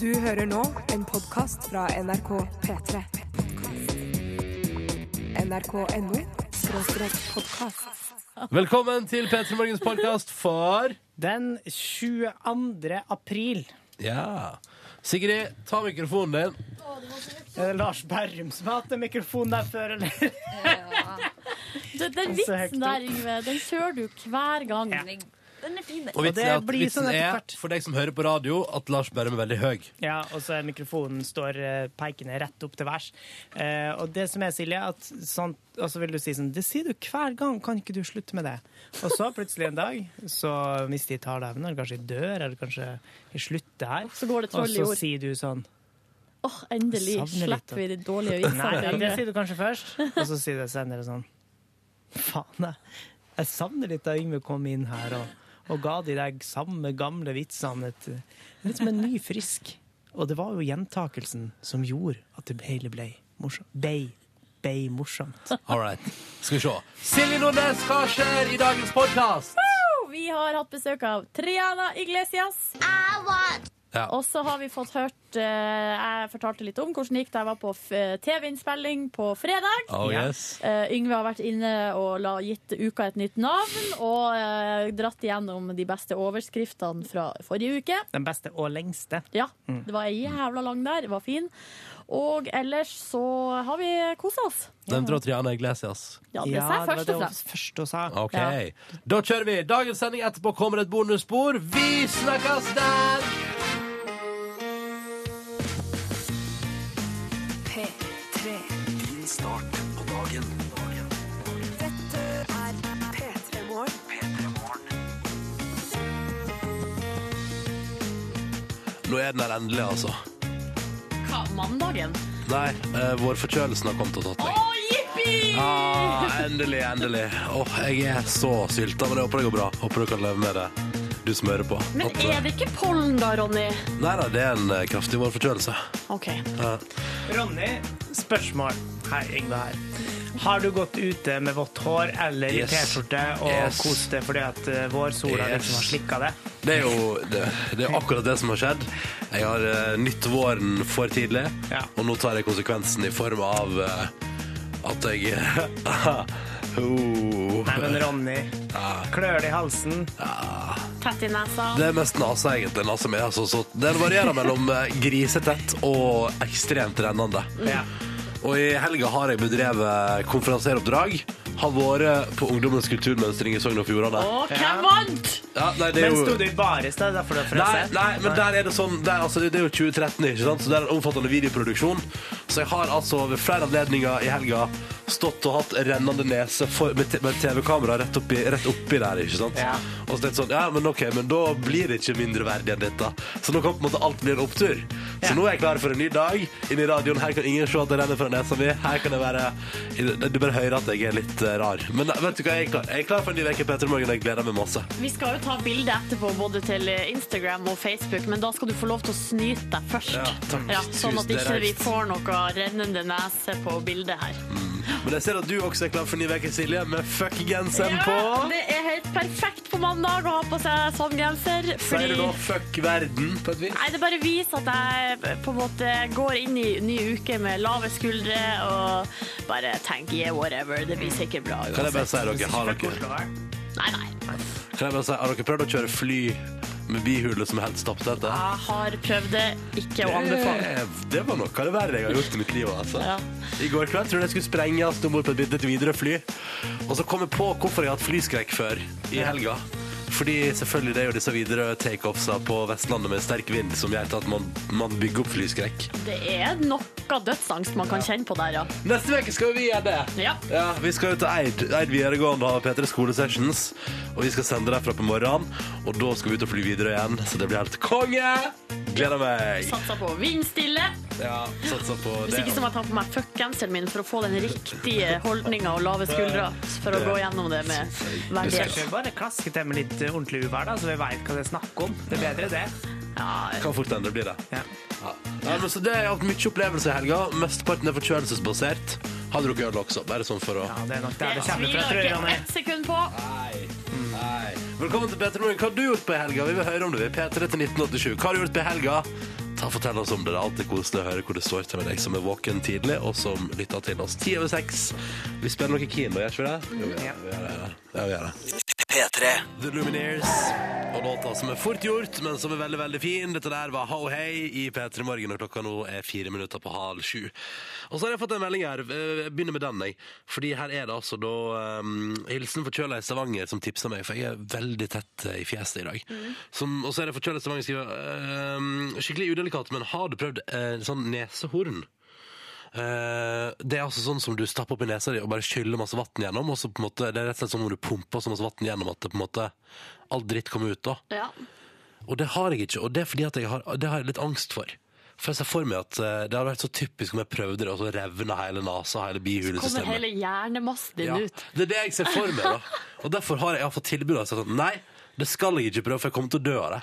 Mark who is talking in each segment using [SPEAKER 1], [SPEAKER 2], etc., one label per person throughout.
[SPEAKER 1] Du hører nå en podkast fra NRK P3. NRK.no skråstrek podkast.
[SPEAKER 2] Velkommen til P3 Morgens podkast for
[SPEAKER 3] Den 22. april.
[SPEAKER 2] Ja. Sigrid, ta mikrofonen din.
[SPEAKER 3] Er det Lars Berrum som har hatt en mikrofon der før, eller?
[SPEAKER 4] Du, den
[SPEAKER 3] Så høyt
[SPEAKER 4] vitsen der, Yngve, den kjører du hver gang. Den er fin.
[SPEAKER 2] Og vitsen
[SPEAKER 3] det
[SPEAKER 2] er, at,
[SPEAKER 3] blir
[SPEAKER 2] vitsen
[SPEAKER 3] sånn etter
[SPEAKER 2] er
[SPEAKER 3] hvert.
[SPEAKER 2] for deg som hører på radio, at Lars Berrum er veldig høy.
[SPEAKER 3] Ja, og så er mikrofonen står eh, pekende rett opp til værs. Eh, og det som er, Silje, at sånn, og så vil du si sånn Det sier du hver gang, kan ikke du slutte med det? Og så plutselig en dag så mister jeg taleevnen, eller kanskje jeg dør, eller kanskje jeg slutter her.
[SPEAKER 4] Så går det troll
[SPEAKER 3] Og
[SPEAKER 4] i
[SPEAKER 3] så
[SPEAKER 4] ord.
[SPEAKER 3] sier du sånn
[SPEAKER 4] Åh, endelig
[SPEAKER 3] Jeg savner litt
[SPEAKER 4] slipper vi de dårlige vitsene.
[SPEAKER 3] Nei,
[SPEAKER 4] til
[SPEAKER 3] det
[SPEAKER 4] Yngve.
[SPEAKER 3] sier du kanskje først, og så sier du senere sånn Faen, jeg, jeg savner litt da Yngve kom inn her og, og ga de deg samme gamle vitsene. Et, litt som en ny frisk. Og det var jo gjentakelsen som gjorde at det hele ble morsomt. Bei. Bei morsomt.
[SPEAKER 2] All right. Skal vi se. Silje Nordnes, hva skjer i dagens podkast?
[SPEAKER 4] Vi har hatt besøk av Triana Iglesias.
[SPEAKER 2] Ja.
[SPEAKER 4] Og så har vi fått hørt eh, Jeg fortalte litt om hvordan det gikk da jeg var på f- eh, TV-innspilling på fredag.
[SPEAKER 2] Oh, yes.
[SPEAKER 4] Eh, Yngve har vært inne og la, gitt uka et nytt navn og eh, dratt igjennom de beste overskriftene fra forrige uke.
[SPEAKER 3] Den beste og lengste.
[SPEAKER 4] Ja,
[SPEAKER 2] Mm.
[SPEAKER 4] det var jævla lang der. Det var fin. Og ellers så har vi kosa oss.
[SPEAKER 2] Nevnte du Triana Iglesias?
[SPEAKER 4] Ja, det sa jeg
[SPEAKER 3] det var
[SPEAKER 4] først
[SPEAKER 3] det
[SPEAKER 4] og
[SPEAKER 3] hun
[SPEAKER 4] fremst.
[SPEAKER 3] første hun sa.
[SPEAKER 2] OK. Da kjører vi. Dagens sending etterpå kommer et bonusspor. Vi snakkes der!
[SPEAKER 1] P3.
[SPEAKER 5] Din start på dagen.
[SPEAKER 1] Dette er P3 Morgen.
[SPEAKER 2] Nå er den her endelig, altså.
[SPEAKER 4] Hva, mandagen?
[SPEAKER 2] Nei, eh, vårforkjølelsen har kommet og tatt meg.
[SPEAKER 4] Å, jippi!
[SPEAKER 2] Ja, Ah, endelig, endelig. Åh, jeg er så sylta, men jeg håper det går bra. Håper du kan leve med det, du som hører på.
[SPEAKER 4] Men
[SPEAKER 2] At,
[SPEAKER 4] er det ikke pollen da, Ronny?
[SPEAKER 2] Nei da, det er en eh, kraftig vårforkjølelse.
[SPEAKER 4] OK.
[SPEAKER 3] Ronny, spørsmål. Hei, Yngve her. Har du gått ute med vått hår eller i
[SPEAKER 2] Yes.
[SPEAKER 3] T-skjorte og
[SPEAKER 2] Yes.
[SPEAKER 3] kost deg fordi at eh, vårsola
[SPEAKER 2] Yes.
[SPEAKER 3] liksom har slikka det?
[SPEAKER 2] Det er jo det, det er akkurat det som har skjedd. Jeg har eh, nytt våren for tidlig,
[SPEAKER 3] Ja.
[SPEAKER 2] og nå tar jeg konsekvensen i form av eh, at jeg Oh.
[SPEAKER 3] Nei, men Ronny, klør det i halsen?
[SPEAKER 4] Tett i
[SPEAKER 6] altså.
[SPEAKER 4] nesa.
[SPEAKER 2] Det er mest nasa, egentlig. Nasa mi, altså, så den varierer mellom eh, grisetett og ekstremt rennende.
[SPEAKER 3] Ja.
[SPEAKER 2] Og i helga har jeg bedrevet konferansieroppdrag. Har vært på Ungdommens kulturmønstring i Sogn og Fjordane.
[SPEAKER 4] Og hvem vant?
[SPEAKER 2] Ja, nei, det er
[SPEAKER 3] Men
[SPEAKER 2] jo...
[SPEAKER 3] sto du i baris da, derfor du har
[SPEAKER 2] Nei,
[SPEAKER 3] frøst?
[SPEAKER 2] nei, men der er det sånn der, altså, Det er jo 2013, ikke sant? Så det er en omfattende videoproduksjon. Så jeg har altså ved flere anledninger i helga stått og hatt rennende nese for, med, te- med TV-kamera rett, oppi- rett oppi der, ikke sant?
[SPEAKER 3] Ja.
[SPEAKER 2] Og så tenkte jeg sånn, ja, men ok, men da blir det ikke mindre verdig enn dette. Så nå kan på en måte alt bli en opptur. Så
[SPEAKER 3] Ja.
[SPEAKER 2] nå er jeg klar for en ny dag. Inn i radioen, her kan ingen se at det renner fra nesa mi. Her kan jeg være Du bare hører at jeg er litt eh, rar. Men vet du hva, jeg er klar, jeg er klar for en ny uke, Petter Morgen. Jeg gleder meg masse.
[SPEAKER 6] Vi skal jo ta bilde etterpå både til Instagram og Facebook, men da skal du få lov til å snyte deg først.
[SPEAKER 2] Ja, takk.
[SPEAKER 6] sånn at
[SPEAKER 2] Tusen
[SPEAKER 6] ikke vi
[SPEAKER 2] reist.
[SPEAKER 6] får noe rennende nese på bildet her.
[SPEAKER 2] Men jeg ser at du også er klar for ny uke, Silje, med fuck-genseren på.
[SPEAKER 6] Ja, det er helt perfekt på mandag å ha på seg sånn genser.
[SPEAKER 2] Sier
[SPEAKER 6] Fordi
[SPEAKER 2] du da fuck verden, på et vis?
[SPEAKER 6] Nei, det bare viser at jeg på en måte går inn i ny uke med lave skuldre og bare tenker yeah, whatever, det blir sikkert bra.
[SPEAKER 2] Kan jeg bare si dere,
[SPEAKER 6] altså,
[SPEAKER 2] har
[SPEAKER 3] Fra
[SPEAKER 2] dere,
[SPEAKER 3] Oslo, vel?
[SPEAKER 6] Nei, nei.
[SPEAKER 2] kan jeg bare si, har dere prøvd å kjøre fly med bihule som er helt stapptette?
[SPEAKER 6] Jeg har prøvd det, ikke å anbefale.
[SPEAKER 2] Det, det var noe av det verre jeg har gjort i mitt liv. Altså.
[SPEAKER 6] Ja.
[SPEAKER 2] I går kveld trodde jeg skulle sprenges om bord på et bitte videre fly. Og så kom jeg på hvorfor jeg har hatt flyskrekk før i helga. Fordi selvfølgelig det er jo disse videre takeoffsa på Vestlandet med sterk vind som gjør at man, man bygger opp flyskrekk.
[SPEAKER 6] Det er noe dødsangst man kan kjenne på der, ja.
[SPEAKER 2] Neste uke skal vi gjøre det.
[SPEAKER 6] Ja.
[SPEAKER 2] Vi skal jo til Eid, Eid videregående og ha P3 Skolesessions. Og vi skal sende derfra på morgenen. Og da skal vi ut og fly videre igjen. Så det blir helt konge! Gleder meg.
[SPEAKER 6] Satsa på vindstille.
[SPEAKER 2] Ja, satser på
[SPEAKER 6] Sånn. Hvis
[SPEAKER 2] det.
[SPEAKER 6] ikke så må jeg ta på meg fuck-genseren min for å få den riktige holdninga og lave skuldre. For å gå gjennom det med
[SPEAKER 3] Jeg
[SPEAKER 6] verdighet.
[SPEAKER 3] skal bare klaske til med litt eh, ordentlig uvær, da, så vi veit hva det er snakk om. Det er bedre, det.
[SPEAKER 6] Ja,
[SPEAKER 2] Kan fort endre bli det.
[SPEAKER 3] Ja.
[SPEAKER 2] Ja. Ja, men så det har hatt mye opplevelser i helga. Mesteparten er forkjølelsesbasert. Har drukket øl også, bare sånn for å
[SPEAKER 3] ja, det er nok der det
[SPEAKER 6] jeg
[SPEAKER 3] kommer fra,
[SPEAKER 6] tviler
[SPEAKER 3] tror jeg,
[SPEAKER 6] ikke
[SPEAKER 3] Ronny.
[SPEAKER 6] ett sekund på.
[SPEAKER 2] Nei. Nei. Velkommen til Petter Morgen. Hva har du gjort på i helga? Vi vil høre om det. Vi er P3 til 1987. Hva har du gjort på i helga? Ta og Fortell oss om det. Det er alltid koselig å høre hvor det står til med deg som er våken tidlig, og som lytter til oss ti over seks. Vi spiller noe Keen, gjør ikke vi det? Jo, vi gjør det. vi gjør det. Ja, vi gjør det.
[SPEAKER 7] P3
[SPEAKER 2] The Lumineers og låta som er fort gjort, men som er veldig, veldig fin. Dette der var Ho Hey i P3 Morgen, og klokka nå er fire minutter på halv sju. Og så har jeg fått en melding her. Eh, Jeg begynner med den, jeg. Fordi her er det altså da um, Hilsen forkjøla i Stavanger som tipsa meg, for jeg er veldig tett eh, i fjeset i dag. Som, og så er det forkjøla i Stavanger skriver ehm, Skikkelig udelikat, men har du prøvd eh, sånn nesehorn? Eh, det er altså sånn som du stapper opp i nesa di og bare skyller masse vann gjennom. Og så på en måte, det er rett og slett som om du pumper så masse vann gjennom at det på en måte all dritt kommer ut. da
[SPEAKER 4] Ja.
[SPEAKER 2] Og det har jeg ikke, og det er fordi at jeg har, det har jeg litt angst for. For jeg ser for meg at eh, det hadde vært så typisk om jeg prøvde det, og så revna hele nesa og hele
[SPEAKER 4] Kommer
[SPEAKER 2] bihulesystemet.
[SPEAKER 4] hele hjernemassen din
[SPEAKER 2] Ja,
[SPEAKER 4] ut.
[SPEAKER 2] det er det jeg ser for meg, da. Og derfor har jeg, jeg har fått tilbud av sagt at nei, det skal jeg ikke prøve, for jeg kommer til å dø av det.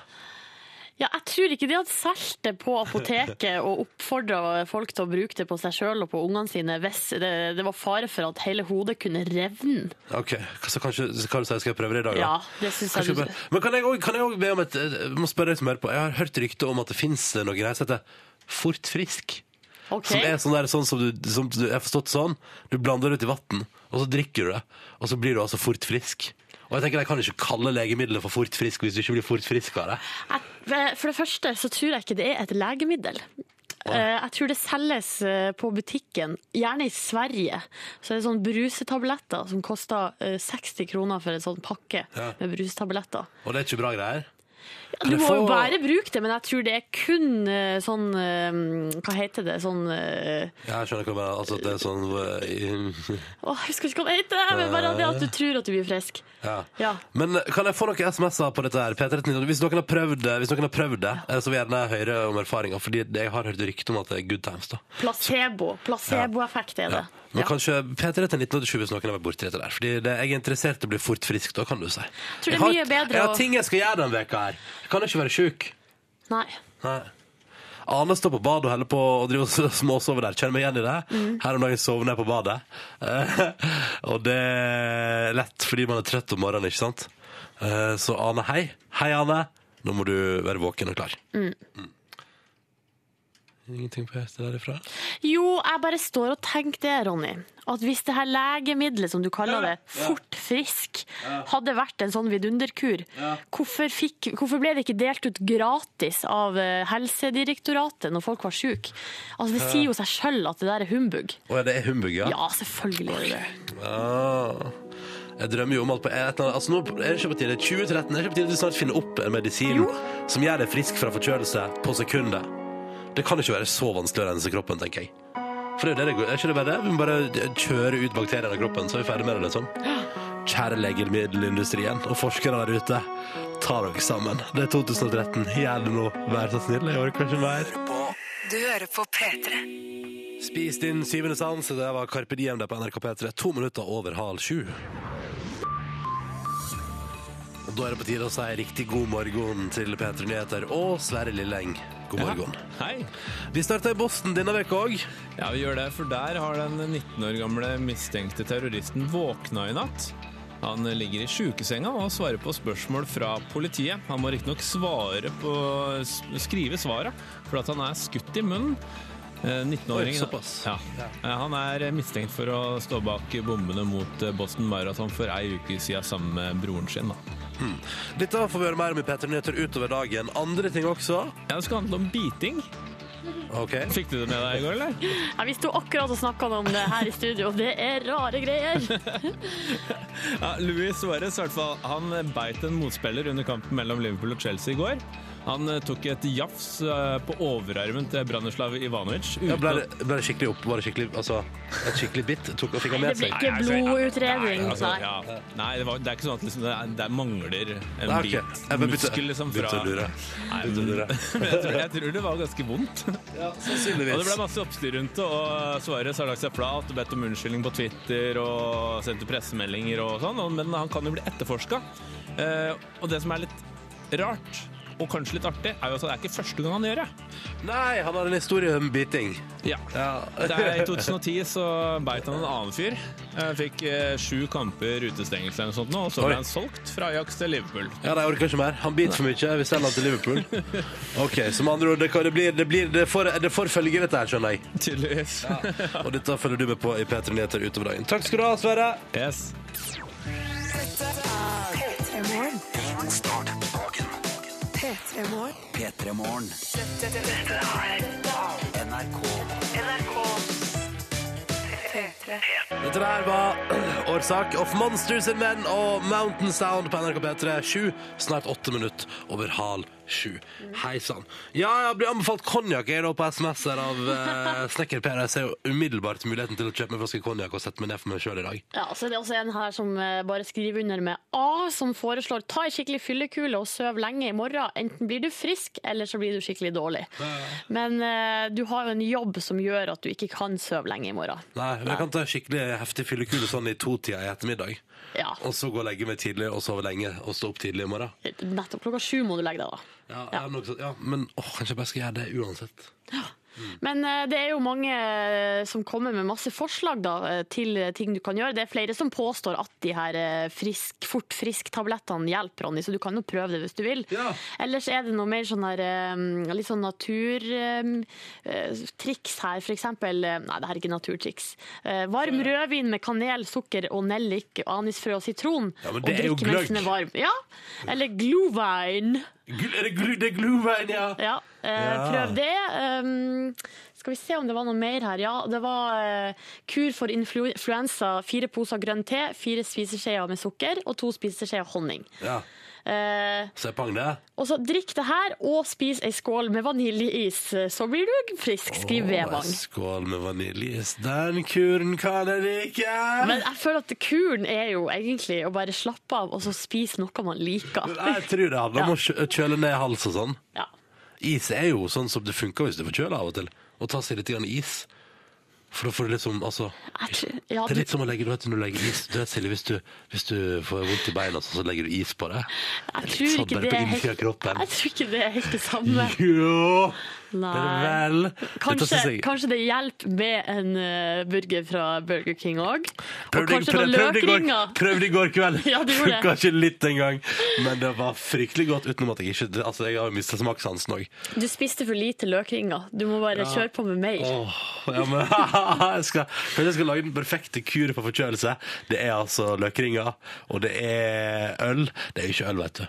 [SPEAKER 4] Ja, jeg tror ikke de hadde solgt det på apoteket og oppfordra folk til å bruke det på seg sjøl og på ungene sine hvis det, det var fare for at hele hodet kunne revne.
[SPEAKER 2] Ok, Så kanskje så kan du si at jeg skal prøve det i dag, da?
[SPEAKER 4] Ja, det syns
[SPEAKER 2] Kanskje
[SPEAKER 4] jeg
[SPEAKER 2] jeg
[SPEAKER 4] du
[SPEAKER 2] bare- Men kan jeg også- kan jeg òg be om et jeg må spørre deg som hører på. Jeg har hørt rykter om at det fins noe greier som heter Fort frisk.
[SPEAKER 4] OK.
[SPEAKER 2] Som er sånn, der, sånn som du, som du jeg har forstått sånn. Du blander det ut i vann, og så drikker du det. Og så blir du altså fort frisk. Og jeg tenker, Jeg kan ikke kalle legemiddelet for fort frisk hvis du ikke blir fort frisk av det.
[SPEAKER 4] Jeg, eh, for det første så tror jeg ikke det er et legemiddel. Eh, Jeg tror det selges eh, på butikken, gjerne i Sverige. Så er det sånn brusetabletter som koster eh, 60 kroner for en sånn pakke
[SPEAKER 2] Ja.
[SPEAKER 4] med brusetabletter.
[SPEAKER 2] Og det er ikke bra greier. Kan
[SPEAKER 4] Du
[SPEAKER 2] jeg
[SPEAKER 4] må jo
[SPEAKER 2] få-
[SPEAKER 4] bare bruke det, men jeg tror det er kun eh, sånn eh, Hva heter det? Sånn eh,
[SPEAKER 2] Ja, Jeg skjønner hva du mener. Altså, at det er sånn øh,
[SPEAKER 4] Å, jeg husker ikke hva det heter, men bare det at du tror at du blir frisk.
[SPEAKER 2] ja.
[SPEAKER 4] Ja.
[SPEAKER 2] Men kan jeg få noen SMS-er på dette her? P13, hvis noen har prøvd det, hvis noen har prøvd det eh, så vil jeg gjerne høre om erfaringa. Fordi jeg har hørt rykte om at det er good times. da
[SPEAKER 4] Placebo. Placeboeffekt er det.
[SPEAKER 2] Ja. Men
[SPEAKER 4] Ja.
[SPEAKER 2] kanskje P3 til 1987 hvis noen har vært borti dette der. Fordi det, jeg er interessert i å bli fort frisk, da kan du si.
[SPEAKER 4] det er
[SPEAKER 2] har,
[SPEAKER 4] mye bedre
[SPEAKER 2] jeg
[SPEAKER 4] å-
[SPEAKER 2] har ting jeg skal gjøre denne veka her. Jeg kan ikke være sjuk.
[SPEAKER 4] Nei.
[SPEAKER 2] Nei. Ane står på badet og holder på å drive og småsove der. Kjenner meg igjen i det. Her om dagen sovner jeg på badet. Eh, og det er lett fordi man er trøtt om morgenen, ikke sant? Eh, Så Ane, hei. Hei, Ane. Nå må du være våken og klar. Mm. Ingenting på hjertet derifra?
[SPEAKER 4] Jo, jeg bare står og tenker det, Ronny. At hvis det her legemiddelet, som du kaller det, fort frisk, hadde vært en sånn vidunderkur, hvorfor, fikk, hvorfor ble det ikke delt ut gratis av eh, Helsedirektoratet når folk var syke? Altså, det sier jo seg sjøl at det der er humbug.
[SPEAKER 2] Å ja, det er humbug, ja?
[SPEAKER 4] Ja, selvfølgelig er det det.
[SPEAKER 2] Ah. Jeg drømmer jo om at på et eller annet Altså nå er det ikke på tide 2013 er det ikke på tide at vi snart finner opp en medisin som gjør deg frisk fra forkjølelse på sekundet. Det kan ikke være så vanskelig å rense kroppen, tenker jeg. For det er jo det det går. Er ikke det bare det? Vi må bare kjøre ut bakteriene i kroppen, så er vi ferdig med det, liksom. Kjære legemiddelindustrien og forskere der ute. Ta dere sammen. Det er 2013. Gjør det nå. Vær så snill. Jeg orker ikke mer.
[SPEAKER 1] Du hører på P3.
[SPEAKER 2] Spis din syvende sans. Det var Carpe Diem der på NRK P3. To minutter over halv sju. Og Da er det på tide å si riktig god morgen til P3 Nyheter og Sverre Lilleng. God morgen.
[SPEAKER 8] Hei.
[SPEAKER 2] Vi starta i Boston denne veka òg.
[SPEAKER 8] Ja, vi gjør det, for der har den 19 år gamle mistenkte terroristen våkna i natt. Han ligger i sjukesenga og svarer på spørsmål fra politiet. Han må riktignok svare på- s- skrive svaret, for at han er skutt i munnen. Eh, 19-åringen
[SPEAKER 2] Oi, såpass.
[SPEAKER 8] Ja. Eh, Han er mistenkt for å stå bak bombene mot eh, Boston Marathon for ei uke siden sammen med broren sin. Da.
[SPEAKER 2] Dette får vi høre mer om i P3 Nyheter utover dagen. Andre ting også.
[SPEAKER 8] Ja, det skal handle om biting.
[SPEAKER 2] OK.
[SPEAKER 8] Fikk du det med deg i går, eller?
[SPEAKER 4] Ja, vi sto akkurat og snakka om det her i studio, og det er rare greier.
[SPEAKER 8] Ja, Luis Suárez i hvert fall, han beit en motspiller under kampen mellom Liverpool og Chelsea i går. Han eh, tok et jafs eh, på overarmen til Branislav Ivanovic.
[SPEAKER 2] Ja,
[SPEAKER 8] uten
[SPEAKER 2] ble,
[SPEAKER 8] at-
[SPEAKER 2] det, ble det skikkelig opp? Var det skikkelig, altså, et skikkelig bitt? Tok og fikk han
[SPEAKER 4] Det
[SPEAKER 2] med
[SPEAKER 4] blir
[SPEAKER 2] seg?
[SPEAKER 4] ikke
[SPEAKER 8] Nei, altså, ja.
[SPEAKER 4] blodutredning.
[SPEAKER 8] Nei, altså,
[SPEAKER 4] Nei.
[SPEAKER 8] ja. Nei det, var, det er ikke sånn at liksom, det, er, det mangler en
[SPEAKER 2] Nei, ok. Jeg
[SPEAKER 8] bit
[SPEAKER 2] bare bytter-
[SPEAKER 8] muskel liksom, fra
[SPEAKER 2] bytter lure.
[SPEAKER 8] Nei,
[SPEAKER 2] Bytter
[SPEAKER 8] men-
[SPEAKER 2] lure.
[SPEAKER 8] men jeg, tror, jeg tror det var ganske vondt. Og det ble masse oppstyr rundt det, og eh, Suárez har lagt seg flat og bedt om unnskyldning på Twitter og sendte pressemeldinger og sånn, og- men han kan jo bli etterforska. Eh, og det som er litt rart, og kanskje litt artig, er jo at det er ikke første gang han gjør det.
[SPEAKER 2] Nei, han har en historie om biting.
[SPEAKER 8] Ja.
[SPEAKER 2] Ja.
[SPEAKER 8] Det er I 2010 så beit han en annen fyr. Eh, Fikk eh, sju kamper utestengelse eller noe sånt nå, og
[SPEAKER 2] Oi.
[SPEAKER 8] så ble han solgt fra Ajax til Liverpool.
[SPEAKER 2] Ja, nei, jeg orker ikke mer. Han biter for mye. Vi selger han til Liverpool. OK, så med andre ord, det, kan- det blir, det blir det får, det får følger, dette her, skjønner jeg.
[SPEAKER 8] Tydeligvis.
[SPEAKER 2] Og dette følger du med på i P3 Nyheter utover dagen. Takk skal du ha, Sverre.
[SPEAKER 8] Yes.
[SPEAKER 1] God start på dagen. P3 Morgen. NRK.
[SPEAKER 2] Dette der var Årsak of Monsters and Men og Mountain Sound på NRK P3. Sju, snart åtte minutter over halv sju. Hei sann. Ja, jeg blir anbefalt konjakk jeg da på SMS her av eh, Snekker Per. Jeg ser jo umiddelbart muligheten til å kjøpe meg en flaske konjakk og sette meg ned for meg sjøl i dag.
[SPEAKER 4] Ja, så det er også en her som eh, bare skriver under med A, som foreslår ta en skikkelig fyllekule og søv lenge i morgen. Enten blir du frisk, eller så blir du skikkelig dårlig. Men eh, du har jo en jobb som gjør at du ikke kan søve lenge i morgen.
[SPEAKER 2] Nei, men jeg kan ta en skikkelig heftig fyllekule sånn i totida i ettermiddag.
[SPEAKER 4] Ja,
[SPEAKER 2] Og så gå og legge meg tidlig og sove lenge og stå opp tidlig i morgen.
[SPEAKER 4] nettopp klokka sju må du legge deg da.
[SPEAKER 2] Ja, det er nok så- ja Men åh, kanskje jeg bare skal gjøre det uansett.
[SPEAKER 4] Men eh, det er jo mange eh, som kommer med masse forslag da, eh, til eh, ting du kan gjøre. Det er flere som påstår at de her eh, frisk, fort frisk-tablettene hjelper, Ronny, så du kan jo prøve det hvis du vil.
[SPEAKER 2] Ja.
[SPEAKER 4] Ellers er det noe mer sånn her, eh, litt sånn naturtriks her, for eksempel. eh, Nei, det her er ikke naturtriks. Eh, Varm rødvin med kanel, sukker og nellik, anisfrø og sitron.
[SPEAKER 2] Ja, men
[SPEAKER 4] og
[SPEAKER 2] det er jo
[SPEAKER 4] drikke mens
[SPEAKER 2] gløgg.
[SPEAKER 4] den er varm. Ja, eller glühwein.
[SPEAKER 2] Gl er det glu, det er gluvein, ja?
[SPEAKER 4] Ja, eh,
[SPEAKER 2] Ja.
[SPEAKER 4] prøv det. Um, skal vi se om det var noe mer her. Ja, det var eh, kur for influ influensa, fire poser grønn te, fire spiseskjeer med sukker og to spiseskjeer honning.
[SPEAKER 2] ja.
[SPEAKER 4] Eh,
[SPEAKER 2] Så jeg pang det.
[SPEAKER 4] og så drikk det her og spis ei skål med vaniljeis, så blir du frisk, skriver Vevang.
[SPEAKER 2] Åh, Skål med vaniljeis. Den kuren kan jeg like!
[SPEAKER 4] Men jeg føler at kuren er jo egentlig å bare slappe av og så spise noe man liker.
[SPEAKER 2] Nei, jeg tror det handler om å kjø- kjøle ned hals og sånn.
[SPEAKER 4] Ja.
[SPEAKER 2] Is er jo sånn som det funker hvis du får kjøle av og til. Å ta seg litt grann is. For da får du liksom altså,
[SPEAKER 4] Jeg tror- ja,
[SPEAKER 2] Det er
[SPEAKER 4] du-
[SPEAKER 2] litt som å legge du vet, når du legger is du vet, Silje, hvis, du, hvis du får vondt i beina, så, så legger du is på det.
[SPEAKER 4] Jeg
[SPEAKER 2] litt
[SPEAKER 4] tror
[SPEAKER 2] sånn
[SPEAKER 4] ikke
[SPEAKER 2] bare
[SPEAKER 4] det
[SPEAKER 2] på
[SPEAKER 4] er
[SPEAKER 2] innsiden av
[SPEAKER 4] helt-
[SPEAKER 2] kroppen.
[SPEAKER 4] jeg tror ikke det er helt det samme.
[SPEAKER 2] Jo!
[SPEAKER 4] Nei.
[SPEAKER 2] Vel Dette
[SPEAKER 4] Kanskje,
[SPEAKER 2] synes jeg-
[SPEAKER 4] kanskje det hjelper med en eh, burger fra Burger King òg. Og
[SPEAKER 2] Prøvde,
[SPEAKER 4] kanskje
[SPEAKER 2] prøv-
[SPEAKER 4] noen
[SPEAKER 2] prøvde i går-
[SPEAKER 4] løkringer.
[SPEAKER 2] prøvde i går kveld.
[SPEAKER 4] Ja, du gjorde det.
[SPEAKER 2] Funka ikke litt engang. Men det var fryktelig godt, utenom at jeg ikke Altså, jeg har jo mista smakssansen òg.
[SPEAKER 4] Du spiste for lite løkringer. Du må bare kjøre på med mer.
[SPEAKER 2] Åh, ja, men jeg skal, Kanskje jeg skal lage den perfekte kuren for forkjølelse. Det er altså løkringer, og det er øl. Det er jo ikke øl, vet du.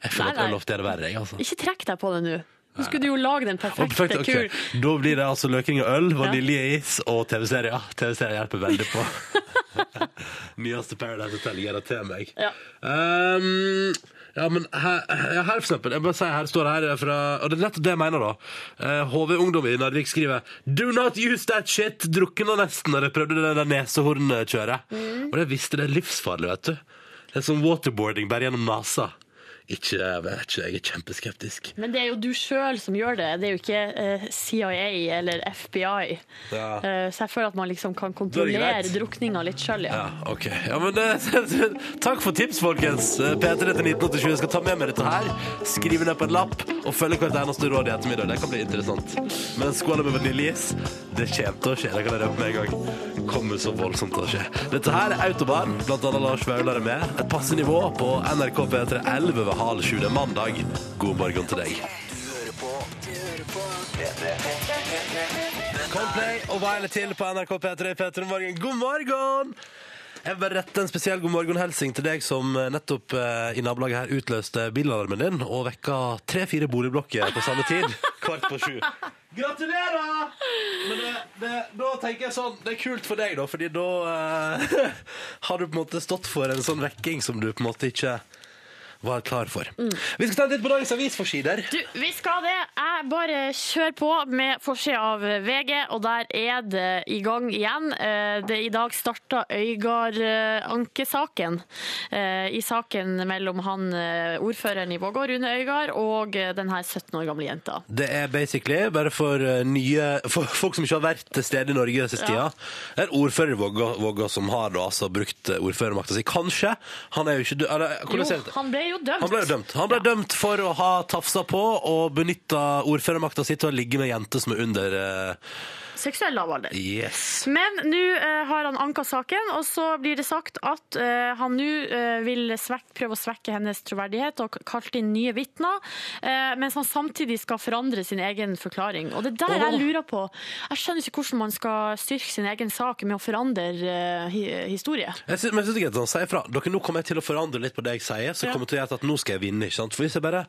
[SPEAKER 2] Jeg føler
[SPEAKER 4] Nei,
[SPEAKER 2] at
[SPEAKER 4] nei.
[SPEAKER 2] øl ofte er det verre, jeg, altså.
[SPEAKER 4] Ikke trekk deg på det nå. Nå skulle du jo lage den
[SPEAKER 2] Og
[SPEAKER 4] perfekte
[SPEAKER 2] perfekt, ok.
[SPEAKER 4] kur.
[SPEAKER 2] Da blir det altså løkring og øl, vaniljeis og TV-serier. TV-serier hjelper veldig på. Nyeste Paradise Hotel gir det til meg.
[SPEAKER 4] Ja.
[SPEAKER 2] Um, ja, men her, ja, her for eksempel, jeg bare sier, her står det her fra, og det er nettopp det jeg mener da. Eh, HV Ungdom i Narvik skriver Do not use that shit! Drukna nesten når jeg prøvde det der nesehornkjøret. Og det visste det er livsfarlig, vet du. Det er som waterboarding, bare gjennom nasa. Ikke, jeg vet ikke, jeg er kjempeskeptisk.
[SPEAKER 4] Men det er jo du sjøl som gjør det. Det er jo ikke eh, CIA eller FBI.
[SPEAKER 2] Ja.
[SPEAKER 4] Eh, så jeg føler at man liksom kan
[SPEAKER 2] er det
[SPEAKER 4] kontrollere
[SPEAKER 2] greit.
[SPEAKER 4] drukninga litt sjøl, ja.
[SPEAKER 2] Ja, ok. Ja, men eh, takk for tips, folkens. Eh, P3 til 1987. Jeg skal ta med meg dette her, skrive ned på en lapp og følge hvert eneste råd i ettermiddag. Det kan bli interessant. Men skåla med vaniljeis, det kommer til å skje. Det kan jeg røpe med en gang. Kommer så voldsomt til å skje. Dette her er Autobahn, blant annet Lars Vaular er med. Et passe nivå på NRK P3 11 ved halv sju. Det er mandag. God morgen til deg. Coldplay og Violet til på NRK P3 P3 Morgen. God morgen! Jeg vil bare rette en spesiell god morgen-helsing til deg som nettopp eh, i nabolaget her utløste bilalarmen din og vekka tre-fire boligblokker på samme tid. Kvart på sju. Gratulerer! Men det, det, da tenker jeg sånn, det er kult for deg, da, fordi da eh, har du på en måte stått for en sånn vekking som du på en måte ikke var klar for. Vi skal ta en titt på dagens avisforsider.
[SPEAKER 4] Du, vi skal det. Jeg bare kjører på med forsida av VG, og der er det i gang igjen. Eh, Det I dag starta Øygard-ankesaken. eh, I saken mellom han eh, ordføreren i Vågå, Rune Øygard, og eh, den her 17 år gamle jenta.
[SPEAKER 2] Det er basically bare for eh, nye for folk som ikke har vært til stede i Norge siste
[SPEAKER 4] Ja.
[SPEAKER 2] tida. Det er ordfører Vågå, Vågå som har da altså brukt eh, ordførermakta si. Kanskje. Han er jo ikke dø- eller, eh, hvordan
[SPEAKER 4] Jo,
[SPEAKER 2] sier jeg det?
[SPEAKER 4] han ble jo dømt.
[SPEAKER 2] Han ble jo dømt. Han ble dømt for å ha tafsa på og benytta ordførermakta si til å ligge med jenter som er under eh,
[SPEAKER 4] Seksuell lavalder.
[SPEAKER 2] Yes.
[SPEAKER 4] Men nå eh, har han anka saken, og så blir det sagt at eh, han nå eh, vil svek- prøve å svekke hennes troverdighet og k- kalt inn nye vitner, eh, mens han samtidig skal forandre sin egen forklaring. Og det er der jeg lurer på. Jeg skjønner ikke hvordan man skal styrke sin egen sak med å forandre eh, hi- historie.
[SPEAKER 2] Jeg synes, men jeg synes det er greit at han sier fra. Dere, nå kommer jeg til å forandre litt på det jeg sier, så kommer jeg til å gjøre at nå skal jeg vinne, ikke sant? For hvis jeg bare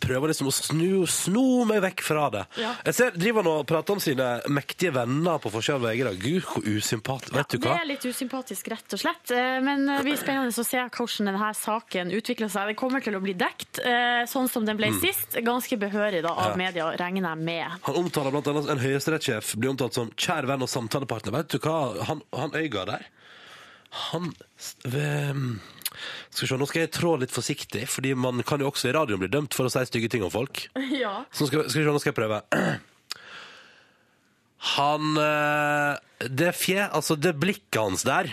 [SPEAKER 2] prøver liksom å snu, sno meg vekk fra det.
[SPEAKER 4] Ja.
[SPEAKER 2] Jeg ser, driver han og prater om sine mektige venner på forskjell av VG da. Gud, hvor usympatisk. Vet du
[SPEAKER 4] Det
[SPEAKER 2] hva?
[SPEAKER 4] er litt usympatisk, rett og slett. Eh, Men eh, det blir spennende å se hvordan denne saken utvikler seg. Den kommer til å bli dekt, eh, sånn som den ble sist. Ganske behørig da,
[SPEAKER 2] Mm.
[SPEAKER 4] av
[SPEAKER 2] Ja.
[SPEAKER 4] media, regner jeg med.
[SPEAKER 2] Han omtaler blant annet en høyesterettssjef blir omtalt som kjær venn og samtalepartner. Vet du hva han, han øyga der? Han s- ved- Skal vi se, nå skal jeg trå litt forsiktig, fordi man kan jo også i radioen bli dømt for å si stygge ting om folk.
[SPEAKER 4] Ja.
[SPEAKER 2] Så skal, skal vi se, nå skal jeg prøve. Han eh, Det fje, altså det blikket hans der,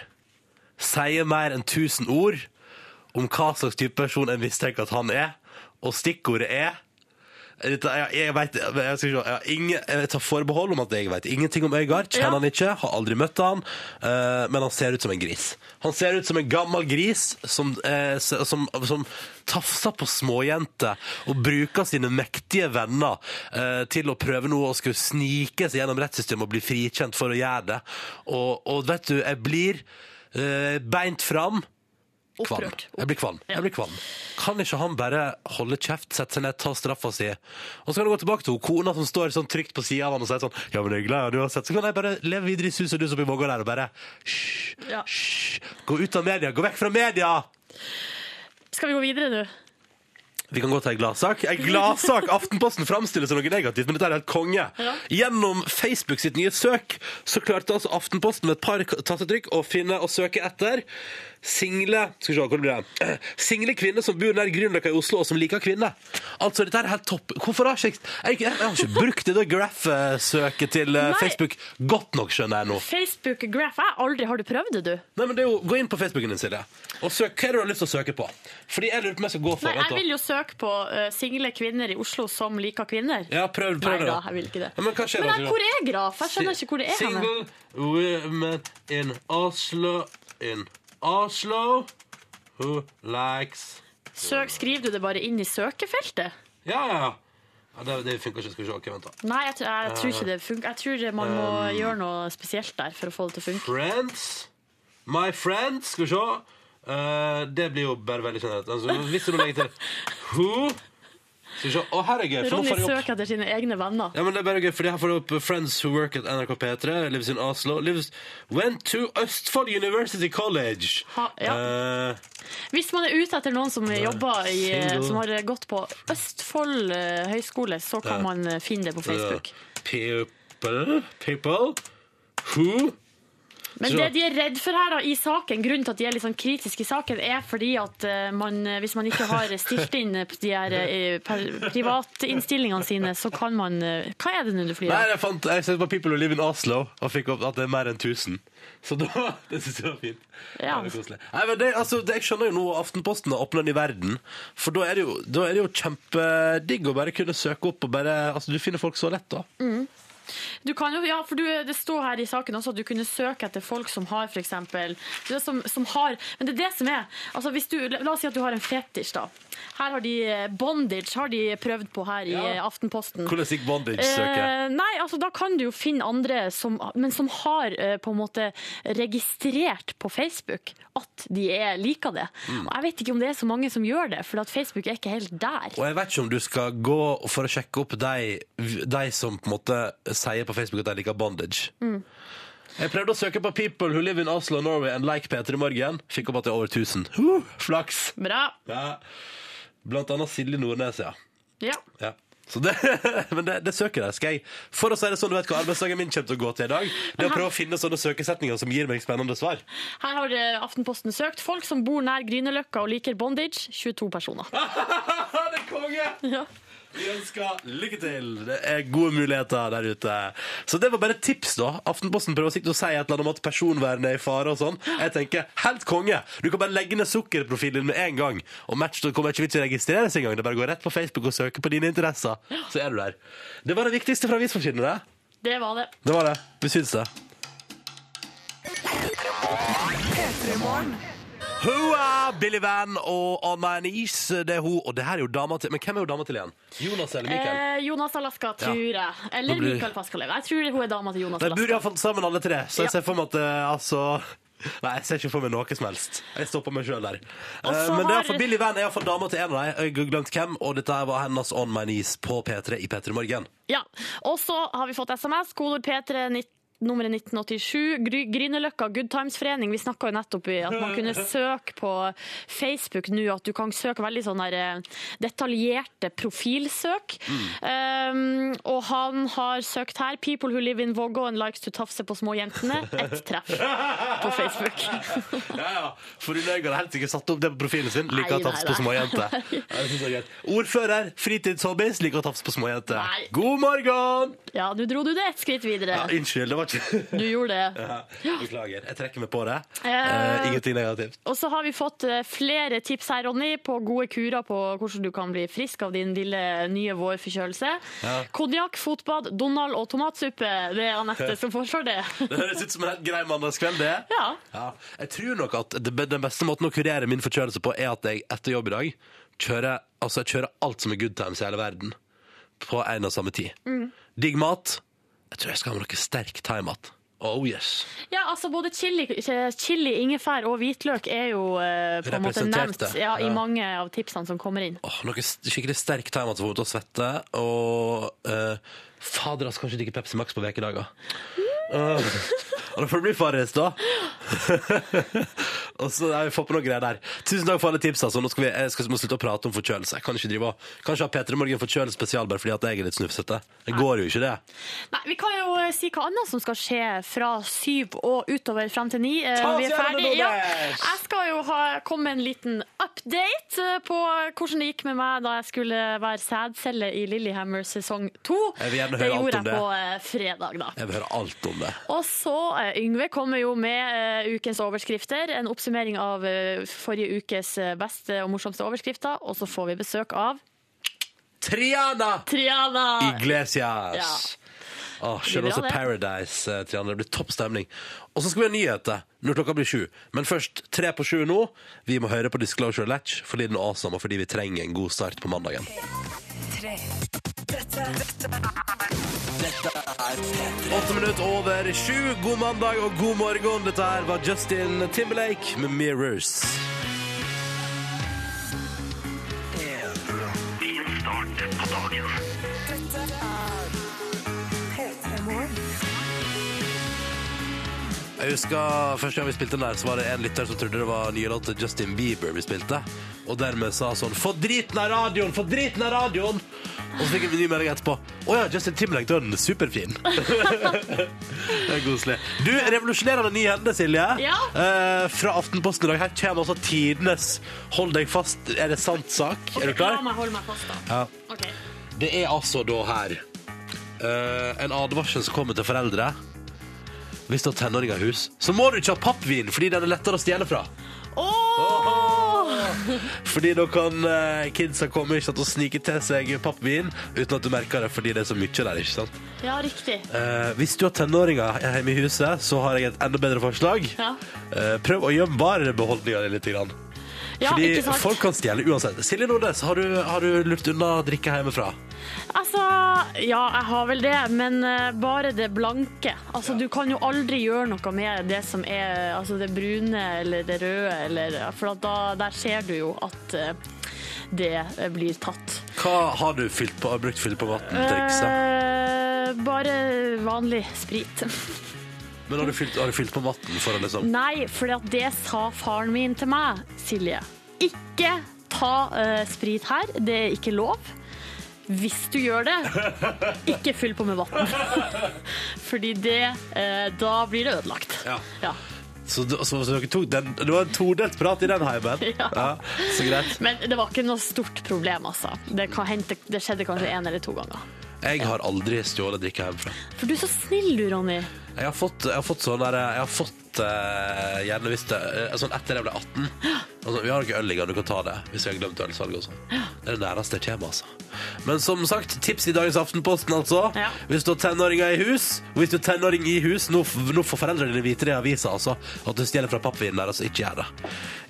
[SPEAKER 2] sier mer enn tusen ord om hva slags type person en mistenker at han er, og stikkordet er dette, jeg, jeg, vet, jeg, skal ikke, jeg, har ingen, jeg tar forbehold om at jeg vet ingenting om Øygard. Kjenner
[SPEAKER 4] Ja.
[SPEAKER 2] han ikke, har aldri møtt han. eh, men han ser ut som en gris. Han ser ut som en gammel gris som, eh, s- som, som tafser på småjenter og bruker sine mektige venner eh, til å prøve noe og skulle snike seg gjennom rettssystemet og bli frikjent for å gjøre det. Og, og vet du, jeg blir eh, beint fram. Kvalm.
[SPEAKER 4] Opprørt.
[SPEAKER 2] Jeg blir kvalm. Jeg blir kvalm. Kan ikke han bare holde kjeft, sette seg ned, ta straffa si? Og så kan du gå tilbake til hun kona som står sånn trygt på sida av han og sier sånn Ja, men jeg er glad i han uansett. Så kan jeg bare leve videre i sus og dus oppi Vågå der og bare Hysj,
[SPEAKER 4] Ja.
[SPEAKER 2] hysj. Gå ut av media. Gå vekk fra media!
[SPEAKER 4] Skal vi gå videre nå?
[SPEAKER 2] Vi kan godt ha ei gladsak. Ei gladsak! Aftenposten framstilles som noe negativt, men dette er helt konge. Gjennom Facebook sitt nye søk så klarte altså Aftenposten med et par tastetrykk å finne og søke etter single Skal vi se, hvor blir det? Single kvinner som bor nær Grünerløkka i Oslo, og som liker kvinner. Altså, dette her er helt topp. Hvorfor har ikke jeg Jeg, jeg har ikke brukt det der graph-søket til eh,
[SPEAKER 4] Nei.
[SPEAKER 2] Facebook godt nok, skjønner jeg nå.
[SPEAKER 4] Facebook Graph. Jeg aldri har du prøvd det, du.
[SPEAKER 2] Nei, men det er jo, Gå inn på Facebooken din, Silje, og søk hva er det du har lyst til å søke på. Fordi jeg lurer på om jeg skal gå for
[SPEAKER 4] Nei,
[SPEAKER 2] vent da.
[SPEAKER 4] jeg vil jo søke på eh, single kvinner i Oslo som liker kvinner.
[SPEAKER 2] Ja, prøv, prøv
[SPEAKER 4] Nei
[SPEAKER 2] det,
[SPEAKER 4] da,
[SPEAKER 2] da.
[SPEAKER 4] jeg vil ikke det.
[SPEAKER 2] Ja, men hva skjer da,
[SPEAKER 4] jeg-
[SPEAKER 2] Silje?
[SPEAKER 4] hvor er Graf? Jeg skjønner ikke hvor det er. henne.
[SPEAKER 2] Single women in Oslo In Oslo Who likes
[SPEAKER 4] Søk, skriver du det bare inn i søkefeltet?
[SPEAKER 2] Ja, ja, ja ja, det, det funker ikke, skal vi se, ok, vent da
[SPEAKER 4] Nei, jeg, tr- jeg tror ikke det funker. Jeg tror det- man må
[SPEAKER 2] Um,
[SPEAKER 4] gjøre noe spesielt der for å få det til å funke.
[SPEAKER 2] Friends My friends, skal vi se Eh, Det blir jo bare veldig generelt altså, Hvis du nå legger til Who Skal vi se, å her er gøy for nå
[SPEAKER 4] Ronny
[SPEAKER 2] får jeg opp
[SPEAKER 4] søker etter sine egne venner.
[SPEAKER 2] Ja, men det er bare gøy, for jeg får opp Friends Who Work at NRK P3, lives in Oslo, lives, went to Østfold University College.
[SPEAKER 4] Ha- ja.
[SPEAKER 2] Eh,
[SPEAKER 4] Hvis man er ute etter noen som jobber i, eh,
[SPEAKER 2] single.
[SPEAKER 4] som har gått på Østfold eh, høgskole, så kan
[SPEAKER 2] Ja.
[SPEAKER 4] man eh, finne det på Facebook.
[SPEAKER 2] People, people who
[SPEAKER 4] Men
[SPEAKER 2] Så-
[SPEAKER 4] det de er redd for her da, i saken, grunnen til at de er litt sånn kritiske i saken, er fordi at eh, man, eh, hvis man ikke har stilt inn eh, de her eh, per- privatinnstillingene sine, så kan man eh, Hva er det nå du flyr
[SPEAKER 2] Nei,
[SPEAKER 4] av?
[SPEAKER 2] jeg fant jeg søkte på People Who Live in Oslo og fikk opp at det er mer enn 1000. Så da, det synes jeg var fint. Det
[SPEAKER 4] Ja.
[SPEAKER 2] var koselig. Nei, men det, altså, det, jeg skjønner jo nå Aftenposten har åpnet den i verden, for da er det jo, da er det jo kjempedigg å bare kunne søke opp og bare Altså, du finner folk så lett, da.
[SPEAKER 4] Du kan jo, ja, for du, det står her i saken også at du kunne søke etter folk som har for eksempel, det som, som har, men det er det som er, altså hvis du, la la oss si at du har en fetisj da, her har de eh, bondage, har de prøvd på her i eh, Aftenposten.
[SPEAKER 2] Hvordan gikk Bondage søker?
[SPEAKER 4] Eh, nei, altså da kan du jo finne andre som, men som har eh, på en måte registrert på Facebook at de er liker det.
[SPEAKER 2] Mm.
[SPEAKER 4] Og jeg vet ikke om det er så mange som gjør det, for at Facebook er ikke helt der.
[SPEAKER 2] Og jeg vet ikke om du skal gå for å sjekke opp de, de som på en måte sier på Facebook at de liker bondage. Jeg prøvde å søke på 'People who live in Oslo, Norway and like Peter i morgen'. Fikk opp at det er over 1000. Huh, flaks!
[SPEAKER 4] Bra.
[SPEAKER 2] Ja. Blant annet Silje Nordnes, ja.
[SPEAKER 4] Ja.
[SPEAKER 2] ja. Så det, men det, det søker jeg. Skal jeg For å si det sånn, du vet hva arbeidsdagen min kommer til å gå til i dag? Det å prøve å finne sånne søkesetninger som gir meg spennende svar.
[SPEAKER 4] Her har eh, Aftenposten søkt folk som bor nær Grünerløkka og liker bondage. 22 personer.
[SPEAKER 2] det er konge!
[SPEAKER 4] Ja.
[SPEAKER 2] Vi ønsker lykke til! Det er gode muligheter der ute. Så det var bare et tips, da. Aftenposten prøver sikkert å si et eller annet om at personvernet er i fare og sånn. Jeg tenker helt konge! Du kan bare legge ned sukkerprofilen med en gang. Og match, da kommer ikke vi til å registrere seg engang. Det er bare å gå rett på Facebook og søke på dine interesser, så er du der. Det var det viktigste fra avisforsidene, det.
[SPEAKER 4] Det var det.
[SPEAKER 2] Det var det. Vi syns det. Hoa, Billy Van og Anna Anise. Det er hun, og det her er jo dama til Men hvem er jo dama til igjen? Jonas eller Mikael?
[SPEAKER 4] Eh, Jonas Alaska, tror jeg.
[SPEAKER 2] Da
[SPEAKER 4] Eller
[SPEAKER 2] blir-
[SPEAKER 4] Mikael Paskalev. Jeg tror hun er dama til Jonas
[SPEAKER 2] De bor
[SPEAKER 4] Alaska.
[SPEAKER 2] iallfall sammen, alle tre. Så jeg ser for meg at eh, altså Nei, jeg ser ikke for meg noe som helst. Jeg stopper meg sjøl der. Eh,
[SPEAKER 4] Og så
[SPEAKER 2] men det er
[SPEAKER 4] har-
[SPEAKER 2] iallfall Billy Van er iallfall dama til en av dem. Jeg har glemt hvem, og dette her var hennes On My Knees på P3 i P3 Morgen.
[SPEAKER 4] Ja. Og så har vi fått SMS. Kodord P3 nitt- nummeret 1987. Gry- Grünerløkka Good Times-forening. Vi snakka jo nettopp i at man kunne søke på Facebook nå, at du kan søke veldig sånn der eh, detaljerte profilsøk. Um, og han har søkt her 'People who live in Vågå and likes to tafse på småjentene'. Et treff på Facebook.
[SPEAKER 2] Ja, ja. For hun Øygarden har helt sikkert satt opp det på profilen sin. Liker å
[SPEAKER 4] Nei,
[SPEAKER 2] tafse
[SPEAKER 4] nei,
[SPEAKER 2] på små jenter. Ja, det synes jeg er greit. Ordfører, fritidshobbies, liker å tafse på små jenter.
[SPEAKER 4] Nei.
[SPEAKER 2] God morgen!
[SPEAKER 4] Ja, nå dro du det ett skritt
[SPEAKER 2] Ja,
[SPEAKER 4] videre.
[SPEAKER 2] unnskyld, det var ikke
[SPEAKER 4] Du gjorde det.
[SPEAKER 2] Ja, Beklager. Jeg trekker meg på det.
[SPEAKER 4] Eh,
[SPEAKER 2] Eh, ingenting negativt.
[SPEAKER 4] Og så har vi fått eh, flere tips her, Ronny, på gode kurer på hvordan du kan bli frisk av din lille nye vårforkjølelse. Konjakk, fotbad, Donald og tomatsuppe. Det er Anette som foreslår det.
[SPEAKER 2] Det høres ut som en helt grei mandagskveld, det.
[SPEAKER 4] Ja.
[SPEAKER 2] Jeg tror nok at det be- den beste måten å kurere min forkjølelse på, er at jeg etter jobb i dag kjører, altså jeg kjører alt som er good times i hele verden, på en og samme tid. Digg mat. Jeg tror jeg skal ha med noe sterk thaimat. Oh yes.
[SPEAKER 4] ja, altså både chili, chili, ingefær og hvitløk er jo eh, på en måte nevnt
[SPEAKER 2] Representerte.
[SPEAKER 4] ja, i
[SPEAKER 2] Ja.
[SPEAKER 4] mange av tipsene som kommer inn.
[SPEAKER 2] Åh, noe s- skikkelig sterk thaimat som får meg til å svette, og eh, fader, altså, kanskje drikke Pepsi Max på vekedager. Uh, og da får det bli Farris, da. og så nei, vi får på noe greier der. Tusen takk for alle tipsa. Altså. Nå skal vi jeg skal, må slutte å prate om forkjølelse. Jeg kan ikke drive og Kanskje ha P3 Morgen forkjølelse spesial bare fordi at jeg er litt snufsete. Det går jo ikke, det.
[SPEAKER 4] Nei, Vi kan jo eh, si hva annet som skal skje fra syv og utover frem til ni. Eh,
[SPEAKER 2] Ta oss
[SPEAKER 4] Vi er
[SPEAKER 2] gjennom det
[SPEAKER 4] ferdig.
[SPEAKER 2] nå,
[SPEAKER 4] Ja.
[SPEAKER 2] Dash!
[SPEAKER 4] Jeg skal jo ha, komme med en liten update eh, på hvordan det gikk med meg da jeg skulle være sædcelle i Lillehammer sesong to.
[SPEAKER 2] Jeg vil gjerne
[SPEAKER 4] Det
[SPEAKER 2] høre alt om
[SPEAKER 4] gjorde jeg
[SPEAKER 2] det.
[SPEAKER 4] på eh, fredag, da.
[SPEAKER 2] Jeg vil høre alt om det.
[SPEAKER 4] Og så, eh, Yngve kommer jo med eh, ukens overskrifter. En oppsummering av eh, forrige ukes eh, beste og morsomste overskrifter. Og så får vi besøk av
[SPEAKER 2] Triana
[SPEAKER 4] Triana!
[SPEAKER 2] Iglesias. Åh, Selv
[SPEAKER 4] Blir bra,
[SPEAKER 2] også
[SPEAKER 4] det.
[SPEAKER 2] Paradise, eh, Triana. Det blir topp stemning. Og så skal vi ha nyheter når klokka blir sju. Men først tre på sju nå. Vi må høre på Disclosure Latch fordi den er awesome, og fordi vi trenger en god start på mandagen. Åtte minutter over sju. God mandag og god morgen. Dette her var Justin Timberlake med 'Mirrors'. Jeg husker Første gang vi spilte den der, så var det en lytter som trodde det var nye låt til Justin Bieber vi spilte. Og dermed sa sånn 'Få driten av radioen! Få driten av radioen!' Og så fikk vi en ny melding etterpå. 'Å ja, Justin Timberlake, du er den superfin'. det er koselig. Du, revolusjonerende ny ende, Silje.
[SPEAKER 4] Ja.
[SPEAKER 2] Eh, fra Aftenposten i dag. Her kommer altså tidenes 'Hold deg fast, er det sant?'-sak. Er du klar?
[SPEAKER 4] La meg holde meg fast, da.
[SPEAKER 2] Ja.
[SPEAKER 4] Ok.
[SPEAKER 2] Det er altså da her eh, en advarsel som kommer til foreldre. Hvis du har tenåringer i hus, så må du ikke ha pappvin, fordi den er lettere å stjele fra. Fordi da kan eh, kidsa komme ikke sant, og snike til seg pappvin uten at du merker det, fordi det er så mye der. ikke sant?
[SPEAKER 4] Ja, riktig.
[SPEAKER 2] Eh, hvis du har tenåringer hjemme i huset, så har jeg et enda bedre forslag.
[SPEAKER 4] Ja.
[SPEAKER 2] Eh, prøv å gjemme varebeholdninga di litt. Grann.
[SPEAKER 4] Ja,
[SPEAKER 2] Fordi
[SPEAKER 4] ikke sant?
[SPEAKER 2] folk kan stjele uansett. Silje Nordnes, har, du- har du lurt unna drikke hjemmefra?
[SPEAKER 4] Altså, ja, jeg har vel det, men eh, bare det blanke. Altså, du kan jo aldri gjøre noe med det som er altså, det brune eller det røde, eller, for at da, der ser du jo at eh, det eh, blir tatt.
[SPEAKER 2] Hva har du fylt på, har brukt fylt på matten-trikset?
[SPEAKER 4] Eh, bare vanlig sprit.
[SPEAKER 2] Men har du fylt, har du fylt på matten for å liksom
[SPEAKER 4] Nei, for at det sa faren min til meg, Silje. Ikke ta eh, sprit her, det er ikke lov. Hvis du gjør det, ikke fyll på med vann. Fordi det, eh, da blir det ødelagt.
[SPEAKER 2] Ja.
[SPEAKER 4] Ja.
[SPEAKER 2] Så, d- så, så dere tok den Det var en todelt prat i den heimen?
[SPEAKER 4] Ja.
[SPEAKER 2] Så greit.
[SPEAKER 4] Men det var ikke noe stort problem, altså. Det, kan hente, det skjedde kanskje én eller to ganger.
[SPEAKER 2] Jeg har aldri stjålet drikke hjemmefra.
[SPEAKER 4] For du er så snill du, Ronny.
[SPEAKER 2] Jeg har fått, jeg har fått sånn der Jeg har fått eh, gjerne hvis det eh, sånn Etter jeg ble 18 altså, Vi har ikke øl liggende, du kan ta det Hvis vi har glemt ølsalget og sånn Det er det nærmeste jeg kommer altså. Men som sagt, tips i dagens Aftenposten altså
[SPEAKER 6] Ja.
[SPEAKER 2] Hvis du har tenåringer i hus Hvis du har tenåring i hus Nå, f- nå får foreldrene dine vite det i avisa altså, At du stjeler fra pappvinen der altså, Ikke gjør det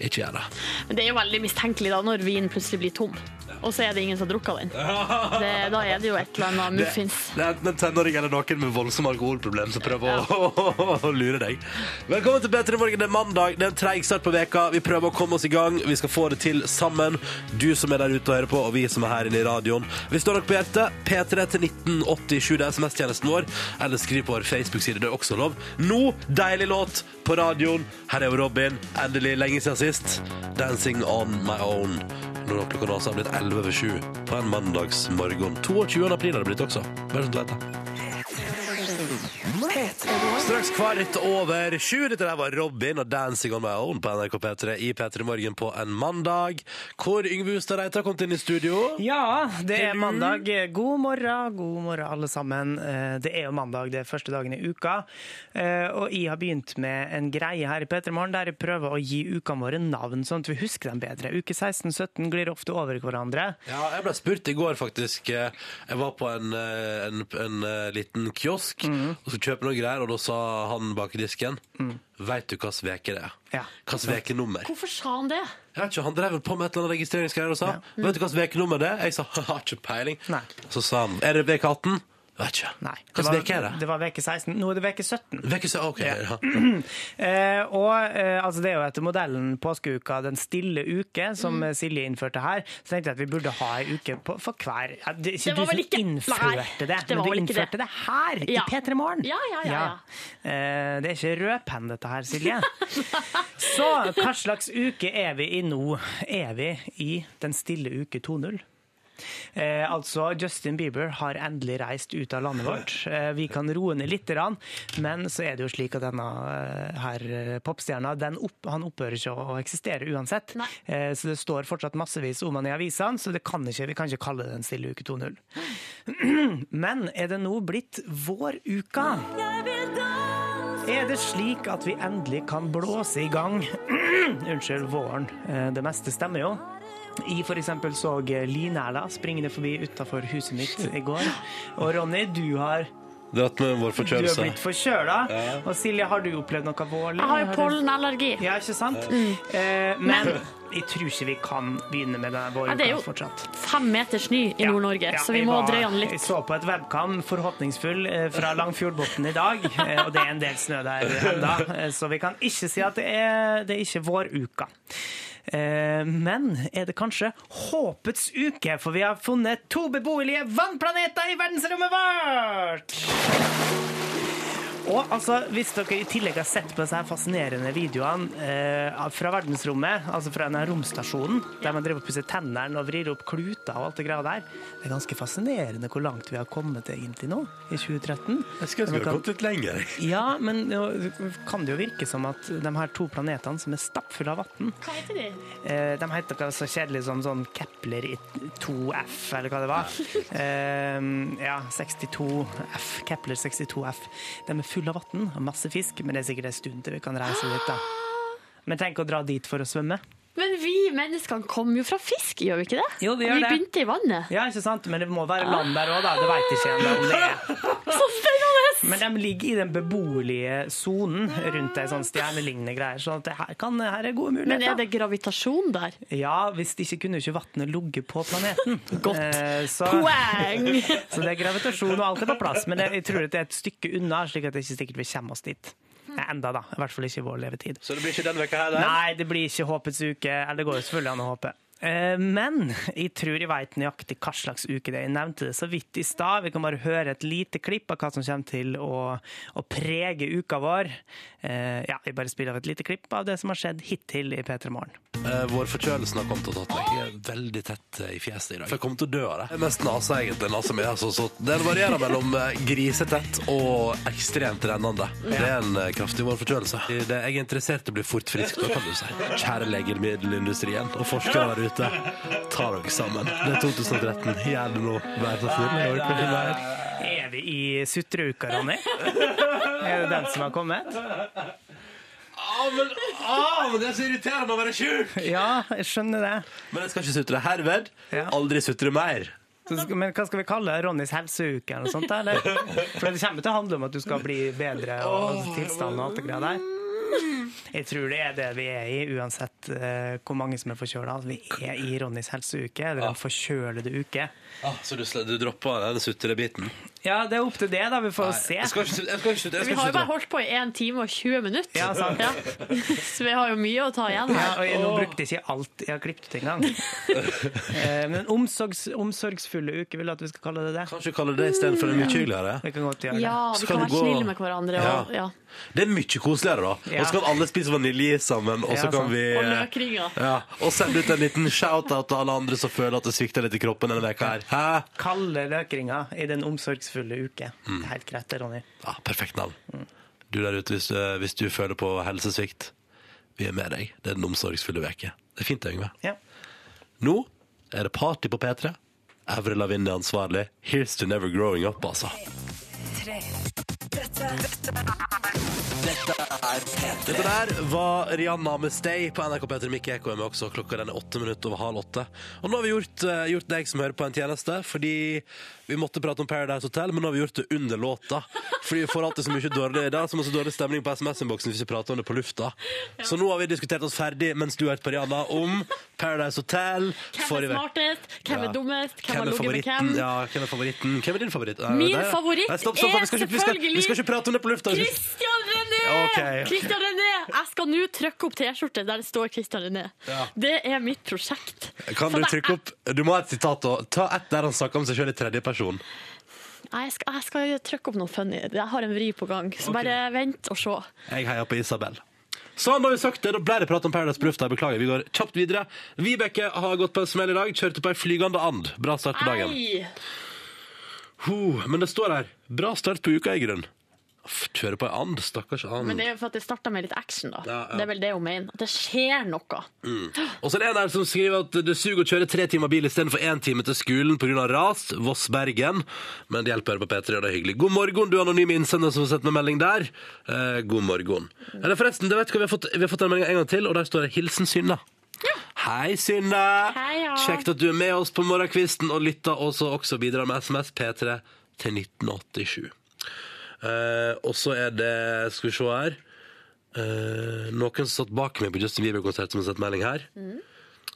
[SPEAKER 2] Ikke gjør det
[SPEAKER 6] Men det er jo veldig mistenkelig da når vinen plutselig blir tom. Og så er det ingen som har drukket den. Det, da er det jo et eller annet muffins.
[SPEAKER 2] Det er enten en tenåring eller noen med voldsom alkoholproblem som prøver å, å lure deg. Velkommen til Bedre morgen. Det er mandag. Det er en treig start på veka. Vi prøver å komme oss i gang. Vi skal få det til sammen. Du som er der ute og hører på, og vi som er her inne i radioen. Hvis du har noe på hjertet, P3 til 1987, det er SMS-tjenesten vår. Eller skriv på vår Facebook-side, det er også lov. Nå, deilig låt på radioen. Her er jo Robin. Endelig lenge siden sist. 'Dancing on my own' når klokka nå altså har blitt 11 over 7 på en mandagsmorgen. 22. april har det blitt også. Bare sånn at du vet det. Straks kvart over sju. Dette der var Robin og 'Dancing on my own' på NRK P3 i P3 Morgen på en mandag. Hvor Yngve Hustad Reite har kommet inn i studio.
[SPEAKER 3] Ja, det er mandag. God morgen, god morgen alle sammen. Eh, Det er jo mandag, det er første dagen i uka. Eh, Og jeg har begynt med en greie her i Petermorgen der jeg prøver å gi ukene våre navn, sånn at vi husker dem bedre. Uke 16 17 glir ofte over hverandre.
[SPEAKER 2] Ja, jeg ble spurt i går faktisk. Eh, Jeg var på en, eh, en, en eh, liten kiosk
[SPEAKER 3] Mhm.
[SPEAKER 2] og skulle kjøpe noen greier, og da sa han bak i disken Veit du hvilken uke det er?
[SPEAKER 3] Ja.
[SPEAKER 2] Hvilken ukenummer?
[SPEAKER 6] Hvorfor sa han det?
[SPEAKER 2] Jeg vet ikke, Han drev vel på med et eller annet registreringsgreier og sa Vet du hva slags ukenummer det er? Jeg sa jeg har ikke peiling.
[SPEAKER 3] Mhm. Nei.
[SPEAKER 2] Så sa han er det uke 18? Vet ikke.
[SPEAKER 3] Nei.
[SPEAKER 2] Hva slags uke er
[SPEAKER 3] Det
[SPEAKER 2] det?
[SPEAKER 3] var uke 16. Nå er det uke 17.
[SPEAKER 2] Veke, så, ok, ja.
[SPEAKER 3] Eh, og eh, altså Det er jo etter modellen påskeuka Den stille uke, som
[SPEAKER 6] Mm.
[SPEAKER 3] eh, Silje innførte her. Så tenkte jeg at vi burde ha ei uke på, for hver ja, Det er
[SPEAKER 6] Det
[SPEAKER 3] ikke
[SPEAKER 6] var
[SPEAKER 3] du som
[SPEAKER 6] vel ikke- Nei,
[SPEAKER 3] innførte
[SPEAKER 6] det
[SPEAKER 3] det,
[SPEAKER 6] var
[SPEAKER 3] men du
[SPEAKER 6] vel ikke det.
[SPEAKER 3] innførte det, her
[SPEAKER 6] Ja.
[SPEAKER 3] i P3 Morgen.
[SPEAKER 6] Ja, ja, ja, ja.
[SPEAKER 3] Eh, det er ikke rødpenn, dette her, Silje. Så hva slags uke er vi i nå? Er vi i Den stille uke 2.0? Eh, altså, Justin Bieber har endelig reist ut av landet vårt. Eh, vi kan roe ned litt, grann, men så er det jo slik at denne eh, her eh, popstjerna den opp, han opphører ikke å, å eksistere uansett.
[SPEAKER 6] Nei.
[SPEAKER 3] Eh, så det står fortsatt massevis om han i avisene, så det kan ikke, vi kan ikke kalle det Den stille uke 2.0. Men er det nå blitt våruka? Er det slik at vi endelig kan blåse i gang Unnskyld, våren. Eh, Det meste stemmer jo. Jeg for eksempel så Line Erla springende forbi utafor huset mitt i går. Og Ronny, du har,
[SPEAKER 2] Dratt med vår
[SPEAKER 3] du har
[SPEAKER 2] forkjølelse.
[SPEAKER 3] blitt forkjøla. Og Silje, har du opplevd noe vårlig?
[SPEAKER 6] Jeg har jo Mm. pollenallergi.
[SPEAKER 3] Ja, ikke sant? Eh, Men jeg tror ikke vi kan begynne med denne
[SPEAKER 6] Ja, det er jo
[SPEAKER 3] våruka fortsatt.
[SPEAKER 6] fem meter snø i
[SPEAKER 3] Ja.
[SPEAKER 6] Nord-Norge,
[SPEAKER 3] Ja,
[SPEAKER 6] så vi
[SPEAKER 3] jeg
[SPEAKER 6] må
[SPEAKER 3] var-
[SPEAKER 6] drøye den
[SPEAKER 3] Jeg
[SPEAKER 6] litt.
[SPEAKER 3] så på et webcam forhåpningsfull eh, fra Langfjordbotn i dag, eh, og det er en del snø der ennå, eh, så vi kan ikke si at det er, det er ikke våruka. Eh, Men er det kanskje håpets uke, for vi har funnet to beboelige vannplaneter i verdensrommet vårt! Og altså, Hvis dere i tillegg har sett på disse her fascinerende videoene eh, fra verdensrommet, altså fra denne romstasjonen, der man driver og pusser tennene og vrir opp kluter og alt det greia der Det er ganske fascinerende hvor langt vi har kommet egentlig nå, i 2013.
[SPEAKER 2] Jeg skulle ønske vi hadde kommet litt lenger. jeg.
[SPEAKER 3] Ja, men nå kan det jo virke som at de her to planetene som er stappfulle av vann
[SPEAKER 6] Hva heter de?
[SPEAKER 3] Eh, De heter noe så kjedelig som sånn Kepler i 2F, eller hva det var. Eh, ja, 62F. Kepler 62F. De er fulle av vann og masse fisk, men det er sikkert en stund til vi kan reise dit, da. Men tenk å dra dit for å svømme.
[SPEAKER 6] Men vi menneskene kommer jo fra fisk, gjør vi ikke det?
[SPEAKER 3] Jo, vi gjør det.
[SPEAKER 6] begynte i vannet.
[SPEAKER 3] Ja, ikke sant? Men det må være land der òg, da. Det veit ikke ennå om det er.
[SPEAKER 6] Så spennende!
[SPEAKER 3] Men de ligger i den beboelige sonen rundt ei sånn stjernelignende greier, så at det her, kan, her er gode
[SPEAKER 6] Men
[SPEAKER 3] muligheter.
[SPEAKER 6] er det gravitasjon der?
[SPEAKER 3] Ja, hvis det ikke kunne jo ikke vannet ligget på planeten.
[SPEAKER 6] Godt.
[SPEAKER 3] Eh, så...
[SPEAKER 6] Poeng!
[SPEAKER 3] Så det er gravitasjon og alt er på plass, men jeg jeg tror at det er et stykke unna, slik at det ikke sikkert vi kommer oss dit. Eh, Enda, da. I hvert fall ikke i vår levetid.
[SPEAKER 2] Så det blir ikke den veka her, nei?
[SPEAKER 3] Nei, det blir ikke håpets uke. Eller det går jo selvfølgelig an å håpe. Eh, Men jeg tror jeg veit nøyaktig hva slags uke det er. Jeg nevnte det så vidt i stad. Vi kan bare høre et lite klipp av hva som kommer til å, å prege uka vår. Eh, Ja, vi bare spiller av et lite klipp av det som har skjedd hittil i P3 Morgen.
[SPEAKER 2] Eh, Vår forkjølelsen har kommet og tatt meg Jeg er veldig tett eh, i fjeset i dag. For jeg kommer til å dø av det. Det er mest nasa, egentlig. Nasa mi er altså så Den varierer mellom eh, grisetett og ekstremt rennende. Det er en eh, kraftig vårforkjølelse. Det jeg er interessert i, blir fort frisk, da kan du si. Kjære legemiddelindustrien og forskere der ute, ta dere sammen. Det er 2013. Gjør det nå. Vær så snill. Jeg orker ikke mer.
[SPEAKER 3] Er vi i sutreuka, Ronny? Er det den som har kommet?
[SPEAKER 2] men, ah, men det er så irriterende å være sjuk!
[SPEAKER 3] Ja, jeg skjønner det.
[SPEAKER 2] Men jeg skal ikke sutre herved.
[SPEAKER 3] Ja.
[SPEAKER 2] Aldri sutre mer.
[SPEAKER 3] Så skal, men hva skal vi kalle det? Ronnys helseuke eller noe sånt? Eller? For det kommer til å handle om at du skal bli bedre og tilstanden og alt det greia der. Jeg tror det er det vi er i, uansett eh, hvor mange som er forkjøla. Altså, vi er i Ronnys helseuke, eller en forkjølede uke.
[SPEAKER 2] Ah, så du, sl- du droppa den sutrebiten?
[SPEAKER 3] Ja, det er opp til det, da. Vi får
[SPEAKER 2] Nei,
[SPEAKER 3] se.
[SPEAKER 2] Jeg skal ikke sutre. Jeg skal ikke sutre. Jeg
[SPEAKER 4] Vi
[SPEAKER 2] skal
[SPEAKER 4] har
[SPEAKER 2] ikke
[SPEAKER 4] jo bare
[SPEAKER 2] sutre.
[SPEAKER 4] holdt på i 1 time og 20 minutter.
[SPEAKER 3] Ja, sant.
[SPEAKER 4] Så vi har jo mye å ta igjen
[SPEAKER 3] Ja,
[SPEAKER 4] her.
[SPEAKER 3] og jeg, nå brukte jeg ikke alt jeg har klippet ut engang. Eh, Men omsorgs, omsorgsfulle uke, vil du at vi skal kalle det det?
[SPEAKER 2] Kanskje kalle det istedenfor mye hyggeligere.
[SPEAKER 3] Vi kan godt gjøre det.
[SPEAKER 4] Ja, vi
[SPEAKER 2] Skal
[SPEAKER 4] kan
[SPEAKER 2] du
[SPEAKER 4] være
[SPEAKER 2] gå-
[SPEAKER 4] snille med hverandre. Og, ja.
[SPEAKER 2] Ja. Det er mye koseligere, da.
[SPEAKER 3] Ja.
[SPEAKER 2] Og så kan alle spise vaniljeis sammen, og så
[SPEAKER 3] Ja,
[SPEAKER 2] kan
[SPEAKER 3] sant.
[SPEAKER 2] vi eh,
[SPEAKER 4] og løkringer.
[SPEAKER 2] ja, og sende ut en liten shout-out til alle andre som føler at det svikter litt i kroppen denne veka her. Hæ?
[SPEAKER 3] Kalle løkringer i den omsorgsfulle uke.
[SPEAKER 2] Mm.
[SPEAKER 3] Helt greit, det, Ronny.
[SPEAKER 2] Ja, perfekt navn. Du der ute, hvis, eh, hvis du føler på helsesvikt, vi er med deg. Det er den omsorgsfulle veke. Det er fint, Yngve.
[SPEAKER 3] Ja.
[SPEAKER 2] Nå er det party på P3. Evre Lavigne er ansvarlig. Here's to never growing up, altså. Dette der var Rihanna med Stay på NRK P3 Mikke Eko er med også. Klokka den er åtte minutter over halv åtte. Og nå har vi gjort, eh, gjort deg som hører på en tjeneste, fordi vi måtte prate om Paradise Hotel, men nå har vi gjort det under låta. Fordi vi får alltid så mye dårlig, det er så masse dårlig stemning på SMS-innboksen hvis vi prater om det på lufta. Så nå har vi diskutert oss ferdig mens du har hørt på Rihanna om Paradise Hotel.
[SPEAKER 4] Hvem
[SPEAKER 2] forrige
[SPEAKER 4] er
[SPEAKER 2] vek-
[SPEAKER 4] smartest? Hvem
[SPEAKER 2] Ja.
[SPEAKER 4] er dummest? Hvem
[SPEAKER 2] Hvem
[SPEAKER 4] har
[SPEAKER 2] er
[SPEAKER 4] ligget med
[SPEAKER 2] favoritten?
[SPEAKER 4] hvem?
[SPEAKER 2] Ja, hvem er favoritten? Hvem er din favoritt? Eh,
[SPEAKER 4] Min
[SPEAKER 2] det er-
[SPEAKER 4] favoritt
[SPEAKER 2] Nei, stopp, stopp,
[SPEAKER 4] er
[SPEAKER 2] vi skal ikke- vi skal- Vi
[SPEAKER 4] selvfølgelig-
[SPEAKER 2] skal ikke prate om det på lufta. Vi skal-
[SPEAKER 4] Christian René!
[SPEAKER 2] Ok.
[SPEAKER 4] Christian René! Jeg skal nå trykke opp T-skjorte der det står Christian René.
[SPEAKER 2] Ja.
[SPEAKER 4] Det er mitt prosjekt.
[SPEAKER 2] Kan
[SPEAKER 4] For
[SPEAKER 2] du
[SPEAKER 4] det
[SPEAKER 2] trykke opp Du må ha et sitat også. Ta ett der han snakker om seg sjøl i tredje person.
[SPEAKER 4] Nei, Jeg skal, jeg skal trykke opp noe funny. Jeg har en vri på gang, så bare vent og se.
[SPEAKER 2] Jeg heier på Isabel. Sånn, da har vi sagt det. Da ble det prat om Paradise på lufta. Jeg Beklager. Vi går kjapt videre. Vibeke har gått på en smell i dag. Kjørte på ei flygende and. Bra start på dagen.
[SPEAKER 4] Nei!
[SPEAKER 2] Ho, men det står her Bra start på uka, i grunn. Uff, Kjøre på ei and. Stakkars
[SPEAKER 4] Men
[SPEAKER 2] and.
[SPEAKER 4] det er jo for at det starta med litt action, da.
[SPEAKER 2] Mm. Ja, ja.
[SPEAKER 4] Det er vel det hun mener. At det skjer noe.
[SPEAKER 2] Og så er det en her som skriver at det suger å kjøre tre timer bil istedenfor én time til skolen pga. ras. Voss-Bergen. Men det hjelper å høre på P3, og det er hyggelig. God morgen, du anonyme innsender som har sett meg melding der. Eh, god morgen. Eller forresten, det vet du hva, vi har fått, vi har fått den meldinga en gang til, og der står det 'Hilsen Synne'. Hei, Synne!
[SPEAKER 4] Hei, ja.
[SPEAKER 2] Kjekt at du er med oss på morgenkvisten og lytter også, også bidrar med SMS P3 til 1987. Eh, og så er det Skal vi se her. Eh, noen som satt bak meg på Justin Bieber-konsert, som har sett melding her.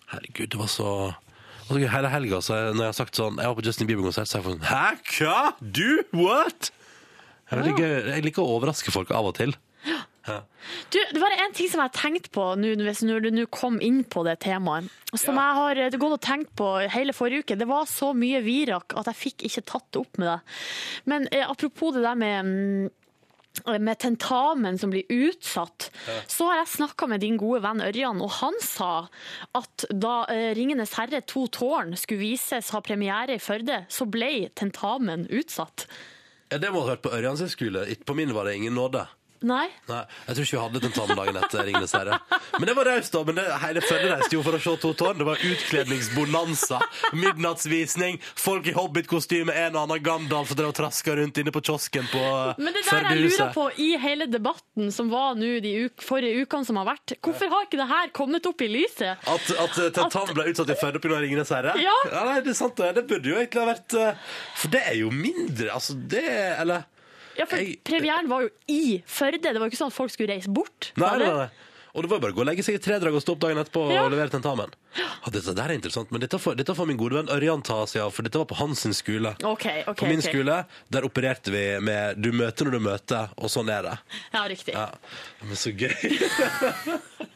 [SPEAKER 2] Herregud, det var så og så Hele helga så jeg, når jeg har sagt sånn Jeg var på Justin Bieber-konsert, så har jeg fått sånn Hæ, hva? Du? What? Jeg, er veldig gøy. jeg liker å overraske folk av og til.
[SPEAKER 4] Du, det var en ting som jeg har tenkt på nå, hvis når du nå kom inn på det temaet. Som jeg har eh, gått og tenkt på hele forrige uke. Det var så mye virak at jeg fikk ikke tatt det opp med deg. Men eh, apropos det der med mm, med tentamen som blir utsatt, så har jeg snakka med din gode venn Ørjan, og han sa at da eh, 'Ringenes herre to tårn' skulle vises ha premiere i Førde, så ble tentamen utsatt.
[SPEAKER 2] Ja, det må du ha hørt på Ørjan sin skole. Ikke- På min var det ingen nåde.
[SPEAKER 4] Nei?
[SPEAKER 2] Nei, Jeg tror ikke vi hadde tentamen dagen etter Ringenes herre. Men det var raust, da. Men det, hele Førde reiste jo for å se to tårn. Det var utkledningsbonanza, midnattsvisning, folk i hobbitkostyme, en og annen Gandalf som drev og traska rundt inne på kiosken på
[SPEAKER 4] Men det der jeg lurer
[SPEAKER 2] Førdehuset.
[SPEAKER 4] på i hele debatten som var nå de uk forrige ukene som har vært, hvorfor har ikke det her kommet opp i lyset?
[SPEAKER 2] At, at eh, tentamen ble utsatt i Førde pga. Ringenes herre?
[SPEAKER 4] Ja.
[SPEAKER 2] nei, det er sant, det. Det burde jo egentlig ha vært eh, For det er jo mindre, altså. Det Eller
[SPEAKER 4] Ja, for
[SPEAKER 2] Jeg-
[SPEAKER 4] Premieren var jo i Førde, det var jo ikke sånn at folk skulle reise bort.
[SPEAKER 2] Nei,
[SPEAKER 4] var det?
[SPEAKER 2] nei, nei. Og det var jo bare å gå og legge seg i tre drag og stå opp dagen etterpå
[SPEAKER 4] Ja.
[SPEAKER 2] og levere tentamen. Ja, dette der er interessant, men dette får, dette får min gode venn Ørjan ta seg av, for dette var på hans sin skole.
[SPEAKER 4] Ok, ok,
[SPEAKER 2] på min
[SPEAKER 4] ok.
[SPEAKER 2] skole, der opererte vi med 'du møter når du møter', og sånn er det.
[SPEAKER 4] Ja, riktig.
[SPEAKER 2] Ja, men så gøy.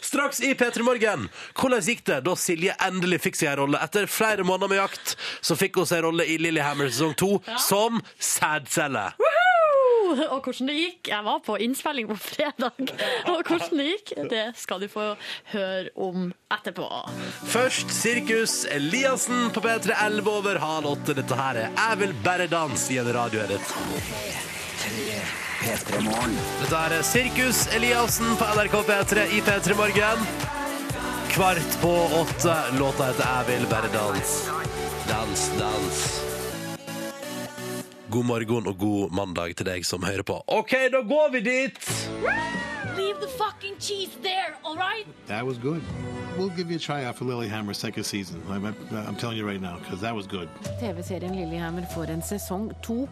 [SPEAKER 2] Straks i P3 Morgen. Hvordan gikk det da Silje endelig fikk seg en rolle? Etter flere måneder med jakt så fikk hun seg en rolle i Lillehammer sesong to som sædcelle.
[SPEAKER 4] Woohoo! Og hvordan det gikk Jeg var på innspilling på fredag, og hvordan det gikk, det skal du få høre om etterpå.
[SPEAKER 2] Først Sirkus Eliassen på P3 11 over halv åtte. Dette her er Jeg vil bare danse i en radioedit.
[SPEAKER 9] P3 Morgen.
[SPEAKER 2] Dette her er Sirkus Eliassen på NRK P3 i P3 Morgen. Kvart på åtte. Låta heter Jeg vil bare danse. Dans, dans. God morgen og god mandag til deg som hører på. OK, da går vi dit!
[SPEAKER 10] Leave the fucking cheese there, all right?
[SPEAKER 11] That was good. We'll give you a tryout for Lilyhammer second season. I'm, I'm telling you right now, because that was good.
[SPEAKER 4] TV-serien Lillehammer får en sesong to.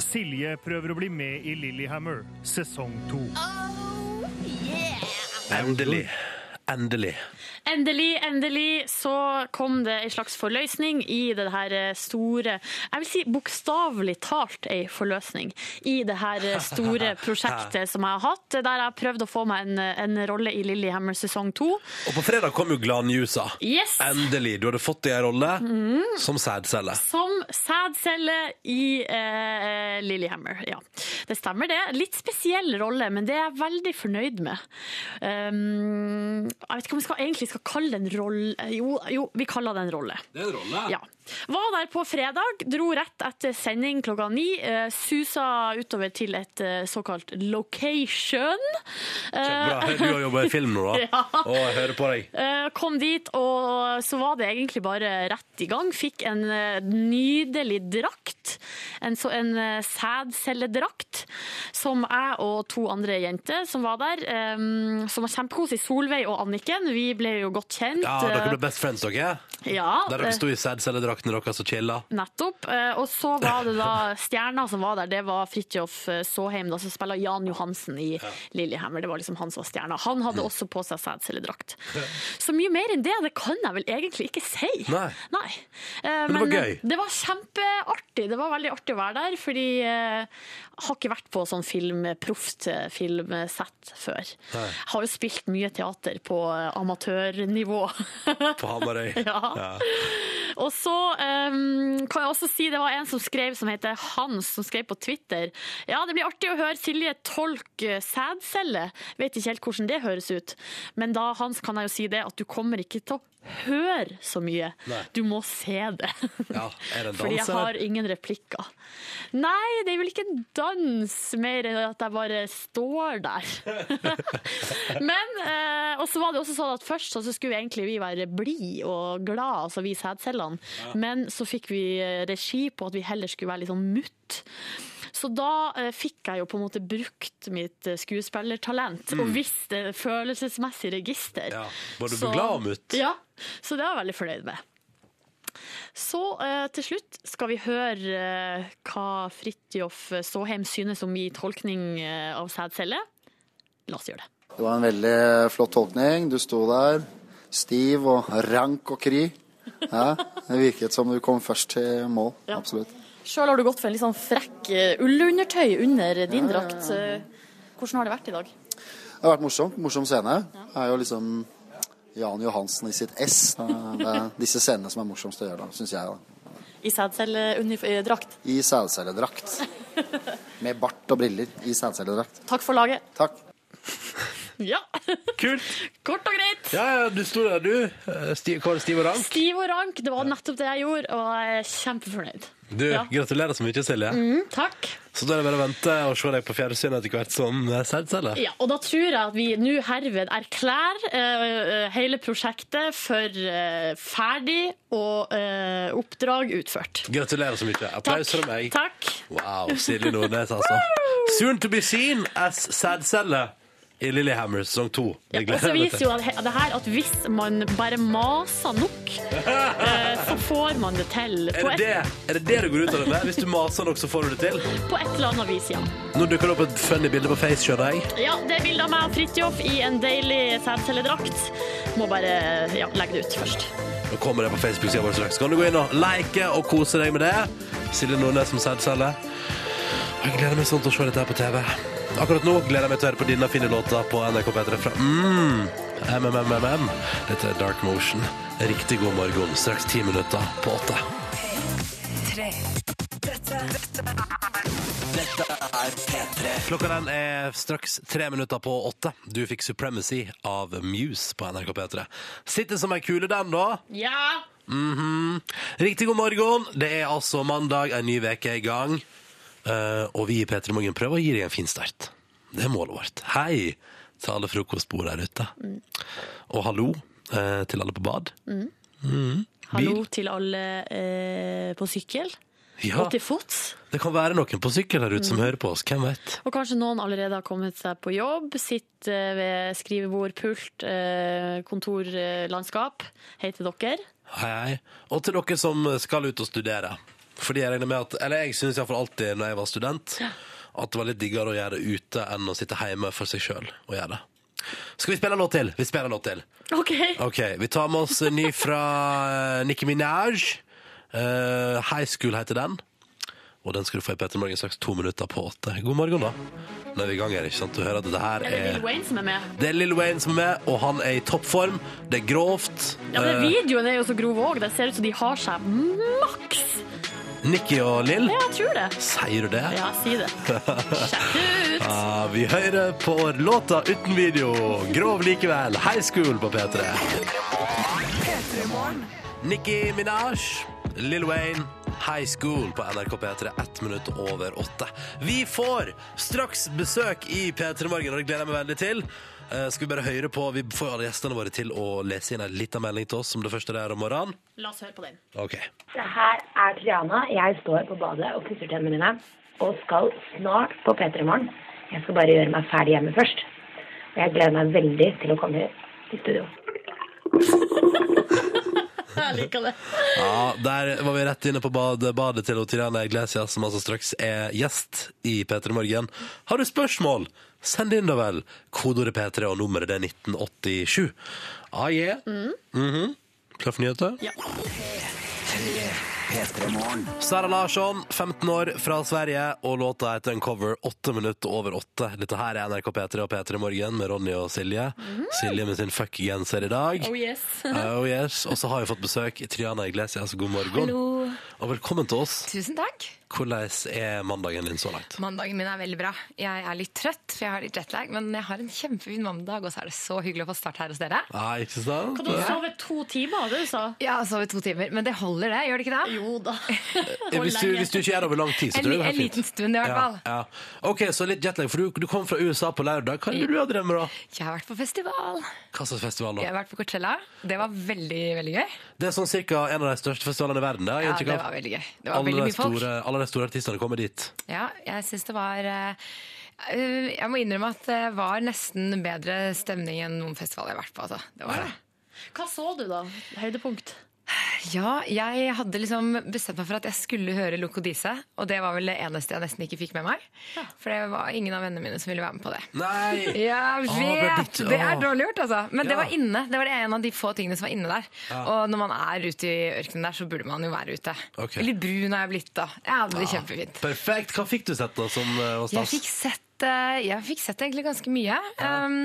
[SPEAKER 12] Silje prøver å bli med i Lillehammer, sesong to.
[SPEAKER 2] Endelig. Endelig.
[SPEAKER 4] Endelig, endelig så kom det en slags forløsning i det her eh, store Jeg vil si bokstavelig talt en forløsning i det her eh, store prosjektet som jeg har hatt, der jeg har prøvd å få meg en, en rolle i Lillehammer sesong to.
[SPEAKER 2] Og på fredag kom jo Gladnjusa.
[SPEAKER 4] Yes! Mm.
[SPEAKER 2] Endelig. Du hadde fått deg ei rolle som sædcelle.
[SPEAKER 4] Som sædcelle i eh, Lillehammer, ja. Det stemmer det. Litt spesiell rolle, men det er jeg veldig fornøyd med. Um, jeg vet ikke om vi skal, egentlig skal kalle det en rolle. Jo, jo, vi kaller det en rolle.
[SPEAKER 2] Det er en rolle.
[SPEAKER 4] Ja. Var der på fredag, dro rett etter sending klokka ni, eh, susa utover til et eh, såkalt location.
[SPEAKER 2] Kjempebra. Du har jobba i film nå, da.
[SPEAKER 4] Ja.
[SPEAKER 2] Og jeg hører på deg.
[SPEAKER 4] Eh, Kom dit, og så var det egentlig bare rett i gang. Fikk en eh, nydelig drakt. En, så, en eh, sædcelledrakt som jeg og to andre jenter som var der, eh, som var kjempekoselig, Solveig og Anniken, vi ble jo godt kjent.
[SPEAKER 2] Ja, dere ble best friends, dere.
[SPEAKER 4] Eh, ja,
[SPEAKER 2] Der dere sto i sædcelledrakten deres og chilla.
[SPEAKER 4] Nettopp. Eh, Og så var det da stjerna som var der, det var Fridtjof eh, Såheim, da, som spiller Jan Johansen i Lillehammer. Det var liksom han som var stjerna. Han hadde
[SPEAKER 2] Mm.
[SPEAKER 4] også på seg sædcelledrakt. Så mye mer enn det, det kan jeg vel egentlig ikke si.
[SPEAKER 2] Nei.
[SPEAKER 4] Eh,
[SPEAKER 2] Men det var
[SPEAKER 4] eh,
[SPEAKER 2] gøy.
[SPEAKER 4] Det var kjempeartig. Det var veldig artig å være der, fordi eh, jeg har ikke vært på sånn film, proft eh, filmsett før. Jeg har jo spilt mye teater på eh, amatørnivå.
[SPEAKER 2] På Hamarøy.
[SPEAKER 4] Ja. Og så ehm, kan jeg også si det var en som skrev som heter Hans, som skrev på Twitter. Ja, det blir artig å høre Silje tolke sædcelle. Vet ikke helt hvordan det høres ut. Men da, Hans, kan jeg jo si det at du kommer ikke til å høre så mye.
[SPEAKER 2] Nei.
[SPEAKER 4] Du må se det.
[SPEAKER 2] Ja, er det en dans,
[SPEAKER 4] Fordi jeg
[SPEAKER 2] eller?
[SPEAKER 4] har ingen replikker. Nei, det er vel ikke en dans mer enn at jeg bare står der. Men, eh, og så var det også sånn at først så skulle vi egentlig vi være blid og glad, altså vi sædcellene. Men så fikk vi eh, regi på at vi heller skulle være litt sånn mutt. Så da eh, fikk jeg jo på en måte brukt mitt eh, skuespillertalent og visst eh, følelsesmessig register.
[SPEAKER 2] Ja. Var du glad og mutt?
[SPEAKER 4] Ja, så det var jeg veldig fornøyd med. Så eh, til slutt skal vi høre eh, hva Fridtjof Såheim synes om min tolkning eh, av sædcelle. La oss gjøre det.
[SPEAKER 13] Det var en veldig flott tolkning. Du sto der stiv og rank og kry. Ja, det virket som du kom først til mål. Absolutt.
[SPEAKER 14] Sjøl har du gått for en litt sånn frekk eh, ullundertøy under din drakt. Eh, Hvordan har det vært i dag?
[SPEAKER 13] Det har vært morsomt. Morsom scene. Det er jo liksom Jan Johansen i sitt ess. Det er disse scenene som er morsomst å gjøre, syns jeg. da.
[SPEAKER 14] I eh, sædcelledrakt.
[SPEAKER 13] I sædcelledrakt. Med bart og briller i sædcelledrakt.
[SPEAKER 14] Takk for laget.
[SPEAKER 13] Takk.
[SPEAKER 4] Ja,
[SPEAKER 2] Kult!
[SPEAKER 4] kort og greit.
[SPEAKER 2] Ja, ja, du sto der, du. Eh, Sti- Kåre Stiv og Rank.
[SPEAKER 4] Stiv og rank, det var nettopp det jeg gjorde, og jeg er kjempefornøyd.
[SPEAKER 2] Du,
[SPEAKER 4] Ja.
[SPEAKER 2] gratulerer så mye, Silje.
[SPEAKER 4] Mm, takk.
[SPEAKER 2] Så da er det bare å vente og se deg på fjernsyn etter hvert som eh, sædcelle.
[SPEAKER 4] Ja, og da tror jeg at vi nå herved erklærer eh, hele prosjektet for eh, ferdig og eh, oppdrag utført.
[SPEAKER 2] Gratulerer så mye. Applaus fra meg.
[SPEAKER 4] Takk.
[SPEAKER 2] Wow, Silje Nordnes, altså. Soon to be seen as sædcelle i Lillehammer sesong to.
[SPEAKER 4] Ja,
[SPEAKER 2] Det
[SPEAKER 4] og så
[SPEAKER 2] gleder jeg meg
[SPEAKER 4] viser jo
[SPEAKER 2] til.
[SPEAKER 4] at he- det her at hvis man bare maser nok, eh, så får man det til.
[SPEAKER 2] Er det
[SPEAKER 4] På et,
[SPEAKER 2] det, er det det du går ut av det med? Hvis du maser nok, så får du det til?
[SPEAKER 4] på et eller annet vis, ja.
[SPEAKER 2] Nå dukker det opp et funny bilde på Face, skjønner jeg.
[SPEAKER 4] Ja, det er bildet av meg og Fridtjof i en deilig sædcelledrakt. Må bare ja, legge det ut først.
[SPEAKER 2] Nå kommer det på Facebook-sida vår straks. Kan du gå inn og like og kose deg med det? Silje Nordnes som sædcelle. Jeg gleder meg sånn til å se dette her på TV. Akkurat nå gleder jeg meg til å høre på denne fine låta på NRK P3 fra mm, MMMMM. Dette er Dark Motion. Riktig god morgen. Straks ti minutter på åtte.
[SPEAKER 15] Tre. Dette, dette
[SPEAKER 2] Klokka den er straks tre minutter på åtte. Du fikk Supremacy av Muse på NRK P3. Sitter som ei kule, den, da.
[SPEAKER 4] Ja!
[SPEAKER 2] Mhm. Riktig god morgen. Det er altså mandag, en ny veke er i gang. Eh, og vi i P3 Morgen prøver å gi deg en fin start. Det er målet vårt. Hei til alle frokostbord der ute. Og hallo eh, til alle på bad.
[SPEAKER 4] Hallo
[SPEAKER 2] Bil.
[SPEAKER 4] til alle eh, på sykkel.
[SPEAKER 2] Ja.
[SPEAKER 4] Og til fots.
[SPEAKER 2] Det kan være noen på sykkel der ute som
[SPEAKER 4] Mm.
[SPEAKER 2] hører på oss, hvem vet?
[SPEAKER 4] Og kanskje noen allerede har kommet seg på jobb, sitter eh, ved skrivebord, pult, eh, kontorlandskap. Hei til dere.
[SPEAKER 2] Hei, hei. Og til dere som skal ut og studere. Fordi jeg regner med at, eller jeg synes i hvert fall alltid når jeg var student, at det var litt diggere å gjøre det ute enn å sitte hjemme for seg selv og gjøre det. Skal vi spille en låt til? Vi spiller en låt til.
[SPEAKER 4] OK.
[SPEAKER 2] Ok, vi tar med oss en ny fra eh, Nicki Minaj. Eh, High School heter den. Og den skal du få i Petter Morgen straks to minutter på åtte. God morgen, da. Nå er vi i gang her, ikke sant? Du hører at dette her
[SPEAKER 4] Er det
[SPEAKER 2] er
[SPEAKER 4] Lill Wayne som er med?
[SPEAKER 2] Det er Lill Wayne som er med, og han er i toppform. Det er grovt.
[SPEAKER 4] Ja, men
[SPEAKER 2] Eh,
[SPEAKER 4] Videoen er jo så grov òg. Det ser ut som de har seg maks.
[SPEAKER 2] Nikki og Lill.
[SPEAKER 4] Ja, jeg tror det.
[SPEAKER 2] Sier du det?
[SPEAKER 4] Ja, si det. Sjekk ut.
[SPEAKER 2] Ja, Ah, vi hører på låta uten video. Grov likevel. High School på P3. Nikki Minaj, Lill Wayne, High School på NRK P3. Ett minutt over åtte. Vi får straks besøk i P3 Morgen, og det gleder jeg meg veldig til. Eh, skal Vi bare høre på, vi får jo alle gjestene våre til å lese inn en liten melding til oss som det første det er om morgenen.
[SPEAKER 4] La oss høre på den.
[SPEAKER 2] Ok.
[SPEAKER 16] Det her er Triana. Jeg står på badet og pusser tennene mine. Og skal snart på P3 i morgen. Jeg skal bare gjøre meg ferdig hjemme først. Og jeg gleder meg veldig til å komme i studio.
[SPEAKER 4] Jeg liker det.
[SPEAKER 2] Ja, Der var vi rett inne på badet, badet til Tirana Iglesias, som altså straks er gjest i P3 Morgen. Har du spørsmål, send inn da vel. Kodeordet P3 og nummeret det er 1987. Ah, yeah.
[SPEAKER 17] Mm.
[SPEAKER 2] Mhm. Klar for nyheter?
[SPEAKER 4] Ja.
[SPEAKER 2] Sara Larsson, 15 år, fra Sverige, og låta heter Uncover, 8 minutter over 8. Dette her er NRK P3 og P3 Morgen med Ronny og Silje. Silje med sin fuck-genser i dag.
[SPEAKER 4] Mm. Oh yes.
[SPEAKER 2] Oh yes. Og så har vi fått besøk i Triana Iglesias. God morgen.
[SPEAKER 13] Hallo.
[SPEAKER 2] Og velkommen til oss.
[SPEAKER 13] Tusen takk.
[SPEAKER 2] Hvordan er mandagen din så langt?
[SPEAKER 13] Mandagen min er veldig bra. Jeg er litt trøtt, for jeg har litt jetlag, men jeg har en kjempefin mandag, og så er det så hyggelig å få starte her hos dere.
[SPEAKER 2] Nei, Ah, ikke sant?
[SPEAKER 13] Kan du
[SPEAKER 2] Eh,
[SPEAKER 13] sove
[SPEAKER 4] to timer, du sa?
[SPEAKER 13] Ja, jeg sover to timer. Men det holder, det? Gjør det ikke det?
[SPEAKER 4] Jo da.
[SPEAKER 2] Eh, Hvis du, hvis du ikke gjør det over lang tid, så
[SPEAKER 13] En
[SPEAKER 2] tror jeg
[SPEAKER 13] li-
[SPEAKER 2] det er
[SPEAKER 13] en liten stund i hvert fall.
[SPEAKER 2] Ja, ja. Ok, så litt jetlag, for du, du kom fra USA på lørdag. Hva er det du har drevet med da?
[SPEAKER 13] Jeg har vært på festival.
[SPEAKER 2] Hva slags festival
[SPEAKER 13] Jeg
[SPEAKER 2] da?
[SPEAKER 13] har vært på Coachella. Det var veldig, veldig gøy.
[SPEAKER 2] Det er sånn cirka en av de største festivalene i verden. Det, har jeg
[SPEAKER 13] Ja,
[SPEAKER 2] inntrykk av.
[SPEAKER 13] det var veldig gøy. Det var
[SPEAKER 2] alle,
[SPEAKER 13] veldig
[SPEAKER 2] de
[SPEAKER 13] mye folk.
[SPEAKER 2] store, alle de store artistene kommer dit.
[SPEAKER 13] Ja, jeg syns det var eh, eh, Jeg må innrømme at det var nesten bedre stemning enn noen festival jeg har vært på. Altså. Det var det.
[SPEAKER 4] Hva så du, da? Høydepunkt?
[SPEAKER 13] Ja, jeg hadde liksom bestemt meg for at jeg skulle høre Lokodise. Og det var vel det eneste jeg nesten ikke fikk med meg. For det var ingen av vennene mine som ville være med på det.
[SPEAKER 2] Nei!
[SPEAKER 17] Å,
[SPEAKER 13] Jeg
[SPEAKER 17] det er
[SPEAKER 13] vet!
[SPEAKER 17] ditt-
[SPEAKER 13] det er
[SPEAKER 17] å.
[SPEAKER 13] dårlig gjort, altså. Men
[SPEAKER 17] Ja.
[SPEAKER 13] det var inne. Det var det en av de få tingene som var inne der.
[SPEAKER 17] Ja.
[SPEAKER 13] Og når man er ute i ørkenen der, så burde man jo være ute.
[SPEAKER 2] Ok. Ah.
[SPEAKER 13] Litt brun har jeg blitt da. Jeg hadde det
[SPEAKER 2] Ja,
[SPEAKER 13] kjempefint.
[SPEAKER 2] Perfekt! Hva fikk du sett da som eh, var
[SPEAKER 13] Jeg
[SPEAKER 2] stas?
[SPEAKER 13] fikk sett eh, Jeg fikk sett egentlig ganske mye. Um,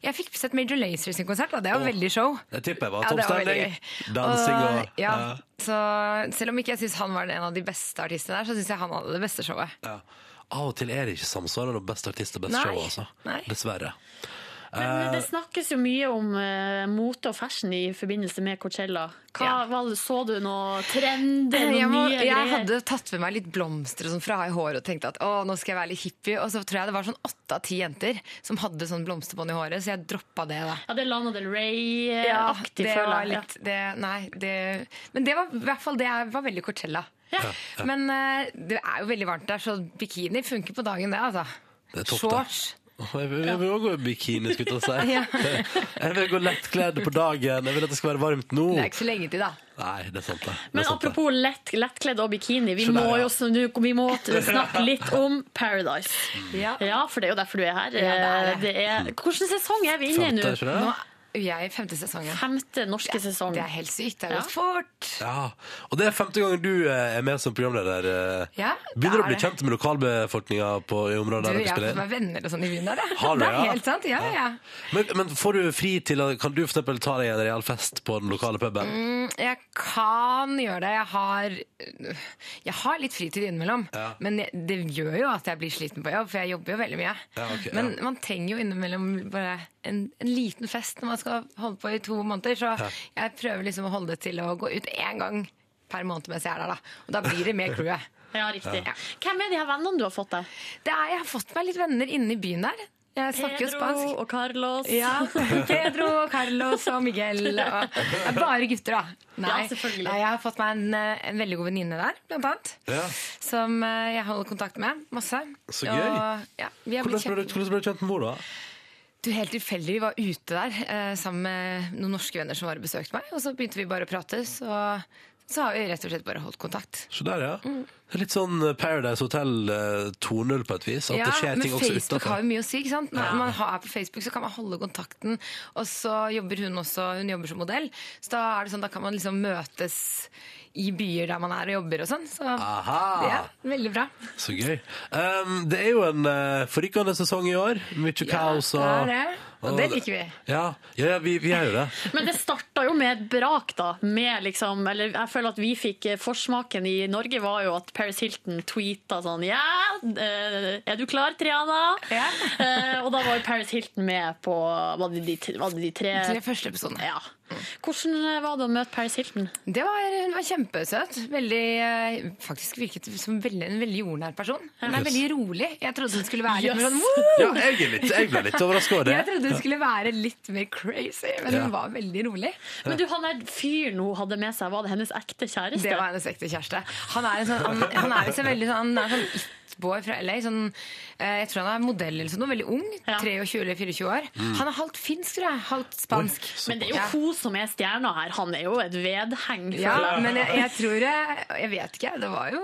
[SPEAKER 13] jeg fikk sett Major Lazer sin konsert, da. det var veldig show.
[SPEAKER 2] Det tipper jeg var
[SPEAKER 13] Ja, det var veldig
[SPEAKER 2] toppstemning.
[SPEAKER 13] gøy.
[SPEAKER 2] Dansing og
[SPEAKER 13] ja,
[SPEAKER 2] ja.
[SPEAKER 13] så Selv om ikke jeg syns han var en av de beste artistene der, så syns jeg han hadde det beste showet.
[SPEAKER 2] Ja. Av og til er det ikke samsvar mellom best artist og best
[SPEAKER 13] Nei.
[SPEAKER 2] show, altså. Dessverre.
[SPEAKER 4] Men
[SPEAKER 2] Eh,
[SPEAKER 4] det snakkes jo mye om eh, mote og fashion i forbindelse med Coachella. Hva, hva- så du noe trender,
[SPEAKER 13] Eh, jeg,
[SPEAKER 4] noen
[SPEAKER 13] må,
[SPEAKER 4] nye
[SPEAKER 13] jeg
[SPEAKER 4] greier?
[SPEAKER 13] hadde tatt med meg litt blomster og sånn fra i håret og tenkte at å, nå skal jeg være litt hippie. Og så tror jeg det var sånn åtte av ti jenter som hadde sånn blomsterbånd i håret, så jeg droppa det. da.
[SPEAKER 4] Ja, det er Lana Del Rey-aktig.
[SPEAKER 13] Ja, det
[SPEAKER 4] føler
[SPEAKER 13] var
[SPEAKER 4] jeg.
[SPEAKER 13] litt det, Nei, det Men det var i hvert fall det jeg var veldig Cortella.
[SPEAKER 2] ja.
[SPEAKER 13] Men eh, det er jo veldig varmt der, så bikini funker på dagen, det, altså.
[SPEAKER 2] Det er topp, da.
[SPEAKER 13] Shorts.
[SPEAKER 2] Jeg vil, jeg vil også gå i bikini, skulle
[SPEAKER 13] Ja.
[SPEAKER 2] jeg til å si. Jeg vil gå lettkledd på dagen. Jeg vil at det skal være varmt nå.
[SPEAKER 4] Det
[SPEAKER 13] er ikke så lenge til, da.
[SPEAKER 2] Nei, det er sant, det. det.
[SPEAKER 4] Men
[SPEAKER 13] Sånn.
[SPEAKER 2] er sant, det.
[SPEAKER 4] apropos lett, lettkledd og bikini, vi
[SPEAKER 2] Så der,
[SPEAKER 4] må
[SPEAKER 2] ja.
[SPEAKER 4] jo snu- vi må t- snakke litt om Paradise. Ja. for det er jo derfor du er her. Eh,
[SPEAKER 13] Ja,
[SPEAKER 4] det er Hvilken sesong er vi inne i nå?
[SPEAKER 2] Femte, tror jeg. Nå
[SPEAKER 13] er Jeg er i femte sesong. ja.
[SPEAKER 4] Femte norske sesong.
[SPEAKER 13] Det er helt sykt. Det har
[SPEAKER 4] Ja.
[SPEAKER 13] gått fort.
[SPEAKER 2] Ja, Og det er femte gangen du eh, er med som programleder. eh.
[SPEAKER 13] Ja,
[SPEAKER 2] Begynner du
[SPEAKER 13] det
[SPEAKER 2] å
[SPEAKER 13] er
[SPEAKER 2] bli
[SPEAKER 13] det.
[SPEAKER 2] kjent med lokalbefolkninga på- i
[SPEAKER 13] Du,
[SPEAKER 2] området der dere
[SPEAKER 13] jeg har fått
[SPEAKER 2] spiller?
[SPEAKER 13] meg venner og sånn i byen der, jeg.
[SPEAKER 2] Har du,
[SPEAKER 13] det er
[SPEAKER 2] ja?
[SPEAKER 13] helt sant. Ja, ja.
[SPEAKER 2] Men, men får du fri til å- Kan du for eksempel ta deg en real fest på den lokale puben?
[SPEAKER 13] Mm, jeg kan gjøre det. Jeg har, jeg har litt fritid innimellom. Men jeg, det gjør jo at jeg blir sliten på jobb, for jeg jobber jo veldig mye.
[SPEAKER 2] Ja, ok,
[SPEAKER 13] Men
[SPEAKER 2] ja.
[SPEAKER 13] man trenger jo innimellom bare en, en liten fest når man skal holde på i to måneder. Så
[SPEAKER 2] Ja.
[SPEAKER 13] jeg prøver liksom å holde det til å gå ut én gang per måned mens jeg er der. Da. Og da blir det med crewet.
[SPEAKER 4] Ja, riktig. Hvem er de her vennene du har fått deg?
[SPEAKER 13] Det er, jeg har fått meg litt venner inne i byen der. Jeg snakker jo
[SPEAKER 4] Pedro
[SPEAKER 13] spansk.
[SPEAKER 4] og Carlos.
[SPEAKER 13] Ja. Pedro og Carlos og Miguel. Og, det er bare gutter, da. Nei.
[SPEAKER 4] Ja, selvfølgelig.
[SPEAKER 13] Nei, jeg har fått meg en, eh, en veldig god venninne der, blant annet.
[SPEAKER 2] Ja.
[SPEAKER 13] Som eh, jeg holder kontakt med masse.
[SPEAKER 2] Så
[SPEAKER 13] Og,
[SPEAKER 2] gøy.
[SPEAKER 13] ja, vi har
[SPEAKER 2] Hvordan
[SPEAKER 13] blitt
[SPEAKER 2] ble du-
[SPEAKER 13] kjempe...
[SPEAKER 2] hvordan ble du kjent med mor, da?
[SPEAKER 13] Du, Helt tilfeldig. Vi var ute der eh, sammen med noen norske venner som var og besøkte meg. Og så begynte vi bare å prate, så, så har vi rett og slett bare holdt kontakt.
[SPEAKER 2] Så der, ja.
[SPEAKER 13] Mm.
[SPEAKER 2] Det er litt sånn Paradise Hotel eh, 2.0 på et vis. At
[SPEAKER 13] ja,
[SPEAKER 2] det skjer
[SPEAKER 13] men
[SPEAKER 2] ting også
[SPEAKER 13] Facebook har
[SPEAKER 2] utenfor.
[SPEAKER 13] jo mye å si. ikke sant? Når
[SPEAKER 2] Ja.
[SPEAKER 13] man har- er på Facebook, så kan man holde kontakten. Og så jobber hun også, hun jobber som modell, så da er det sånn, da kan man liksom møtes i byer der man er og jobber og sånn. Så det
[SPEAKER 2] Aha!
[SPEAKER 13] er veldig bra.
[SPEAKER 2] Så gøy. Um, det er jo en uh, forrykende sesong i år. Mye kaos og
[SPEAKER 6] det er det. Og det liker vi.
[SPEAKER 2] Ja, ja, ja vi, vi er jo det.
[SPEAKER 6] Men det starta jo med et brak, da. Med liksom, eller jeg føler at vi fikk eh, forsmaken i Norge var jo at Paris Hilton tweeta sånn Ja, eh, er du klar, Triana? Eh, og da var jo Paris Hilton med på Var det de, var det de tre
[SPEAKER 4] Eh,
[SPEAKER 13] Tre første episodene.
[SPEAKER 6] Ja. Hvordan eh, var det å møte Paris Hilton?
[SPEAKER 13] Det var, hun var kjempesøt. Veldig, eh, faktisk virket som veldig, en veldig jordnær person. Hun er
[SPEAKER 2] Yes.
[SPEAKER 13] veldig rolig. Jeg trodde hun skulle være litt
[SPEAKER 2] Yes.
[SPEAKER 13] mer sånn «Woo!»
[SPEAKER 2] Ja, jeg er litt- jeg ble litt overrasket over det.
[SPEAKER 13] Jeg trodde hun skulle være litt mer crazy, men
[SPEAKER 2] Ja.
[SPEAKER 13] hun var veldig rolig.
[SPEAKER 6] Men du, han der fyren hun hadde med seg, var det hennes ekte kjæreste?
[SPEAKER 13] Det var hennes ekte kjæreste. Han er, en sånn, han, han er jo så veldig sånn, han er sånn it-boy fra LA. Sånn, eh, jeg tror han er modell eller sånn, noe, veldig ung. 23 eller 24 år.
[SPEAKER 6] Mm.
[SPEAKER 13] Han er halvt finsk, tror jeg. Halvt spansk.
[SPEAKER 6] Men det er jo hun som er stjerna her. Han er jo et vedheng.
[SPEAKER 13] Ja,
[SPEAKER 6] føler
[SPEAKER 13] men jeg, jeg tror jeg, jeg vet ikke. Det var jo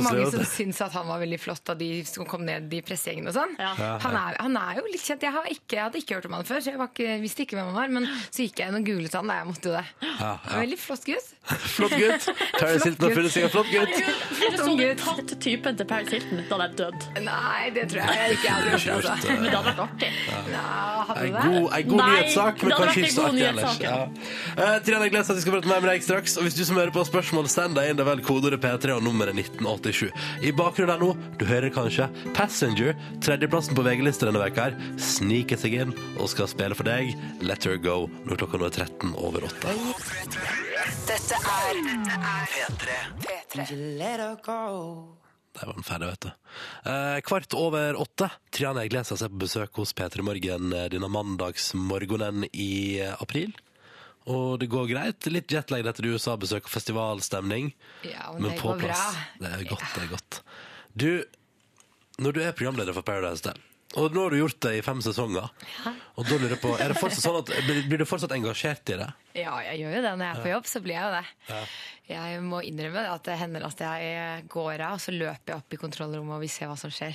[SPEAKER 6] Koselig,
[SPEAKER 13] mange
[SPEAKER 6] vet
[SPEAKER 13] som
[SPEAKER 6] du.
[SPEAKER 13] syntes at han var veldig flott da de som kom ned i pressegjengene og sånn.
[SPEAKER 6] Ja.
[SPEAKER 13] Han, er, han er jo litt kjent. Jeg, har ikke, jeg hadde ikke hørt om han før, så jeg var ikke, visste ikke hvem han var. Men så gikk jeg inn og googlet han, da jeg måtte jo det.
[SPEAKER 2] Ja, ja.
[SPEAKER 13] Veldig flott gutt.
[SPEAKER 2] Flott gutt. Paris Hilton har funnet seg en flott gutt.
[SPEAKER 6] Eller så du sånn tatt typen til Paris Hilton da han er død?
[SPEAKER 13] Nei, det tror jeg ikke jeg hadde gjort. Altså.
[SPEAKER 6] Men det hadde vært artig.
[SPEAKER 2] En god, en god nyhetssak, men kanskje ikke så artig ellers. Ja. Eh, Triana, jeg gleder meg til at jeg skal prate mer med deg straks. Og hvis du som hører på har spørsmål, send deg inn. Det er vel kodeordet P3 og nummeret 1987. I bakgrunnen her nå, du hører kanskje Passenger, tredjeplassen på VG-lista denne veka her, sniker seg inn og skal spille for deg Let Her Go når klokka nå er 13 over 8.
[SPEAKER 5] Dette er P3.
[SPEAKER 2] Der var den ferdig, vet du. Eh, kvart over åtte. Triana Iglesias er på besøk hos P3 Morgen eh, denne mandagsmorgenen i eh, april. Og det går greit. Litt jetlag etter USA-besøk og festivalstemning.
[SPEAKER 13] Ja, men
[SPEAKER 2] men
[SPEAKER 13] det
[SPEAKER 2] på
[SPEAKER 13] går
[SPEAKER 2] plass. Det er godt, det er godt. Du, når du er programleder for Paradise Hotel, og nå har du gjort det i fem sesonger, og da lurer jeg på, er det fortsatt sånn at, blir blir du fortsatt engasjert i det?
[SPEAKER 13] Ja, jeg gjør jo det når jeg er på
[SPEAKER 2] Ja.
[SPEAKER 13] jobb, så blir jeg jo det. Jeg må innrømme at det hender at jeg går av, og så løper jeg opp i kontrollrommet og vil se hva som skjer.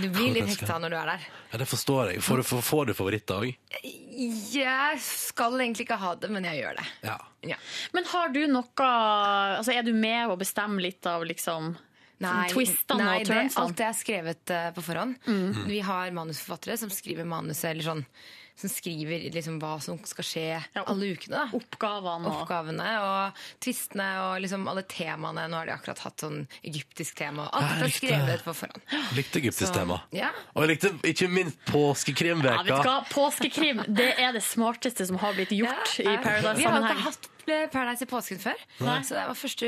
[SPEAKER 13] Du blir litt hekta når du er der.
[SPEAKER 2] Ja, det forstår jeg. Får du, får du favoritter òg?
[SPEAKER 13] Jeg skal egentlig ikke ha det, men jeg gjør det.
[SPEAKER 2] Ja.
[SPEAKER 6] Men har du noe altså Er du med å bestemme litt av liksom twistene
[SPEAKER 13] nei,
[SPEAKER 6] og
[SPEAKER 13] det,
[SPEAKER 6] turnsene?
[SPEAKER 13] alt det er skrevet eh, på forhånd.
[SPEAKER 6] Mm.
[SPEAKER 13] Vi har manusforfattere som skriver manuset, eller sånn, som skriver liksom hva som skal skje alle ukene. Da.
[SPEAKER 6] Oppgavene. og-
[SPEAKER 13] Oppgavene og tvistene og liksom alle temaene. Nå har de akkurat hatt sånn egyptisk tema. og Alt
[SPEAKER 2] Ja,
[SPEAKER 13] er
[SPEAKER 2] riktig.
[SPEAKER 13] skrevet på forhånd.
[SPEAKER 2] Likte egyptisk
[SPEAKER 13] Så-
[SPEAKER 2] tema.
[SPEAKER 13] Ja.
[SPEAKER 2] Og jeg likte ikke minst påskekrimveka.
[SPEAKER 6] Ja, vet du hva? Påskekrim det er det smarteste som har blitt gjort i
[SPEAKER 13] Vi har jo ikke
[SPEAKER 6] Paradise-sammenheng.
[SPEAKER 13] hatt Paradise i påsken før,
[SPEAKER 6] Nei.
[SPEAKER 13] så det var første,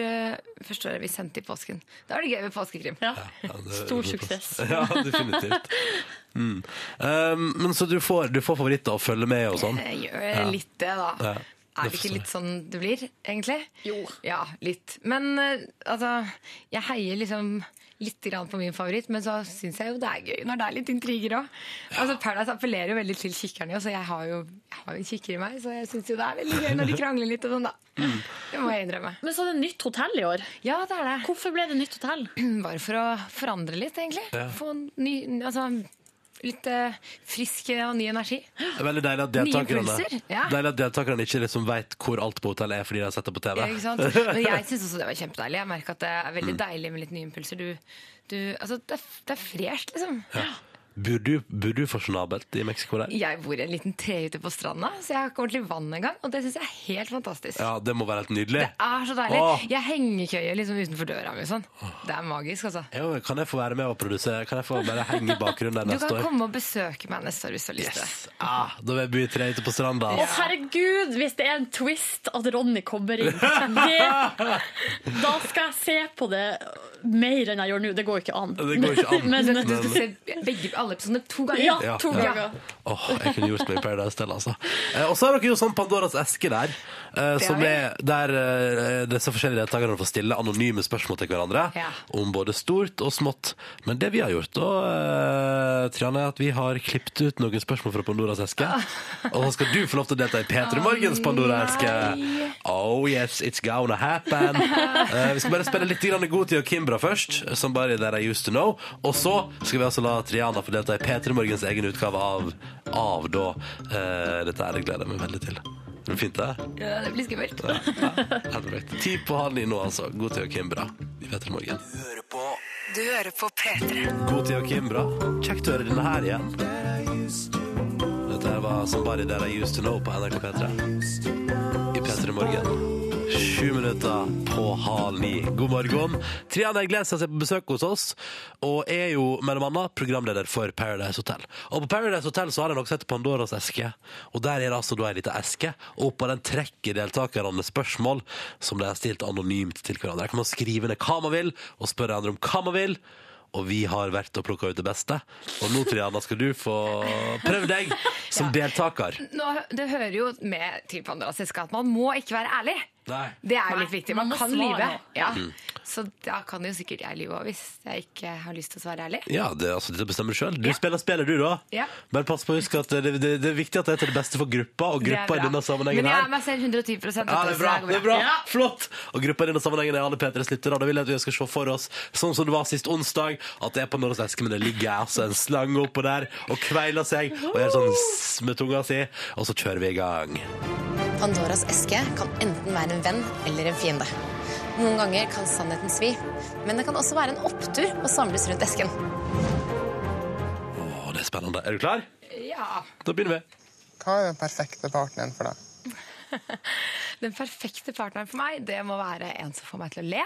[SPEAKER 13] første året vi sendte i påsken. Da var det gøy med påskekrim.
[SPEAKER 6] Stor suksess.
[SPEAKER 2] Ja, definitivt. Mm. Um, men så du får, du får favoritter å følge med og sånn?
[SPEAKER 13] Jeg gjør
[SPEAKER 2] Ja.
[SPEAKER 13] litt det, da.
[SPEAKER 2] Ja,
[SPEAKER 13] Er
[SPEAKER 2] forstår
[SPEAKER 13] det ikke
[SPEAKER 2] jeg.
[SPEAKER 13] litt sånn det blir, egentlig? Jo. Ja, litt. Men eh, altså, jeg heier liksom litt grann på min favoritt, men så syns jeg jo det er gøy når det er litt intriger òg. Altså, Paradise appellerer jo veldig til kikkerne, så jeg har jo, jeg har jo en kikker i meg, så jeg syns jo det er veldig gøy når de krangler litt og sånn, da.
[SPEAKER 2] Mm.
[SPEAKER 13] Det må jeg innrømme.
[SPEAKER 6] Men så er det nytt hotell i år.
[SPEAKER 13] Ja, det er det.
[SPEAKER 6] Hvorfor ble det nytt hotell?
[SPEAKER 13] Bare for å forandre litt, egentlig.
[SPEAKER 2] Ja.
[SPEAKER 13] Få ny, altså, litt eh, frisk og ny energi.
[SPEAKER 2] Det er veldig deilig at
[SPEAKER 13] Nye
[SPEAKER 2] deltakerne,
[SPEAKER 13] impulser, ja.
[SPEAKER 2] deilig at deltakerne ikke liksom veit hvor alt på hotellet er fordi de har sett det på TV.
[SPEAKER 13] Ja, ikke sant? Men jeg syns også det var kjempedeilig. Jeg merker at det er veldig
[SPEAKER 2] Mm.
[SPEAKER 13] deilig med litt nye impulser. Du, du, altså, det, er, det er fresht, liksom.
[SPEAKER 2] Ja. Bor du, bor du fasjonabelt i Mexico der?
[SPEAKER 13] Jeg bor i en liten trehytte på stranda, så jeg har ikke ordentlig vann engang. Og det syns jeg er helt fantastisk.
[SPEAKER 2] Ja, det må være helt nydelig.
[SPEAKER 13] Det er så deilig.
[SPEAKER 2] Åh.
[SPEAKER 13] Jeg hengekøyer liksom utenfor døra mi og sånn. Det er magisk, altså.
[SPEAKER 2] Jo, kan jeg få være med og produsere? Kan jeg få bare henge i bakgrunnen der
[SPEAKER 13] Du
[SPEAKER 2] neste
[SPEAKER 13] kan
[SPEAKER 2] år?
[SPEAKER 13] komme og besøke meg neste år hvis du har lyst til det.
[SPEAKER 2] Ah, da vil jeg bo i tre ute på stranda.
[SPEAKER 6] Å, herregud, hvis det er en twist at Ronny kommer inn! Det, da skal jeg se på det
[SPEAKER 4] mer enn jeg gjør nå. Det går ikke an.
[SPEAKER 2] Det går ikke an.
[SPEAKER 4] Men,
[SPEAKER 2] Du skal se
[SPEAKER 13] begge, alle episodene to ganger.
[SPEAKER 4] Ja, to
[SPEAKER 2] Ja.
[SPEAKER 4] ganger.
[SPEAKER 2] Åh, jeg kunne gjort meg i Paradise Hotel, altså. Eh, og så har dere jo sånn Pandoras eske der, eh,
[SPEAKER 13] Det
[SPEAKER 2] som
[SPEAKER 13] har vi.
[SPEAKER 2] er der eh, disse forskjellige deltakerne får stille anonyme spørsmål til hverandre
[SPEAKER 13] Ja.
[SPEAKER 2] om både stort og smått. Men det vi har gjort, da, eh, Triane, er at vi har klippet ut noen spørsmål fra Pandoras eske. Og så skal du få lov til å delta i P3 Morgens Pandora-eske. Oh yes, it's gonna happen. Eh, vi skal bare spille litt grann god tid og Kimbra først, som bare er der I used to know. Og så skal vi altså la Triana få delta i P3 Morgens egen utgave av, av da. eh, dette er det gleder jeg meg veldig til. Det blir fint, det.
[SPEAKER 13] Ja, det blir skummelt.
[SPEAKER 2] Helt perfekt. Ti på halv ni nå, altså. God tid og Kimbra i P3 Morgen.
[SPEAKER 5] Du hører på P3.
[SPEAKER 2] God tid og Kimbra. Kjekt å høre denne her igjen. Dette her var Somebody That I Used To Know på NRK P3. I P3 Morgen. Sju minutter på halv ni. God morgen. Triana Iglesias er på besøk hos oss, og er jo mellom annet programleder for Paradise Hotel. Og på Paradise Hotel så har de også sett Pandoras eske, og der er det altså da ei lita eske, og oppå den trekker deltakerne spørsmål som de har stilt anonymt til hverandre. Der kan man skrive ned hva man vil, og spørre andre om hva man vil. Og vi har vært og plukka ut det beste. Og nå, Triana, skal du få prøve deg som deltaker.
[SPEAKER 13] Nå, det hører jo med til Pandoras eske at man må ikke være ærlig.
[SPEAKER 2] Nei.
[SPEAKER 13] Det er jo litt viktig. Man,
[SPEAKER 4] man må
[SPEAKER 13] kan
[SPEAKER 4] svare.
[SPEAKER 13] lyve. Ja.
[SPEAKER 2] Mm.
[SPEAKER 13] Så da kan jo sikkert jeg lyve òg, hvis jeg ikke har lyst til å svare ærlig.
[SPEAKER 2] Ja, det, altså, dette bestemmer du sjøl. Du spiller spiller, du, da.
[SPEAKER 13] Ja.
[SPEAKER 2] Bare pass på å huske at det, det, det er viktig at det er til det beste for gruppa, og
[SPEAKER 13] Det er
[SPEAKER 2] gruppa i
[SPEAKER 13] bra.
[SPEAKER 2] denne sammenhengen
[SPEAKER 13] Men jeg er
[SPEAKER 2] her.
[SPEAKER 13] meg selv 110 dette,
[SPEAKER 2] Ja, det er
[SPEAKER 13] så
[SPEAKER 2] bra.
[SPEAKER 13] går
[SPEAKER 2] det er bra,
[SPEAKER 13] Ja.
[SPEAKER 2] Flott! Og gruppa i denne sammenhengen er alle P3s lyttere. og Da vil jeg at vi skal se for oss, sånn som det var sist onsdag, at det er på Norges eske, men det ligger altså en slange oppå der og kveiler seg og gjør sånn sss med tunga si, og så kjører vi i gang.
[SPEAKER 18] Pandoras eske kan enten være en venn eller en fiende. Noen ganger kan sannheten svi, men det kan også være en opptur å samles rundt esken.
[SPEAKER 2] Å, det er spennende. Er du klar?
[SPEAKER 13] Ja.
[SPEAKER 2] Da begynner vi.
[SPEAKER 19] Hva er den perfekte partneren for deg?
[SPEAKER 13] Den perfekte partneren for meg, det må være en som får meg til å le.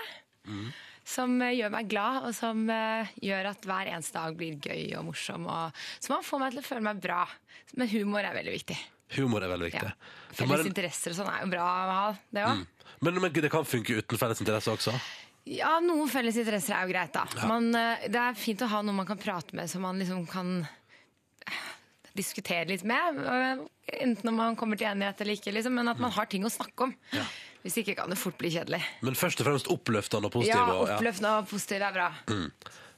[SPEAKER 13] Som eh, gjør meg glad, og som eh, gjør at hver eneste dag blir gøy og morsom. Og som man får meg til å føle meg bra. Men humor er veldig viktig.
[SPEAKER 2] Humor er veldig
[SPEAKER 13] Ja.
[SPEAKER 2] viktig. Det må
[SPEAKER 13] Felles
[SPEAKER 2] være en-
[SPEAKER 13] interesser og sånn er jo bra å ha, det òg.
[SPEAKER 2] Mm. Men, men det kan funke uten felles interesse også?
[SPEAKER 13] Ja, noen felles interesser er jo greit, da.
[SPEAKER 2] Ja.
[SPEAKER 13] Man, eh, det er fint å ha noen man kan prate med, som man liksom kan eh, diskutere litt med. eh, Enten om man kommer til enighet eller ikke, liksom, men at man har ting å snakke om. Hvis ikke kan det fort bli kjedelig.
[SPEAKER 2] Men først og fremst oppløftende og positiv.
[SPEAKER 13] ja,
[SPEAKER 2] og-
[SPEAKER 13] oppløftende og positiv er bra.
[SPEAKER 2] Mm.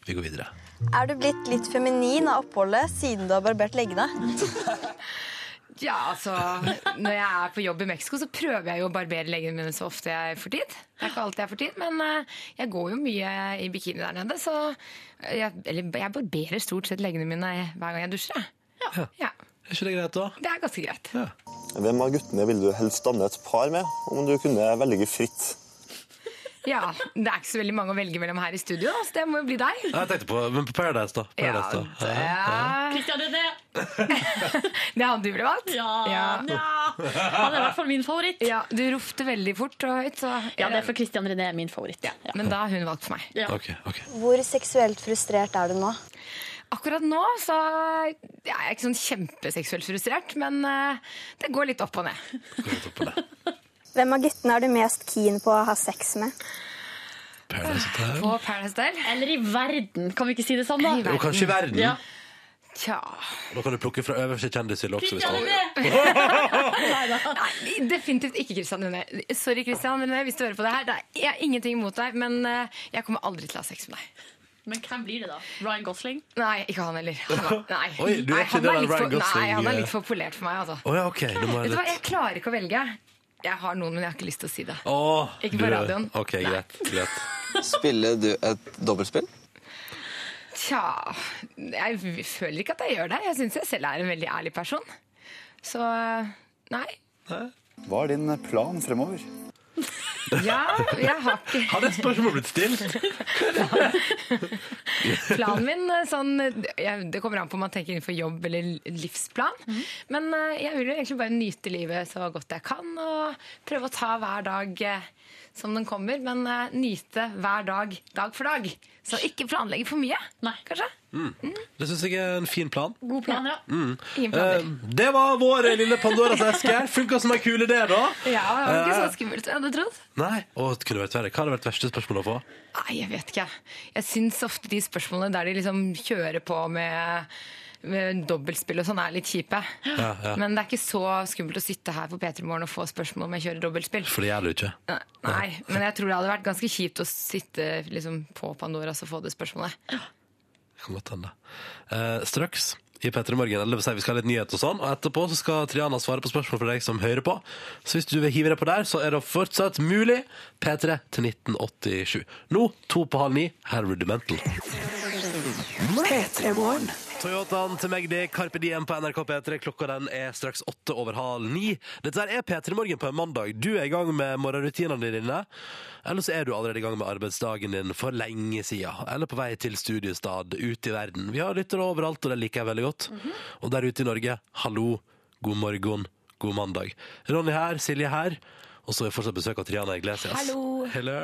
[SPEAKER 2] Vi går videre.
[SPEAKER 20] Er du blitt litt feminin av oppholdet siden du har barbert leggene?
[SPEAKER 13] Ja, altså, Når jeg er på jobb i Mexico, så prøver jeg jo å barbere leggene mine så ofte jeg får tid. Det er ikke alltid jeg får tid, men eh, jeg går jo mye i bikini der nede. Så jeg, eller jeg barberer stort sett leggene mine hver gang jeg dusjer. jeg.
[SPEAKER 2] Er ikke det greit, da?
[SPEAKER 13] Det er ganske greit.
[SPEAKER 21] Hvem av guttene ville du helst danne et par med, om du kunne velge fritt?
[SPEAKER 13] Ja, Det er ikke så veldig mange å velge mellom her i studio, da, så det må jo bli deg.
[SPEAKER 2] Nei, jeg tenkte på, men på Paradise, da. Paradise, da.
[SPEAKER 13] Kristian René. det er han du ville valgt? Ja.
[SPEAKER 4] Han er i hvert fall min favoritt.
[SPEAKER 13] Ja, Du ropte veldig fort og høyt. Så
[SPEAKER 4] Ja, det er for Christian René min favoritt. Ja.
[SPEAKER 13] Men da har hun valgt for meg.
[SPEAKER 20] Hvor seksuelt frustrert er du nå?
[SPEAKER 13] Akkurat nå så er jeg ikke sånn kjempeseksuelt frustrert, men eh, det går litt opp og ned.
[SPEAKER 20] Hvem av guttene er du mest keen på å ha sex med?
[SPEAKER 13] På Paradise Del.
[SPEAKER 4] Eller i verden, kan vi ikke si det sånn, da?
[SPEAKER 2] Jo, kanskje i verden.
[SPEAKER 4] Ja.
[SPEAKER 13] Tja
[SPEAKER 2] Da kan du plukke fra øverste kjendishylle også. Hvis du...
[SPEAKER 13] Nei, definitivt ikke Christian René. Sorry, Christian René, hvis du hører på det her. Det er jeg har ingenting imot deg, men eh, jeg kommer aldri til å ha sex med deg.
[SPEAKER 4] Men hvem blir det, da? Ryan Gosling?
[SPEAKER 13] Nei, ikke han heller. Han er, nei.
[SPEAKER 2] Oi, du er
[SPEAKER 13] nei,
[SPEAKER 2] ikke
[SPEAKER 13] han
[SPEAKER 2] det der
[SPEAKER 13] litt
[SPEAKER 2] Ryan
[SPEAKER 13] for, nei,
[SPEAKER 2] Gosling,
[SPEAKER 13] han er
[SPEAKER 2] eh.
[SPEAKER 13] litt for polert for meg, altså.
[SPEAKER 2] Å ja, OK. Nå må
[SPEAKER 13] Vet
[SPEAKER 2] jeg
[SPEAKER 13] du hva,
[SPEAKER 2] litt
[SPEAKER 13] jeg klarer ikke å velge. Jeg har noen, men jeg har ikke lyst til å si det.
[SPEAKER 2] Å,
[SPEAKER 13] Ikke
[SPEAKER 2] du-
[SPEAKER 13] på radioen.
[SPEAKER 2] OK, greit. greit.
[SPEAKER 21] Spiller du et dobbeltspill?
[SPEAKER 13] Tja, jeg v- føler ikke at jeg gjør det. Jeg syns jeg selv er en veldig ærlig person. Så eh, nei.
[SPEAKER 21] Hva er din plan fremover?
[SPEAKER 13] Ja, jeg har ikke
[SPEAKER 2] Har det spørsmålet blitt stilt?
[SPEAKER 13] planen min eh, sånn jeg, Det kommer an på om man tenker innenfor jobb eller livsplan. Men eh, jeg vil jo egentlig bare nyte livet så godt jeg kan, og prøve å ta hver dag eh, som den kommer, men eh, nyte hver dag, dag for dag. Så ikke planlegge for mye, kanskje.
[SPEAKER 2] Mm. Det syns jeg er en fin plan.
[SPEAKER 13] God plan, ja.
[SPEAKER 2] Mm.
[SPEAKER 13] Ingen planer.
[SPEAKER 2] Eh, det var vår lille Pandoras eske. Funka som ei kule, det, da.
[SPEAKER 13] Ja, det var
[SPEAKER 2] Eh,
[SPEAKER 13] ikke så skummelt som jeg hadde trodd.
[SPEAKER 2] Nei, og det kunne vært verre. Hva hadde vært verste spørsmålet å få?
[SPEAKER 13] Nei, jeg vet ikke. Jeg syns ofte de spørsmålene der de liksom kjører på med, med dobbeltspill og sånn, er litt kjipe.
[SPEAKER 2] Ja, ja.
[SPEAKER 13] Men det er ikke så skummelt å sitte her på P3 Morgen og få spørsmål om jeg kjører dobbeltspill.
[SPEAKER 2] For det gjør du ikke.
[SPEAKER 13] Nei, Nei, men jeg tror det hadde vært ganske kjipt å sitte liksom, på Pandoras og få det spørsmålet.
[SPEAKER 2] Kan godt hende. Eh, straks i P3 Morgen eller det vil si, vi skal ha litt nyhet og sånn, og etterpå så skal Triana svare på spørsmål fra deg som hører på. Så hvis du vil hive deg på der, så er det fortsatt mulig. P3 til 1987. Nå to på halv ni, her er Rudimental. Toyotaen til Magdi, Carpe Diem på NRK P3. Klokka den er straks åtte over halv ni. Dette her er P3 Morgen på en mandag. Du er i gang med morgenrutinene dine. Eller så er du allerede i gang med arbeidsdagen din for lenge siden. Eller på vei til studiestad ute i verden. Vi har lyttere overalt, og det liker jeg veldig godt. Og der ute i Norge, hallo, god morgen, god mandag. Ronny her, Silje her. Og så har vi fortsatt besøk av Triana Iglesias.
[SPEAKER 13] Hallo.
[SPEAKER 2] Hello.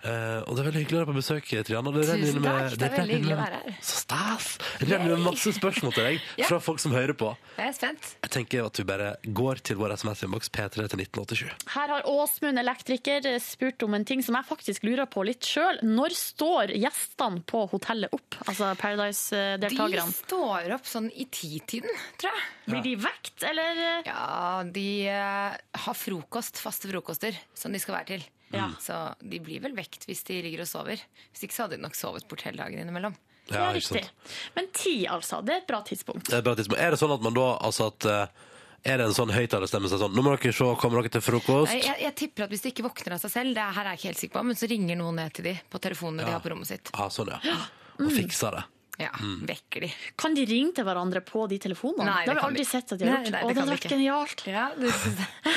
[SPEAKER 2] Eh, og det er veldig hyggelig å være på besøk, Triana. Det renner
[SPEAKER 13] Tusen
[SPEAKER 2] inn
[SPEAKER 13] takk, det er
[SPEAKER 2] renner
[SPEAKER 13] veldig
[SPEAKER 2] inn
[SPEAKER 13] hyggelig å
[SPEAKER 2] med-
[SPEAKER 13] være her.
[SPEAKER 2] Så stas! Det renner inn masse spørsmål til deg
[SPEAKER 13] Ja.
[SPEAKER 2] fra folk som hører på.
[SPEAKER 13] Jeg er spent.
[SPEAKER 2] Jeg tenker at vi bare går til vår SMS-innboks P3 til 1987.
[SPEAKER 4] Her har Åsmund elektriker spurt om en ting som jeg faktisk lurer på litt sjøl. Når står gjestene på hotellet opp, altså
[SPEAKER 13] De
[SPEAKER 4] Paradise-deltakerne?
[SPEAKER 13] står opp sånn i titiden, tror jeg.
[SPEAKER 4] Blir de vekt, eller?
[SPEAKER 13] Ja, de eh, har frokost, faste frokoster, som de skal være til.
[SPEAKER 4] Ja.
[SPEAKER 13] Så de blir vel vekt hvis de ligger og sover. Hvis ikke så hadde de nok sovet bort hele dagen innimellom.
[SPEAKER 2] Ja, Ja, ikke riktig. sant.
[SPEAKER 4] Men ti, altså. Det er et bra tidspunkt.
[SPEAKER 2] Det er, et bra tidspunkt. er det sånn at man da altså at, eh, Er det en sånn høyttalerstemme som er sånn Nå må dere se, kommer dere til frokost?
[SPEAKER 13] Nei, Jeg, jeg tipper at hvis de ikke våkner av seg selv, det her er jeg ikke helt sikker på, men så ringer noen ned til de på telefonene de
[SPEAKER 2] Ja.
[SPEAKER 13] har på rommet sitt.
[SPEAKER 2] Ja, sånn, ja.
[SPEAKER 13] Mm.
[SPEAKER 2] Og fikser det.
[SPEAKER 13] Ja,
[SPEAKER 2] Mm.
[SPEAKER 13] vekker de.
[SPEAKER 4] Kan de ringe til hverandre på de telefonene?
[SPEAKER 13] Nei,
[SPEAKER 4] det har vi
[SPEAKER 13] kan
[SPEAKER 4] aldri
[SPEAKER 13] ikke.
[SPEAKER 4] sett at de har
[SPEAKER 13] Nei,
[SPEAKER 4] gjort.
[SPEAKER 13] nei,
[SPEAKER 4] Å,
[SPEAKER 13] det
[SPEAKER 4] det
[SPEAKER 13] kan
[SPEAKER 4] hadde
[SPEAKER 13] de
[SPEAKER 4] vært
[SPEAKER 13] ikke.
[SPEAKER 4] genialt.
[SPEAKER 13] Ja, du synes det.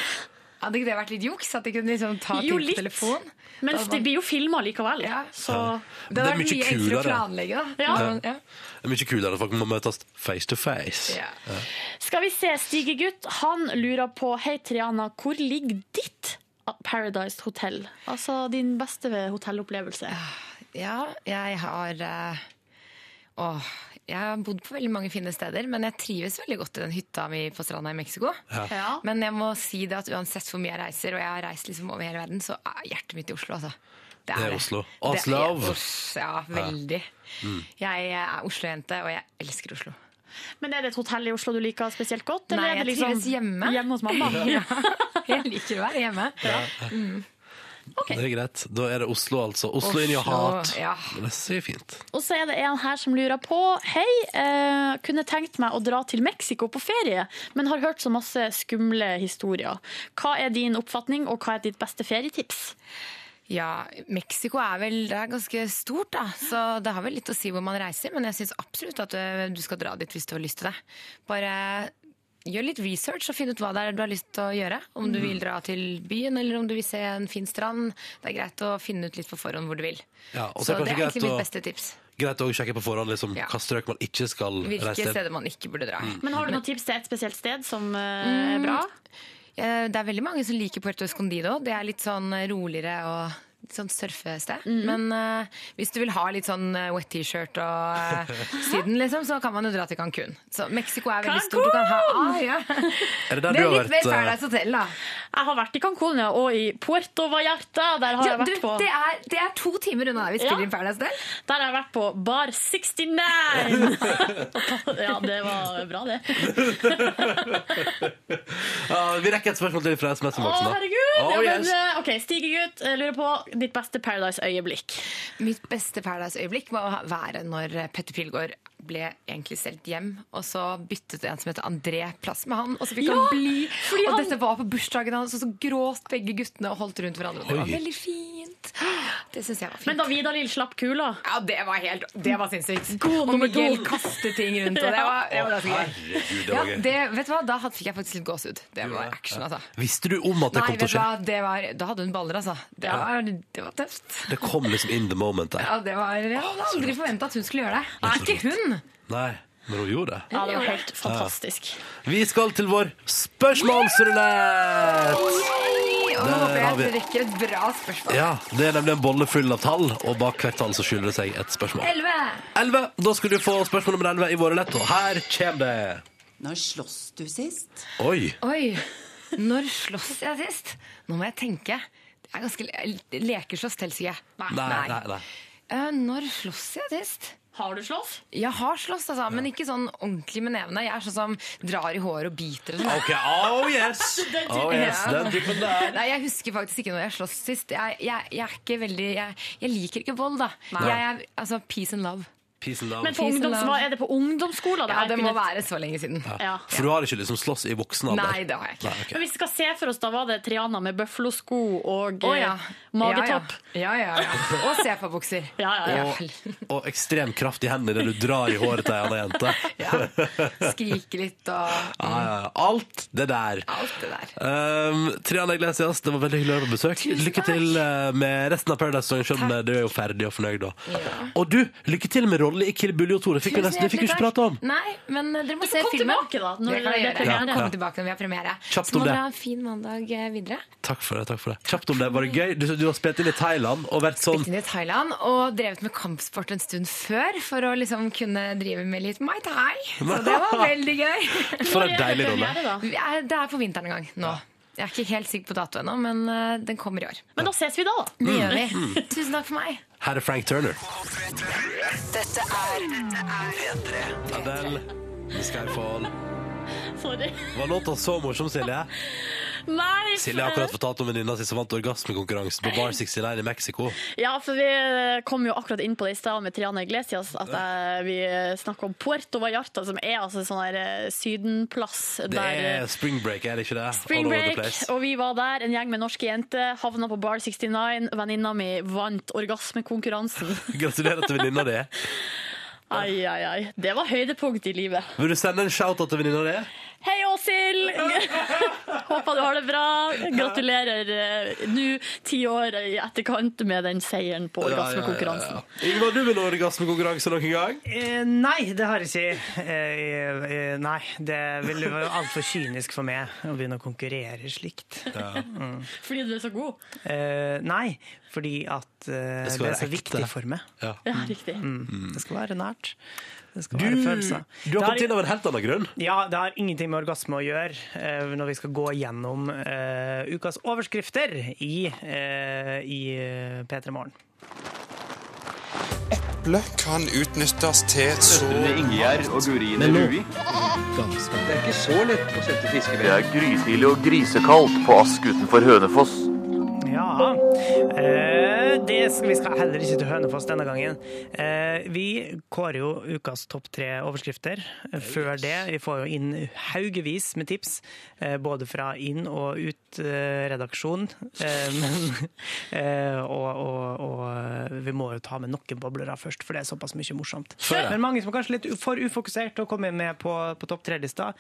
[SPEAKER 13] Hadde ikke det vært litt juks? At de kunne liksom ta
[SPEAKER 4] Jo,
[SPEAKER 13] tid
[SPEAKER 4] litt.
[SPEAKER 13] på telefon?
[SPEAKER 4] Men det blir jo filma likevel. Så
[SPEAKER 2] Ja.
[SPEAKER 13] Det hadde vært
[SPEAKER 2] mye
[SPEAKER 13] mye enklere å
[SPEAKER 2] kulere.
[SPEAKER 13] planlegge, da.
[SPEAKER 2] Ja.
[SPEAKER 13] Ja.
[SPEAKER 2] Det er mye kulere at folk må møtes face to face.
[SPEAKER 13] Ja.
[SPEAKER 4] Skal vi se, Stigegutt, han lurer på Hei Triana, hvor ligger ditt Paradise Hotel? Altså din beste hotellopplevelse.
[SPEAKER 13] Ja, jeg har eh, Åh, jeg har bodd på veldig mange fine steder, men jeg trives veldig godt i den hytta mi på stranda i Mexico.
[SPEAKER 4] Ja. Ja.
[SPEAKER 13] Men jeg må si det at uansett hvor mye jeg reiser, og jeg har reist liksom over hele verden, så er hjertet mitt i Oslo, altså.
[SPEAKER 2] Det er Oslo.
[SPEAKER 13] Det er
[SPEAKER 2] Oslo.
[SPEAKER 13] Os- Ja, veldig.
[SPEAKER 2] Mm.
[SPEAKER 13] Jeg er Oslo-jente, og jeg elsker Oslo.
[SPEAKER 4] Men er det et hotell i Oslo du liker spesielt godt?
[SPEAKER 13] Nei,
[SPEAKER 4] eller er
[SPEAKER 13] jeg
[SPEAKER 4] det liksom
[SPEAKER 13] trives hjemme.
[SPEAKER 4] Hjemme hos mamma?
[SPEAKER 13] Ja. Jeg liker å være hjemme. Mm.
[SPEAKER 2] Det er greit. Da er det Oslo, altså. Oslo, inn i
[SPEAKER 13] Oslo,
[SPEAKER 2] hat.
[SPEAKER 13] ja.
[SPEAKER 2] Men Det sier fint.
[SPEAKER 4] Og så er det en her som lurer på Hei, eh, kunne tenkt meg å dra til Mexico på ferie, men har hørt så masse skumle historier. Hva er din oppfatning, og hva er ditt beste ferietips?
[SPEAKER 13] Ja, Mexico er vel det er ganske stort, da. Så det har vel litt å si hvor man reiser. Men jeg syns absolutt at ø, du skal dra dit hvis du har lyst til det. Bare gjør litt research og finn ut hva det er du har lyst til å gjøre. Om du
[SPEAKER 4] Mm.
[SPEAKER 13] vil dra til byen, eller om du vil se en fin strand. Det er greit å finne ut litt på forhånd hvor du vil.
[SPEAKER 2] Ja, og så
[SPEAKER 13] så
[SPEAKER 2] er det kanskje
[SPEAKER 13] det er
[SPEAKER 2] greit
[SPEAKER 13] egentlig
[SPEAKER 2] å-
[SPEAKER 13] mitt beste tips.
[SPEAKER 2] Greit å sjekke på forhånd liksom,
[SPEAKER 13] Ja.
[SPEAKER 2] hva strøk man ikke skal
[SPEAKER 13] Hvilke
[SPEAKER 2] reise til.
[SPEAKER 13] steder man ikke burde dra.
[SPEAKER 2] Mm.
[SPEAKER 4] Men har du noen tips til et spesielt sted som eh, er
[SPEAKER 13] Mm.
[SPEAKER 4] bra?
[SPEAKER 13] Eh, Det er veldig mange som liker Puerto Escondido. Det er litt sånn roligere og litt sånn surfested.
[SPEAKER 4] Mhm.
[SPEAKER 13] Men eh, hvis du vil ha litt sånn eh, wet T-shirt og eh, Syden, liksom, så kan man jo dra til Cancún. Så Mexico er veldig stort. Du kan ha ah, ja.
[SPEAKER 2] Er det
[SPEAKER 13] Det
[SPEAKER 2] der
[SPEAKER 13] er
[SPEAKER 2] du har
[SPEAKER 13] litt mer
[SPEAKER 2] vært eh,
[SPEAKER 13] Paradise Hotel, da.
[SPEAKER 4] Jeg har vært i Cancún ja, og i Puerto Vallarta. Der har
[SPEAKER 13] Ja,
[SPEAKER 4] jeg vært
[SPEAKER 13] du,
[SPEAKER 4] på
[SPEAKER 13] det, er, det er to timer unna der vi spiller
[SPEAKER 4] Ja.
[SPEAKER 13] inn Paradise Hotel.
[SPEAKER 4] Der har jeg vært på Bar 69! ja, det var bra, det.
[SPEAKER 2] ja, Eh, Vi rekker et spørsmål til fra
[SPEAKER 4] Å,
[SPEAKER 2] SMS-innboksen. da.
[SPEAKER 4] herregud!
[SPEAKER 2] Oh,
[SPEAKER 4] ja, men,
[SPEAKER 2] yes.
[SPEAKER 4] eh, ok, Stigegutt, jeg lurer på ditt beste Paradise-øyeblikk.
[SPEAKER 13] Mitt beste Paradise-øyeblikk må være når Petter Pilgaard ble egentlig solgt hjem, og så byttet en som heter André plass med han, og så fikk
[SPEAKER 4] Ja,
[SPEAKER 13] han bli.
[SPEAKER 4] fordi
[SPEAKER 13] Og
[SPEAKER 4] han-
[SPEAKER 13] dette var på bursdagen hans, og så gråt begge guttene og holdt rundt hverandre. Det var
[SPEAKER 4] Oi.
[SPEAKER 13] veldig fint. Det syns jeg var fint.
[SPEAKER 4] Men da Vidar-Lill slapp kula
[SPEAKER 13] Ja, det var helt Det var sinnssykt.
[SPEAKER 4] God
[SPEAKER 13] Og
[SPEAKER 4] nummer
[SPEAKER 13] Miguel
[SPEAKER 4] to.
[SPEAKER 13] kastet ting rundt, og det var, det var ganske gøy.
[SPEAKER 2] Herregud, det
[SPEAKER 13] Ja,
[SPEAKER 2] var gøy.
[SPEAKER 13] det, vet du hva, da hadde- fikk jeg faktisk litt gåsehud. Det var action, altså.
[SPEAKER 2] Visste du om at det
[SPEAKER 13] Nei,
[SPEAKER 2] kom til å
[SPEAKER 13] vet du
[SPEAKER 2] skje?
[SPEAKER 13] hva, det var, da hadde hun baller, altså. Det
[SPEAKER 2] Ja.
[SPEAKER 13] var, det var tøft.
[SPEAKER 2] Det kom liksom in the moment der.
[SPEAKER 13] Ja, det var, jeg hadde aldri forventa at hun skulle gjøre det. Nei, ikke hun!
[SPEAKER 2] Nei, men hun gjorde det.
[SPEAKER 4] Ja, det var helt fantastisk.
[SPEAKER 2] Vi skal til vår spørsmålsrulett!
[SPEAKER 13] Yay! Og nå
[SPEAKER 2] Der
[SPEAKER 13] håper
[SPEAKER 2] har
[SPEAKER 13] jeg
[SPEAKER 2] vi-
[SPEAKER 13] at du rekker et bra spørsmål.
[SPEAKER 2] Ja, Det er nemlig en bolle full av tall, og bak hvert tall så skylder det seg et spørsmål.
[SPEAKER 13] 11.
[SPEAKER 2] 11. Da skal du få spørsmål nummer 11 i våre lett, og her kommer det.
[SPEAKER 22] Når slåss du sist?
[SPEAKER 2] Oi.
[SPEAKER 13] Oi, når slåss jeg sist? Nå må jeg tenke. Det er ganske le Lekeslåss teller, sier jeg.
[SPEAKER 2] Nei, nei, nei.
[SPEAKER 13] Eh, når slåss jeg sist?
[SPEAKER 4] Har du slåss?
[SPEAKER 13] Jeg har slåss, altså, men ikke sånn ordentlig med nevene. Jeg er sånn som drar i håret og biter. og sånn.
[SPEAKER 2] Ok, oh yes! Oh yes, den typen der.
[SPEAKER 13] Nei, Jeg husker faktisk ikke når jeg sloss sist. Jeg, jeg, jeg er ikke veldig Jeg, jeg liker ikke vold, da.
[SPEAKER 2] Nei.
[SPEAKER 13] Jeg er altså peace and love.
[SPEAKER 2] Peace and love.
[SPEAKER 4] Men på
[SPEAKER 13] Peace and
[SPEAKER 4] ungdoms,
[SPEAKER 13] love.
[SPEAKER 4] hva er det på ungdomsskolen?
[SPEAKER 13] Ja,
[SPEAKER 4] her
[SPEAKER 13] det må
[SPEAKER 4] kunne-
[SPEAKER 13] være så lenge siden.
[SPEAKER 4] Ja.
[SPEAKER 2] For du har ikke liksom slåss i voksen alder?
[SPEAKER 13] Nei, det har jeg ikke.
[SPEAKER 2] Nei, ok.
[SPEAKER 4] Men vi skal se for oss, da var det Triana med bøflosko og
[SPEAKER 13] Å,
[SPEAKER 4] eh,
[SPEAKER 13] ja.
[SPEAKER 4] magetopp.
[SPEAKER 13] Ja, ja. ja, ja. Og sebabukser.
[SPEAKER 4] Ja, ja, ja.
[SPEAKER 2] Og, og ekstrem kraft i hendene idet du drar i håret til ei anna jente.
[SPEAKER 13] Skrike litt og
[SPEAKER 2] Ja, ja, ja. Alt det der.
[SPEAKER 13] alt det der.
[SPEAKER 2] Um, Triana Iglesias, det var veldig hyggelig å være på besøk. Lykke til eh, med resten av Paradise Song. Skjønn, du er jo ferdig og fornøyd, da. Og du, lykke til med rolle i Kill Buljo 2. Det fikk vi
[SPEAKER 13] Tusen
[SPEAKER 2] nesten- det fikk vi
[SPEAKER 13] hjertelig
[SPEAKER 2] ikke prate om.
[SPEAKER 13] takk. Nei, men dere må
[SPEAKER 4] får
[SPEAKER 13] se
[SPEAKER 4] komme
[SPEAKER 13] filmen.
[SPEAKER 4] tilbake, da, når
[SPEAKER 13] det kan
[SPEAKER 4] det
[SPEAKER 13] jeg
[SPEAKER 4] er premiere.
[SPEAKER 13] gjøre. Jeg kan
[SPEAKER 2] Ja.
[SPEAKER 13] Komme tilbake når vi har premiere.
[SPEAKER 2] Kjapt
[SPEAKER 13] Så
[SPEAKER 2] om
[SPEAKER 13] må
[SPEAKER 2] det.
[SPEAKER 13] dere ha en fin mandag eh, videre.
[SPEAKER 2] Takk for det. takk for det Kjapt om det. Var det gøy? Du, du har spilt inn i Thailand og vært sånn
[SPEAKER 13] Inn i Thailand og drevet med kampsport en stund før for å liksom kunne drive med litt Mai Tai. Så det var veldig gøy.
[SPEAKER 2] For en deilig rolle.
[SPEAKER 13] Vi er- Det er på vinteren en gang nå. Jeg er ikke helt sikker på dato ennå, men eh, den kommer i år.
[SPEAKER 4] Men da ses vi da, da.
[SPEAKER 13] Det gjør
[SPEAKER 2] Mm.
[SPEAKER 13] vi. Tusen takk for meg.
[SPEAKER 2] Her er Frank Turner.
[SPEAKER 5] Dette er P3.
[SPEAKER 2] Adele, The Skyfall.
[SPEAKER 4] Sorry.
[SPEAKER 2] Var låta så morsom, Silje?
[SPEAKER 4] Nei!
[SPEAKER 2] Silje har akkurat fortalt om venninna si som vant orgasmekonkurransen på Bar 69 i Mexico.
[SPEAKER 4] Ja, for vi eh, kom jo akkurat inn på det i stad med Triana Iglesias, at jeg, vi snakka om Puerto Vallarta, som er altså en sånn her eh, sydenplass
[SPEAKER 2] Det
[SPEAKER 4] der eh,
[SPEAKER 2] er spring break, er det ikke det?
[SPEAKER 4] Spring
[SPEAKER 2] All over the
[SPEAKER 4] break,
[SPEAKER 2] place.
[SPEAKER 4] og vi var der, en gjeng med norske jenter, havna på Bar 69, venninna mi vant orgasmekonkurransen.
[SPEAKER 2] Gratulerer til venninna di.
[SPEAKER 4] Ai, ai, ai. Det var høydepunkt i livet.
[SPEAKER 2] Vil du sende en shout-out til venninna di?
[SPEAKER 4] Hei, Åshild! Håper du har det bra. Gratulerer eh, nå, ti år i etterkant, med den seieren på orgasmekonkurransen.
[SPEAKER 2] Ja, ja, ja. Ingvar, du vil ha orgasmekonkurranse noen gang?
[SPEAKER 3] Eh, nei, det har jeg ikke. Eh, eh, nei, det ville være altfor kynisk for meg å begynne å konkurrere slikt. Mm.
[SPEAKER 4] Fordi du er så god.
[SPEAKER 3] Eh, nei, fordi at eh,
[SPEAKER 2] Det
[SPEAKER 3] det,
[SPEAKER 2] skal
[SPEAKER 3] er
[SPEAKER 2] være
[SPEAKER 3] så
[SPEAKER 2] ekte.
[SPEAKER 3] viktig for meg.
[SPEAKER 2] Ja.
[SPEAKER 4] Ja, riktig.
[SPEAKER 3] Mm. Det skal være nært. Det skal
[SPEAKER 2] Du,
[SPEAKER 3] være
[SPEAKER 2] du
[SPEAKER 3] følelser.
[SPEAKER 2] har kommet inn av en helt annen grunn.
[SPEAKER 3] Ja, det har ingenting med orgasme å gjøre eh, når vi skal gå gjennom eh, ukas overskrifter i, eh, i eh, P3 Morgen.
[SPEAKER 23] Eple kan utnyttes til så Ingjerd og Gurine
[SPEAKER 24] Men nå-
[SPEAKER 23] Rui. Det er ikke så lett å sette fiskevær.
[SPEAKER 24] Det er grytidlig og grisekaldt på Ask utenfor Hønefoss.
[SPEAKER 3] Ja eh, det skal, Vi skal heller ikke til Hønefoss denne gangen. Eh, vi kårer jo ukas topp tre overskrifter. Eh, Før det vi får jo inn haugevis med tips, eh, både fra inn- og ut-redaksjon. Eh, og, og, og vi må jo ta med noen boblere først, for det er såpass mye morsomt.
[SPEAKER 16] Før det.
[SPEAKER 3] Men mange som er kanskje litt for ufokusert til å komme med på, på topp tre-lista.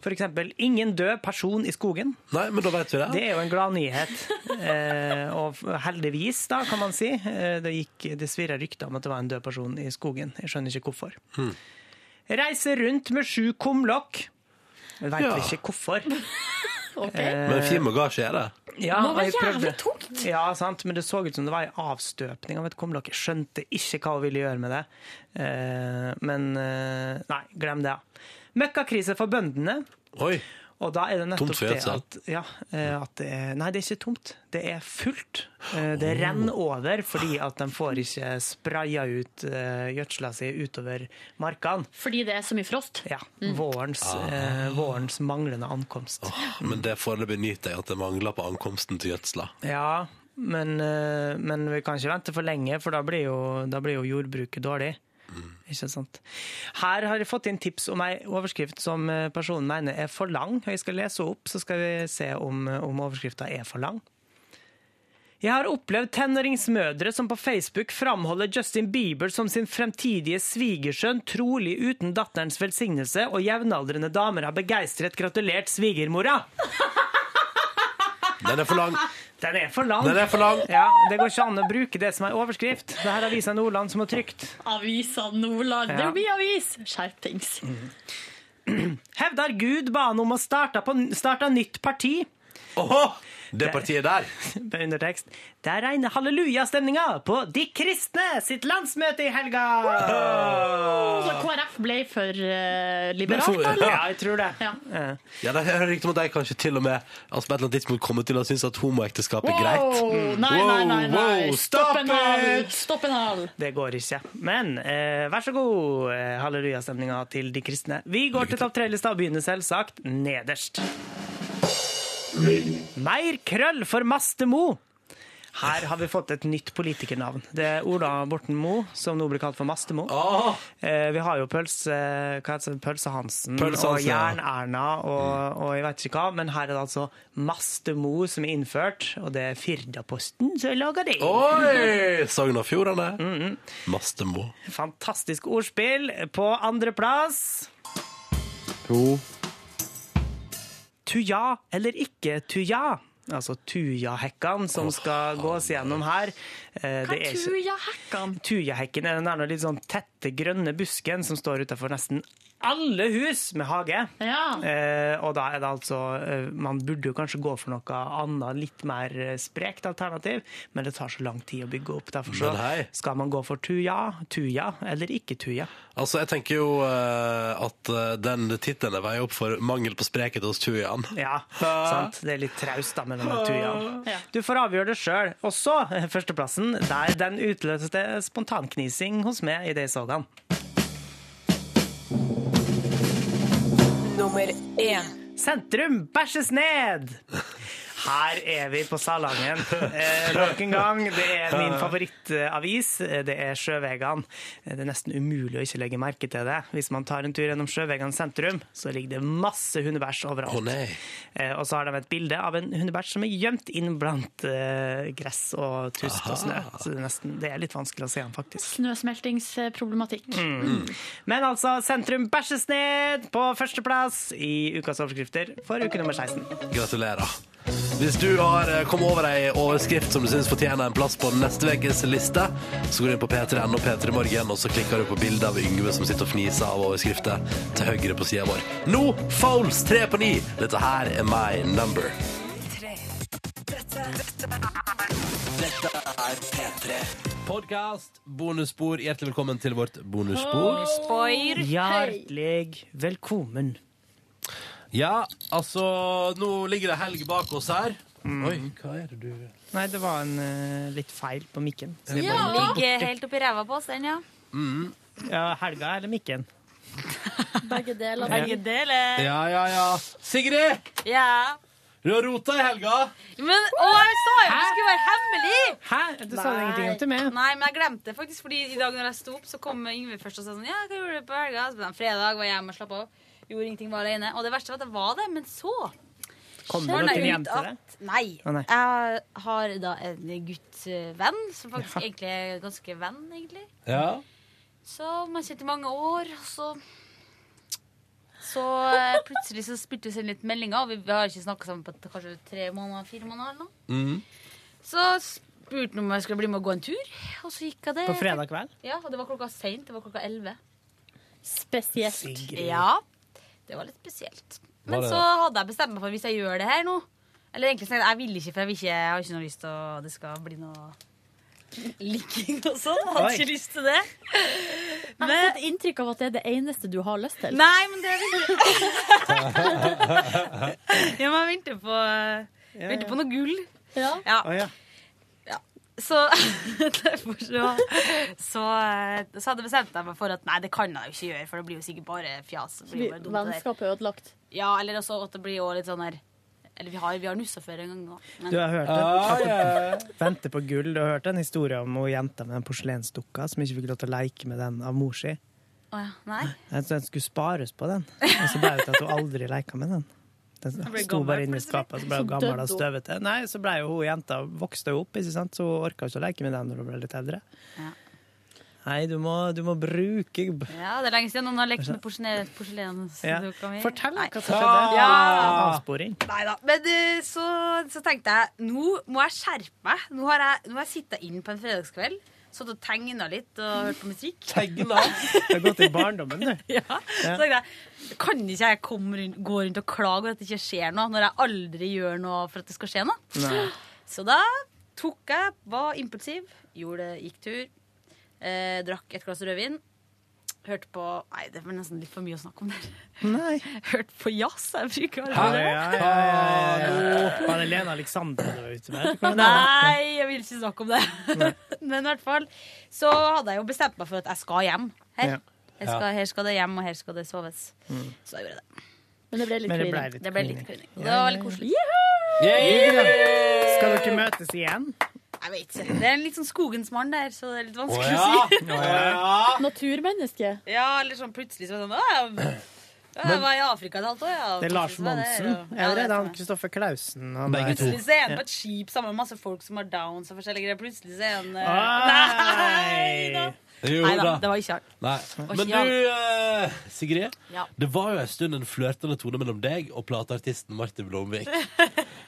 [SPEAKER 3] F.eks.: Ingen død person i skogen.
[SPEAKER 2] Nei, men da vet vi det.
[SPEAKER 3] Det er jo en glad nyhet. Eh, og heldigvis, da, kan man si. Eh, det gikk, det svirra rykter om at det var en død person i skogen. Jeg skjønner ikke hvorfor.
[SPEAKER 2] Hmm.
[SPEAKER 3] Reise rundt med sju kumlokk. Jeg Veit
[SPEAKER 2] Ja.
[SPEAKER 3] ikke hvorfor. Eh,
[SPEAKER 2] Men fin bagasje er det.
[SPEAKER 3] ja,
[SPEAKER 2] Må
[SPEAKER 3] og
[SPEAKER 2] være
[SPEAKER 3] jeg prøvde.
[SPEAKER 2] jævlig
[SPEAKER 3] Ja, sant, men det så ut som det var en avstøpning av et kumlokk. Jeg skjønte ikke hva hun ville gjøre med det. Eh, men eh, nei, glem det. ja. Møkkakrise for bøndene.
[SPEAKER 2] Oi.
[SPEAKER 3] Og da er det nettopp
[SPEAKER 2] Tomt for
[SPEAKER 3] det
[SPEAKER 2] gjødsel.
[SPEAKER 3] at, ja, eh, at det er, Nei, det er ikke tomt. Det er fullt. Eh, Det renner over fordi at de får ikke spraya ut eh, gjødsla si utover markene.
[SPEAKER 4] Fordi det er så mye frost?
[SPEAKER 3] Ja. Vårens,
[SPEAKER 2] Ah.
[SPEAKER 3] eh, vårens manglende ankomst.
[SPEAKER 2] Men det foreløpig nyter jeg at det mangler på ankomsten til gjødsla.
[SPEAKER 3] Ja, men, eh, men vi kan ikke vente for lenge, for da blir jo, da blir jo jordbruket dårlig. Ikke sant? Her har jeg fått inn tips om ei overskrift som eh, personen mener er for lang. Jeg skal lese opp, så skal vi se om, om overskrifta er for lang. Jeg har opplevd tenåringsmødre som på Facebook framholder Justin Bieber som sin fremtidige svigersønn, trolig uten datterens velsignelse, og jevnaldrende damer har begeistret gratulert svigermora.
[SPEAKER 2] Den er for lang.
[SPEAKER 3] Den er for lang.
[SPEAKER 2] Den er for lang.
[SPEAKER 3] Ja, det går ikke an å bruke det som er overskrift. Det her er Avisa Nordland som har trykt.
[SPEAKER 4] Avisa Nordland. Det
[SPEAKER 3] Ja. Mm.
[SPEAKER 4] blir avis! Skjerpings.
[SPEAKER 3] Hevder Gud ba han om å starte, på, starta nytt parti.
[SPEAKER 2] Det partiet der.
[SPEAKER 3] Undertekst. Det er reine hallelujastemninga på De kristne sitt landsmøte i helga!
[SPEAKER 4] Så KrF ble for eh, liberalt, eller?
[SPEAKER 3] Ja, jeg tror det.
[SPEAKER 2] Ja, det hører riktig om at de kanskje til og med altså på et eller annet tidspunkt kommer til å synes at homoekteskap er
[SPEAKER 4] Wow!
[SPEAKER 3] Mm.
[SPEAKER 2] greit.
[SPEAKER 4] Nei, nei, nei, nei.
[SPEAKER 2] Wow,
[SPEAKER 4] Stopp en hal!
[SPEAKER 3] it!
[SPEAKER 4] Stopp en hal!
[SPEAKER 3] Det går ikke. Men eh, vær så god, eh, hallelujastemninga til de kristne. Vi går til topp tre-lista og begynner selvsagt nederst. Mer krøll for Mastemo! Her har vi fått et nytt politikernavn. Det er Ola Borten Moe, som nå blir kalt for Mastemo.
[SPEAKER 2] Ah.
[SPEAKER 3] Eh, vi har jo Pølse, eh, hva heter det, Pølse Hansen
[SPEAKER 2] Pølse Hansen,
[SPEAKER 3] og
[SPEAKER 2] ja.
[SPEAKER 3] Jern-Erna og, og jeg vet ikke hva, men her er det altså Mastemo som er innført, og det er Firdaposten som lager det.
[SPEAKER 2] Oi! Sogn og Fjordane. Mastemo.
[SPEAKER 3] Fantastisk ordspill. På andreplass
[SPEAKER 2] To.
[SPEAKER 3] Tuja eller ikke Tuja. Altså Tujahekkan som skal gås gjennom her. Eh,
[SPEAKER 4] Hva
[SPEAKER 3] det er
[SPEAKER 4] er
[SPEAKER 3] ikke-
[SPEAKER 4] tujahekkan?
[SPEAKER 3] Tujahekken er den der litt sånn tette, grønne busken som står utenfor nesten alle hus med hage. Eh, og da er det altså eh, Man burde jo kanskje gå for noe annet, litt mer eh, sprekt alternativ, men det tar så lang tid å bygge opp. Derfor
[SPEAKER 2] Men hei.
[SPEAKER 3] så skal man gå for tuja, tuja eller ikke tuja.
[SPEAKER 2] Altså, jeg tenker jo eh, at eh, den tittelen er vei opp for mangel på sprekhet hos Tujan.
[SPEAKER 3] Ja, sant? Det er litt traust da mellom tujaene. Du får avgjøre det sjøl. Og så eh, førsteplassen, der den utløste spontanknising hos meg idet jeg så han. Nummer én. Sentrum bæsjes ned! Her er vi på Salangen. Eh, nok en gang. Det er min favorittavis. eh, Det er Sjøvegan. Eh, Det er nesten umulig å ikke legge merke til det. Hvis man tar en tur gjennom Sjøvegan sentrum, så ligger det masse hundebæsj overalt.
[SPEAKER 2] Å, nei.
[SPEAKER 3] Eh, og så har de et bilde av en hundebæsj som er gjemt inn blant eh, gress og tust og snø. Så det er, nesten, det er litt vanskelig å se den, faktisk.
[SPEAKER 4] Snøsmeltingsproblematikk.
[SPEAKER 3] Mm. Men altså, sentrum bæsjes ned på førsteplass i ukas overskrifter for uke nummer 16.
[SPEAKER 2] Gratulerer. Hvis du har eh, kommet over ei overskrift som du syns fortjener en plass på neste ukes liste, så går du inn på p3.no P3 Morgen, og så klikker du på bildet av Yngve som sitter og fniser av overskrifter til høyre på sida vår. Nå Fouls tre på ni! Dette her er my number.
[SPEAKER 5] Dette er P3.
[SPEAKER 2] Podkast, bonusspor. Hjertelig velkommen til vårt bonusspor.
[SPEAKER 5] Spoir.
[SPEAKER 3] Hjertelig velkommen.
[SPEAKER 2] Ja, altså Nå ligger det helg bak oss her. Oi, hva er det du
[SPEAKER 3] Nei, det var en eh, litt feil på mikken.
[SPEAKER 16] Ligger helt oppi ræva på oss, den, ja.
[SPEAKER 3] Mm. Ja, helga eller mikken?
[SPEAKER 16] Begge deler.
[SPEAKER 2] Begge
[SPEAKER 16] deler.
[SPEAKER 2] Ja, ja, ja. Sigrid!
[SPEAKER 16] Ja.
[SPEAKER 2] Du har rota i helga.
[SPEAKER 16] Men, å, jeg sa jo at det skulle være hemmelig!
[SPEAKER 3] Hæ? Du sa
[SPEAKER 16] Nei.
[SPEAKER 3] ingenting om til meg.
[SPEAKER 16] Nei, men jeg glemte det faktisk, fordi i dag når jeg sto opp, så kom Yngve først og sa sånn Ja, hva gjorde du på helga? Så ble det en fredag, var hjemme og slapp av. Gjorde ingenting, var alene. Og det verste var at jeg var det, men så
[SPEAKER 3] Kom
[SPEAKER 16] Skjønner
[SPEAKER 3] det noen
[SPEAKER 16] jeg
[SPEAKER 3] hjem
[SPEAKER 16] ut
[SPEAKER 3] til det?
[SPEAKER 16] at- Nei.
[SPEAKER 3] Å, nei.
[SPEAKER 16] Jeg har da en guttvenn, som faktisk egentlig er ganske venn, egentlig.
[SPEAKER 2] Ja.
[SPEAKER 16] Så man kjente i mange år, og så Så eh, plutselig så spilte vi oss inn litt meldinger, og vi har ikke snakka sammen på kanskje tre måneder, fire måneder eller noe. Så spurte han om jeg skulle bli med og gå en tur, og så gikk jeg det.
[SPEAKER 3] På fredag kveld?
[SPEAKER 16] Ja, og det var klokka seint. Det var klokka elleve.
[SPEAKER 4] Spesielt.
[SPEAKER 16] Sigrid. Ja, det var litt spesielt.
[SPEAKER 2] Var
[SPEAKER 16] Men
[SPEAKER 2] det-
[SPEAKER 16] så hadde jeg bestemt meg for hvis jeg gjør det her nå Eller egentlig sånn, jeg vil ikke, for jeg, vil ikke, jeg har ikke noe lyst til å det skal bli noe Likking og sånn. Jeg hadde
[SPEAKER 4] Oi.
[SPEAKER 16] ikke lyst til det.
[SPEAKER 4] Jeg har fått inntrykk av at det er det eneste du har lyst til.
[SPEAKER 16] Nei, men det er Ja, men jeg venter på,
[SPEAKER 4] Ja,
[SPEAKER 16] venter
[SPEAKER 4] ja.
[SPEAKER 16] på noe gull. Ja. ja. Ja. Så derfor så, så, eh, så hadde jeg bestemt meg for at nei, det kan jeg jo ikke gjøre, for det blir jo sikkert bare fjas. Det blir jo bare dumt det der.
[SPEAKER 4] Vennskapet er ødelagt.
[SPEAKER 16] Ja, eller også at det blir jo litt sånn her Eller vi har, vi har nussa før en gang nå. men-
[SPEAKER 3] Du har hørt det? Vente på gull. Du har hørt en historie om hun jenta med den porselensdukka som ikke fikk lov til å leke med den av mor si.
[SPEAKER 16] Å ja, nei.
[SPEAKER 3] Jeg tenkte Den skulle spares på den, og så ble det til at hun aldri leka med den. Den
[SPEAKER 16] ble
[SPEAKER 3] sto
[SPEAKER 16] gammel
[SPEAKER 3] bare inne i skapet, så ble hun
[SPEAKER 16] Så
[SPEAKER 3] gammel og
[SPEAKER 16] døde hun.
[SPEAKER 3] støvete. Nei, så ble jo hun jenta vokste jo opp, ikke sant? så hun orka ikke å leke med den når hun ble litt eldre.
[SPEAKER 16] Ja.
[SPEAKER 3] Nei, du må, du må bruke
[SPEAKER 16] Ja, det er lenge siden noen har lekt med porselen- porselensdukka mi.
[SPEAKER 3] Fortell
[SPEAKER 16] Nei.
[SPEAKER 3] hva som
[SPEAKER 16] Ah.
[SPEAKER 3] skjedde.
[SPEAKER 16] Ja.
[SPEAKER 3] Avsporing.
[SPEAKER 16] Nei da. Men eh, så, så tenkte jeg nå må jeg skjerpe meg. Nå har jeg, nå har jeg sittet inn på en fredagskveld Satt og tegna litt og hørte på musikk.
[SPEAKER 3] Tegna? Det har gått i barndommen, du.
[SPEAKER 16] Ja. Så tenkte jeg, kan ikke jeg komme rundt, gå rundt og klage over at det ikke skjer noe, når jeg aldri gjør noe for at det skal skje noe?
[SPEAKER 3] Nei.
[SPEAKER 16] Så da tok jeg, var impulsiv, gjorde det, gikk tur, eh, drakk et glass rødvin. Hørte på Nei, det var nesten litt for mye å snakke om der.
[SPEAKER 3] Nei.
[SPEAKER 16] Hørte på jazz. Jeg bruker å
[SPEAKER 3] Ja,
[SPEAKER 16] høre
[SPEAKER 3] ja,
[SPEAKER 16] på.
[SPEAKER 3] ja, ja, ja. Var det Lena Alexander du var ute med? Hvordan er det?
[SPEAKER 16] Nei, jeg vil ikke snakke om det. Men i hvert fall så hadde jeg jo bestemt meg for at jeg skal hjem. Her,
[SPEAKER 3] Ja. Mm.
[SPEAKER 16] jeg skal,
[SPEAKER 3] Ja.
[SPEAKER 16] her skal det hjem, og her skal det soves. Så jeg gjorde det. Men det ble
[SPEAKER 3] litt Men det ble klining. litt
[SPEAKER 16] Det ble litt klining. Og Det var veldig koselig.
[SPEAKER 3] Skal dere møtes igjen?
[SPEAKER 16] Jeg vet ikke. Det er en litt sånn skogens mann der, så det er litt
[SPEAKER 3] Å
[SPEAKER 16] vanskelig
[SPEAKER 3] ja.
[SPEAKER 16] å si.
[SPEAKER 3] Å ja.
[SPEAKER 16] Naturmenneske. Ja, eller sånn plutselig så var det sånn «Å, jeg-
[SPEAKER 3] Men-
[SPEAKER 16] Jeg var i Afrika et halvt år, ja.
[SPEAKER 3] Det er Lars
[SPEAKER 16] Plutselig så var jeg
[SPEAKER 3] Monsen.
[SPEAKER 16] der, og-
[SPEAKER 3] Eller
[SPEAKER 16] Ja, det
[SPEAKER 3] er
[SPEAKER 16] er
[SPEAKER 3] det
[SPEAKER 16] sånn.
[SPEAKER 3] han Kristoffer Klausen? Han
[SPEAKER 16] Begge
[SPEAKER 3] der?
[SPEAKER 16] Plutselig så er han
[SPEAKER 3] Ja.
[SPEAKER 16] på et skip sammen med masse folk som har downs og forskjellige greier. Plutselig så er han eh, Nei da!
[SPEAKER 2] Jo
[SPEAKER 16] Nei da,
[SPEAKER 2] da.
[SPEAKER 16] det var ikke han.
[SPEAKER 2] Nei.
[SPEAKER 16] Og
[SPEAKER 2] Men
[SPEAKER 16] Kjell.
[SPEAKER 2] du, eh, Sigrid.
[SPEAKER 16] Ja.
[SPEAKER 2] Det var jo en stund en flørtende tone mellom deg og plateartisten Martin Blomvik.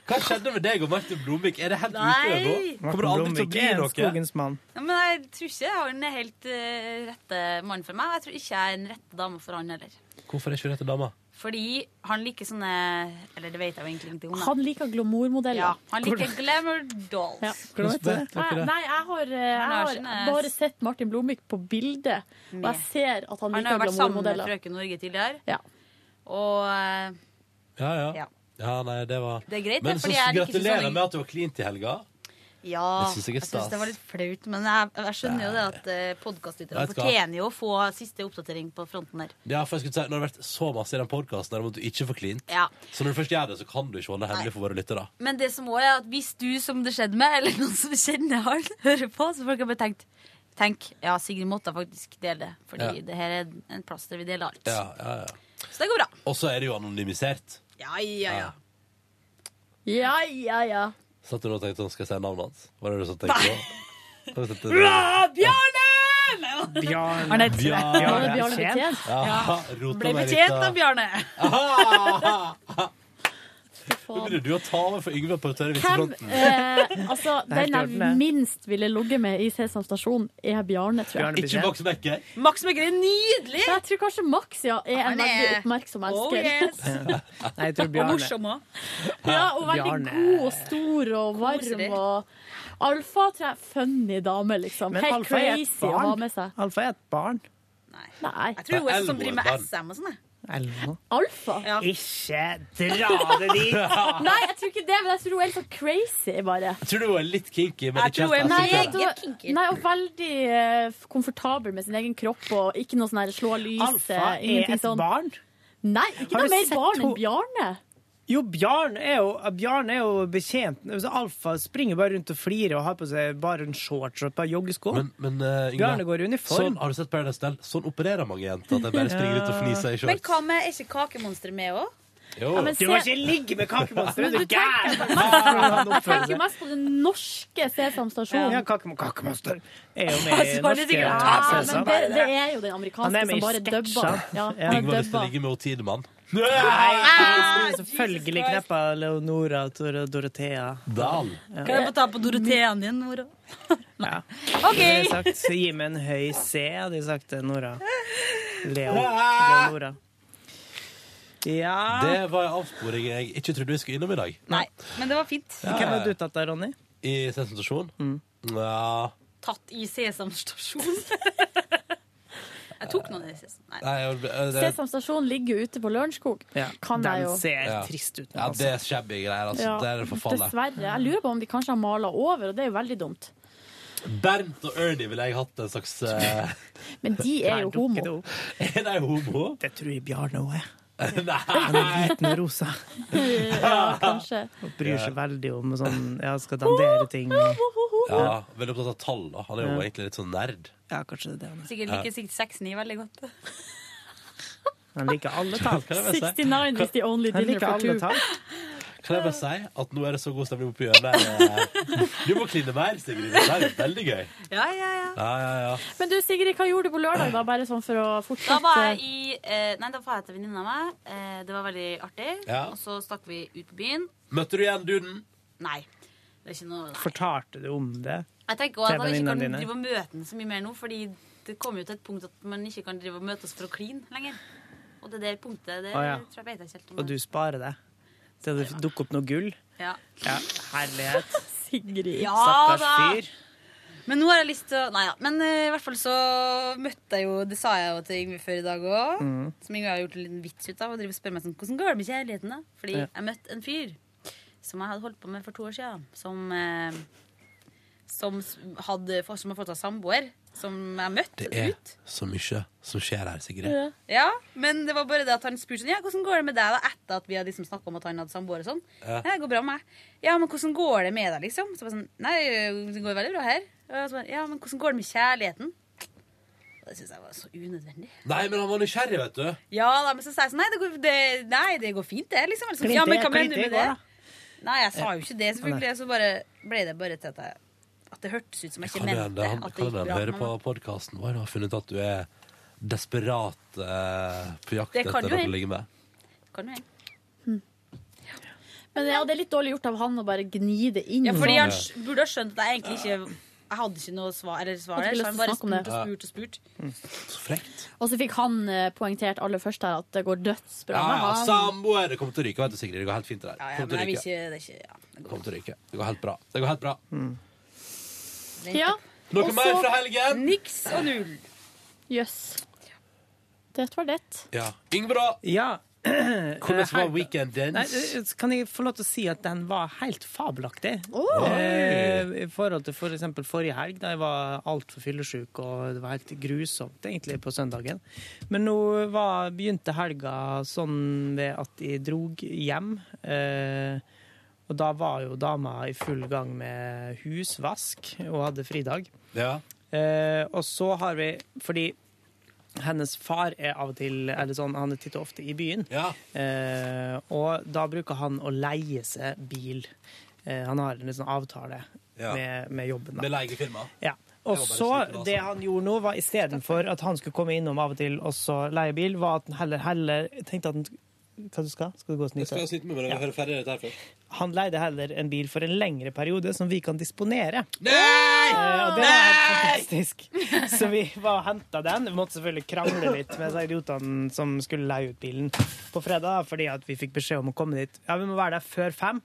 [SPEAKER 2] Hva skjedde med deg og Martin Blomvik? Er det helt ute nå?
[SPEAKER 16] Nei.
[SPEAKER 2] Kommer det aldri til å
[SPEAKER 3] Blomvik
[SPEAKER 2] bli
[SPEAKER 3] er en
[SPEAKER 2] noe?
[SPEAKER 3] skogens mann.
[SPEAKER 16] Ja, Men jeg tror ikke han er helt eh, rette mann for meg. Jeg tror ikke jeg er den rette dama for han heller.
[SPEAKER 2] Hvorfor er ikke du rette dama?
[SPEAKER 16] Fordi han liker sånne Eller det vet jeg jo egentlig ingenting om. da.
[SPEAKER 4] Han liker glamourmodeller.
[SPEAKER 16] ja, han liker glamour dolls.
[SPEAKER 2] Hvordan vet du
[SPEAKER 4] Nei,
[SPEAKER 2] det?
[SPEAKER 4] nei, jeg har, eh, jeg
[SPEAKER 16] Larsen
[SPEAKER 4] har
[SPEAKER 16] er-
[SPEAKER 4] bare sett Martin Blomvik på bildet, og jeg ser at han
[SPEAKER 16] Han har
[SPEAKER 4] liker
[SPEAKER 16] jo vært sammen med
[SPEAKER 4] glamourmodeller.
[SPEAKER 16] frøken Norge tidligere.
[SPEAKER 4] Ja.
[SPEAKER 16] Og eh,
[SPEAKER 2] Ja, ja.
[SPEAKER 16] Ja.
[SPEAKER 2] Ja, nei, det var
[SPEAKER 16] Det er greit,
[SPEAKER 2] Men
[SPEAKER 16] det,
[SPEAKER 2] så
[SPEAKER 16] fordi jeg liker ikke
[SPEAKER 2] gratulerer
[SPEAKER 16] sånn-
[SPEAKER 2] med at du var cleant i helga.
[SPEAKER 16] ja,
[SPEAKER 2] Det synes jeg er stas.
[SPEAKER 16] synes det var litt flaut, men jeg, jeg skjønner jo det at eh,
[SPEAKER 2] Vet
[SPEAKER 16] podkastlytterne
[SPEAKER 2] du hva?
[SPEAKER 16] fortjener jo å få siste oppdatering på fronten der.
[SPEAKER 2] Ja, for jeg skulle si, Når det har vært så masse i den podkasten om at du ikke får cleant,
[SPEAKER 16] Ja.
[SPEAKER 2] så når du først gjør det, så kan du ikke holde det hemmelig for våre lyttere.
[SPEAKER 16] Men det som også er at hvis du som det skjedde med, eller noen som kjenner han, hører på, så folk har bare tenkt Tenk, ja, Sigrid måtte faktisk dele det, fordi
[SPEAKER 2] Ja.
[SPEAKER 16] det her er en plass der vi deler alt.
[SPEAKER 2] Ja, ja, ja.
[SPEAKER 16] Så det går bra.
[SPEAKER 2] Og så er det jo anonymisert.
[SPEAKER 16] Ja, ja, ja.
[SPEAKER 4] Ja, ja, ja.
[SPEAKER 2] Satt du nå og tenkte sånn, skal jeg si navnet hans? Var det det du som tenkte på? Har du sett det?
[SPEAKER 16] Bjarne!
[SPEAKER 3] Bjarne.
[SPEAKER 16] Han heter
[SPEAKER 2] Bjarne.
[SPEAKER 3] Bjarne Bjarne Betjent.
[SPEAKER 2] Ja, rota meg
[SPEAKER 16] Ble
[SPEAKER 2] litt,
[SPEAKER 16] betjent
[SPEAKER 2] da.
[SPEAKER 16] av Bjarne.
[SPEAKER 2] Nå begynner du å ta over for Yngve på tørre
[SPEAKER 4] Hvem,
[SPEAKER 2] vitsefronten.
[SPEAKER 4] eh, altså,
[SPEAKER 2] Det er helt
[SPEAKER 4] den
[SPEAKER 2] i orden, det.
[SPEAKER 4] jeg minst ville ligget med i Sesam stasjon, er Bjarne, tror jeg.
[SPEAKER 2] Ikke Max Becker.
[SPEAKER 16] Max Mekker er nydelig!
[SPEAKER 4] Så jeg tror kanskje Max ja, er en
[SPEAKER 16] Han er-
[SPEAKER 4] veldig oppmerksom
[SPEAKER 16] Oh,
[SPEAKER 4] elsker.
[SPEAKER 16] yes.
[SPEAKER 3] Nei, jeg tror
[SPEAKER 16] Og
[SPEAKER 3] Bjarne.
[SPEAKER 16] morsom òg.
[SPEAKER 4] Ja, og veldig
[SPEAKER 3] Bjarne.
[SPEAKER 4] god og stor og varm og Alfa tror jeg er funny dame, liksom.
[SPEAKER 3] Men
[SPEAKER 4] Helt
[SPEAKER 3] Alfa er
[SPEAKER 4] crazy
[SPEAKER 3] et
[SPEAKER 4] å ha
[SPEAKER 3] barn.
[SPEAKER 4] med seg.
[SPEAKER 3] Alfa er et barn.
[SPEAKER 4] Nei.
[SPEAKER 16] Jeg tror hun er som
[SPEAKER 3] Elmo er
[SPEAKER 16] driver med
[SPEAKER 3] barn.
[SPEAKER 16] SM og sånn. jeg.
[SPEAKER 3] Elmo.
[SPEAKER 4] Alfa?
[SPEAKER 3] Ikke dra det dit!
[SPEAKER 4] Nei, jeg tror ikke det, men jeg tror hun er litt sånn crazy, bare.
[SPEAKER 2] Jeg tror du er litt kinky, men ikke helt
[SPEAKER 4] Nei, jeg
[SPEAKER 2] akseptert.
[SPEAKER 4] tror- nei, og veldig eh, komfortabel med sin egen kropp og ikke noe sånn her slå av lyset.
[SPEAKER 3] Alfa er
[SPEAKER 4] ingenting
[SPEAKER 3] et
[SPEAKER 4] sånn.
[SPEAKER 3] barn.
[SPEAKER 4] Nei, ikke
[SPEAKER 3] Har
[SPEAKER 4] noe
[SPEAKER 3] du
[SPEAKER 4] mer
[SPEAKER 3] sett
[SPEAKER 4] barn enn
[SPEAKER 3] ho-
[SPEAKER 4] Bjarne.
[SPEAKER 3] Jo, Bjarne er jo, Bjarne er jo betjent. Altså, Alfa springer bare rundt og flirer og har på seg bare en shorts og et par joggesko.
[SPEAKER 2] Men, men eh, Yngve,
[SPEAKER 3] Bjarne går i uniform.
[SPEAKER 2] Sånn, har du sett Paradise Hotel? Sånn opererer mange jenter. At de bare springer ut og fniser i
[SPEAKER 16] Men
[SPEAKER 2] shorts.
[SPEAKER 16] hva med er ikke kakemonsteret med òg?
[SPEAKER 2] Jo.
[SPEAKER 4] Ja, men se- Du må ikke
[SPEAKER 3] ligge med kakemonsteret, du
[SPEAKER 4] Jeg tenker mest på den norske Sesam stasjon.
[SPEAKER 3] Ja, kakemo- kakemonster er jo med i
[SPEAKER 4] Altså, bare litt
[SPEAKER 3] norske
[SPEAKER 4] grann. Ja, men
[SPEAKER 3] Sesam.
[SPEAKER 4] det, det er jo den
[SPEAKER 3] Han
[SPEAKER 4] amerikanske
[SPEAKER 3] er med
[SPEAKER 4] som
[SPEAKER 3] i
[SPEAKER 4] bare dubber.
[SPEAKER 3] sketsjer.
[SPEAKER 4] Ja,
[SPEAKER 3] Ja.
[SPEAKER 4] han
[SPEAKER 2] Yngve har lyst til å
[SPEAKER 4] dubber.
[SPEAKER 2] ligge med o Tidemann.
[SPEAKER 4] Ah,
[SPEAKER 3] Nei, jeg skulle selvfølgelig kneppa Leonora Dor Dorothea.
[SPEAKER 2] Dahl.
[SPEAKER 3] Ja.
[SPEAKER 16] Kan jeg få ta på Dorotheaen din, Nora?
[SPEAKER 3] Ja.
[SPEAKER 16] OK!
[SPEAKER 3] Det er sagt, gi meg en høy C, hadde jeg sagt til Nora. Leo.
[SPEAKER 2] Ah!
[SPEAKER 3] Leonora. Ja
[SPEAKER 2] Det var en avsporing jeg ikke trodde vi skulle innom i dag.
[SPEAKER 16] Nei, men det var fint.
[SPEAKER 3] Hvem er du tatt av, Ronny?
[SPEAKER 2] I presentasjon. Ja
[SPEAKER 16] Tatt i Sesam stasjon. Jeg tok noen i Sesam. Nei.
[SPEAKER 2] Nei, jeg- det-
[SPEAKER 4] Sesam stasjon ligger jo ute på Lørenskog. Kan jeg jo.
[SPEAKER 2] Ja. Ja, det er shabby greier, altså.
[SPEAKER 4] Ja,
[SPEAKER 2] Det er det forfallet.
[SPEAKER 4] Dessverre. Jeg lurer på om de kanskje har mala over, og det er jo veldig dumt.
[SPEAKER 2] Bernt og Ernie ville jeg hatt en slags eh,
[SPEAKER 4] Men de er jo homo.
[SPEAKER 2] Er de homo?
[SPEAKER 3] Det tror jeg Bjarne òg er. Han er
[SPEAKER 2] Nei!
[SPEAKER 3] liten og rosa
[SPEAKER 4] Ja, kanskje.
[SPEAKER 3] og bryr seg veldig om sånn Ja, skal dandere ting. og-
[SPEAKER 2] Ja, Veldig opptatt av tall. da Han er jo
[SPEAKER 3] Ja.
[SPEAKER 2] egentlig litt sånn nerd.
[SPEAKER 3] Ja, kanskje det er det han er.
[SPEAKER 16] Sikkert liker sikkert 69 veldig godt.
[SPEAKER 3] Han liker alle tall.
[SPEAKER 2] Kan jeg bare si-
[SPEAKER 4] is the only
[SPEAKER 3] Han
[SPEAKER 4] dinner
[SPEAKER 3] liker
[SPEAKER 4] for
[SPEAKER 3] alle
[SPEAKER 4] two.
[SPEAKER 3] tall.
[SPEAKER 2] Kan jeg bare si at nå er det så god stemning oppe i hjørnet. Du må kline mer, Sigrid. Det er veldig gøy.
[SPEAKER 16] Ja, ja, ja.
[SPEAKER 2] Ja, ja, ja.
[SPEAKER 4] Men du Sigrid, hva gjorde du på lørdag, da? Bare sånn for å
[SPEAKER 16] Da var
[SPEAKER 4] fortsette.
[SPEAKER 16] jeg i eh, Nei, da var jeg til venninna meg. Eh, det var veldig artig.
[SPEAKER 2] Ja.
[SPEAKER 16] Og så stakk vi ut på byen.
[SPEAKER 2] Møtte du igjen duden?
[SPEAKER 16] Nei. Det er ikke noe nei.
[SPEAKER 3] Fortalte du om det
[SPEAKER 16] Jeg tenker også at man ikke kan drive og møte den så mye mer nå, fordi det kommer jo til et punkt at man ikke kan drive og møtes for å kline lenger. Og det der punktet, det
[SPEAKER 3] Å, ja.
[SPEAKER 16] tror jeg vet jeg ikke helt om.
[SPEAKER 3] Og du sparer det til det dukker opp noe gull?
[SPEAKER 16] Ja.
[SPEAKER 3] Ja, herlighet.
[SPEAKER 16] Sigrid.
[SPEAKER 3] Stakkars fyr.
[SPEAKER 8] Men nå har jeg lyst til å Nei ja. Men eh, i hvert fall så møtte jeg jo Det sa jeg jo til Yngve før i dag òg.
[SPEAKER 3] Mhm.
[SPEAKER 2] Mm.
[SPEAKER 8] Som Yngve har gjort en liten vits ut av. Og driver og spør meg sånn Hvordan går det med kjærligheten, da? Fordi
[SPEAKER 16] Ja.
[SPEAKER 8] jeg møtte en fyr som jeg hadde holdt på med for to år siden. Som, eh, som, s- hadde, fått- som har fått seg samboer. Som jeg møtte
[SPEAKER 2] Det er så mye som skjer her, Sigrid.
[SPEAKER 8] Ja, men det var bare det at han spurte sånn, ja, hvordan går det med deg da, etter at vi hadde liksom snakket om at han hadde samboer og sånn.
[SPEAKER 2] Ja.
[SPEAKER 8] Ja. det går bra med meg. Ja, men hvordan går det med deg liksom? Så bare sånn, nei, det går veldig bra her. Og så bare, ja, men hvordan går det med kjærligheten? Og det synes jeg var så unødvendig.
[SPEAKER 2] Nei, men han var nysgjerrig, vet du.
[SPEAKER 8] Ja, da, men så sa jeg sånn, nei, det går, det, nei, det går fint det, liksom. Eller sånn,
[SPEAKER 2] Klinte,
[SPEAKER 8] ja, men hva
[SPEAKER 2] klinte
[SPEAKER 8] mener du
[SPEAKER 2] i
[SPEAKER 8] med
[SPEAKER 2] går,
[SPEAKER 8] det?
[SPEAKER 2] da.
[SPEAKER 8] Nei, jeg sa jo ikke det selvfølgelig,
[SPEAKER 2] Nei.
[SPEAKER 8] og så bare ble det bare til at jeg, at det hørtes ut som jeg ikke
[SPEAKER 2] Kan det hende
[SPEAKER 8] mente
[SPEAKER 2] han,
[SPEAKER 8] at
[SPEAKER 2] kan
[SPEAKER 8] det gikk
[SPEAKER 2] det hende
[SPEAKER 8] bra
[SPEAKER 2] han hører
[SPEAKER 8] med
[SPEAKER 2] på
[SPEAKER 8] meg.
[SPEAKER 2] podkasten vår og har funnet at du er desperat eh, på jakt
[SPEAKER 4] Det
[SPEAKER 2] etter
[SPEAKER 4] kan jo
[SPEAKER 2] noen å
[SPEAKER 4] hende.
[SPEAKER 2] ligge med?
[SPEAKER 8] Kan du henge?
[SPEAKER 4] Men ja, det er litt dårlig gjort av han å bare gni det inn.
[SPEAKER 8] Ja,
[SPEAKER 3] Mm.
[SPEAKER 8] fordi han
[SPEAKER 4] sånn.
[SPEAKER 8] sk- burde ha skjønt at jeg egentlig ikke Jeg hadde ikke noe svar, eller svar
[SPEAKER 4] Hadde
[SPEAKER 8] der,
[SPEAKER 4] ikke
[SPEAKER 8] så
[SPEAKER 4] lyst
[SPEAKER 8] han
[SPEAKER 4] til
[SPEAKER 8] bare
[SPEAKER 4] å
[SPEAKER 8] spurte
[SPEAKER 4] snakke
[SPEAKER 8] og
[SPEAKER 4] om
[SPEAKER 8] spurte og spurte.
[SPEAKER 2] Så frekt.
[SPEAKER 4] Og så fikk han eh, poengtert aller først her at det går dødsbra
[SPEAKER 2] Ja,
[SPEAKER 4] med
[SPEAKER 2] ja,
[SPEAKER 4] han.
[SPEAKER 2] Ah, samboer! Det kommer til å ryke, vet du, Sigrid. Det går helt fint, det der.
[SPEAKER 8] Ja, ja,
[SPEAKER 2] Kommer til
[SPEAKER 8] men
[SPEAKER 2] å
[SPEAKER 8] jeg vil
[SPEAKER 2] ryke.
[SPEAKER 8] ikke, det er ikke ja.
[SPEAKER 2] Det kommer til å ryke. Det går helt bra. Det går helt bra.
[SPEAKER 4] Ja.
[SPEAKER 2] Noe
[SPEAKER 4] Og
[SPEAKER 2] mer
[SPEAKER 4] så-
[SPEAKER 2] fra helgen?
[SPEAKER 8] Niks og null.
[SPEAKER 4] Jøss. Det var det.
[SPEAKER 2] Ja. Yngve, da?
[SPEAKER 3] Ja.
[SPEAKER 2] Hvordan var
[SPEAKER 3] Her-
[SPEAKER 2] weekenden?
[SPEAKER 3] Nei, eh, kan jeg få lov til å si at den var helt fabelaktig?
[SPEAKER 2] Åh.
[SPEAKER 3] Eh, I forhold til for eksempel forrige helg, da jeg var altfor fyllesyk, og det var helt grusomt egentlig på søndagen. Men nå var, begynte helga sånn ved at jeg drog hjem. Eh, og da var jo dama i full gang med husvask og hadde fridag.
[SPEAKER 2] Ja.
[SPEAKER 3] Eh, og så har vi Fordi hennes far er av og til eller sånn, Han er titt og ofte i byen. Eh, og da bruker han å leie seg bil. Eh, han har en liksom avtale
[SPEAKER 2] Ja.
[SPEAKER 3] med, med jobben. Da.
[SPEAKER 2] Med leiefirma?
[SPEAKER 3] Ja.
[SPEAKER 2] Det var
[SPEAKER 3] Og
[SPEAKER 2] bare
[SPEAKER 3] så,
[SPEAKER 2] slik det var,
[SPEAKER 3] det
[SPEAKER 2] altså.
[SPEAKER 3] han gjorde nå, var istedenfor at han skulle komme innom av og til og så leie bil, var at han heller, heller tenkte at han Hva du skal Skal du gå og
[SPEAKER 2] Jeg
[SPEAKER 3] snuse?
[SPEAKER 2] skal sitte med meg og
[SPEAKER 3] Ja.
[SPEAKER 2] høre ferdig dette her først.
[SPEAKER 3] Han leide heller en bil for en lengre periode som vi kan disponere. Eh,
[SPEAKER 2] Nei!
[SPEAKER 3] og det var helt fantastisk. Så vi var og henta den. Vi måtte selvfølgelig krangle litt med de idiotene som skulle leie ut bilen på fredag, fordi at vi fikk beskjed om å komme dit. Ja, vi må være der før fem.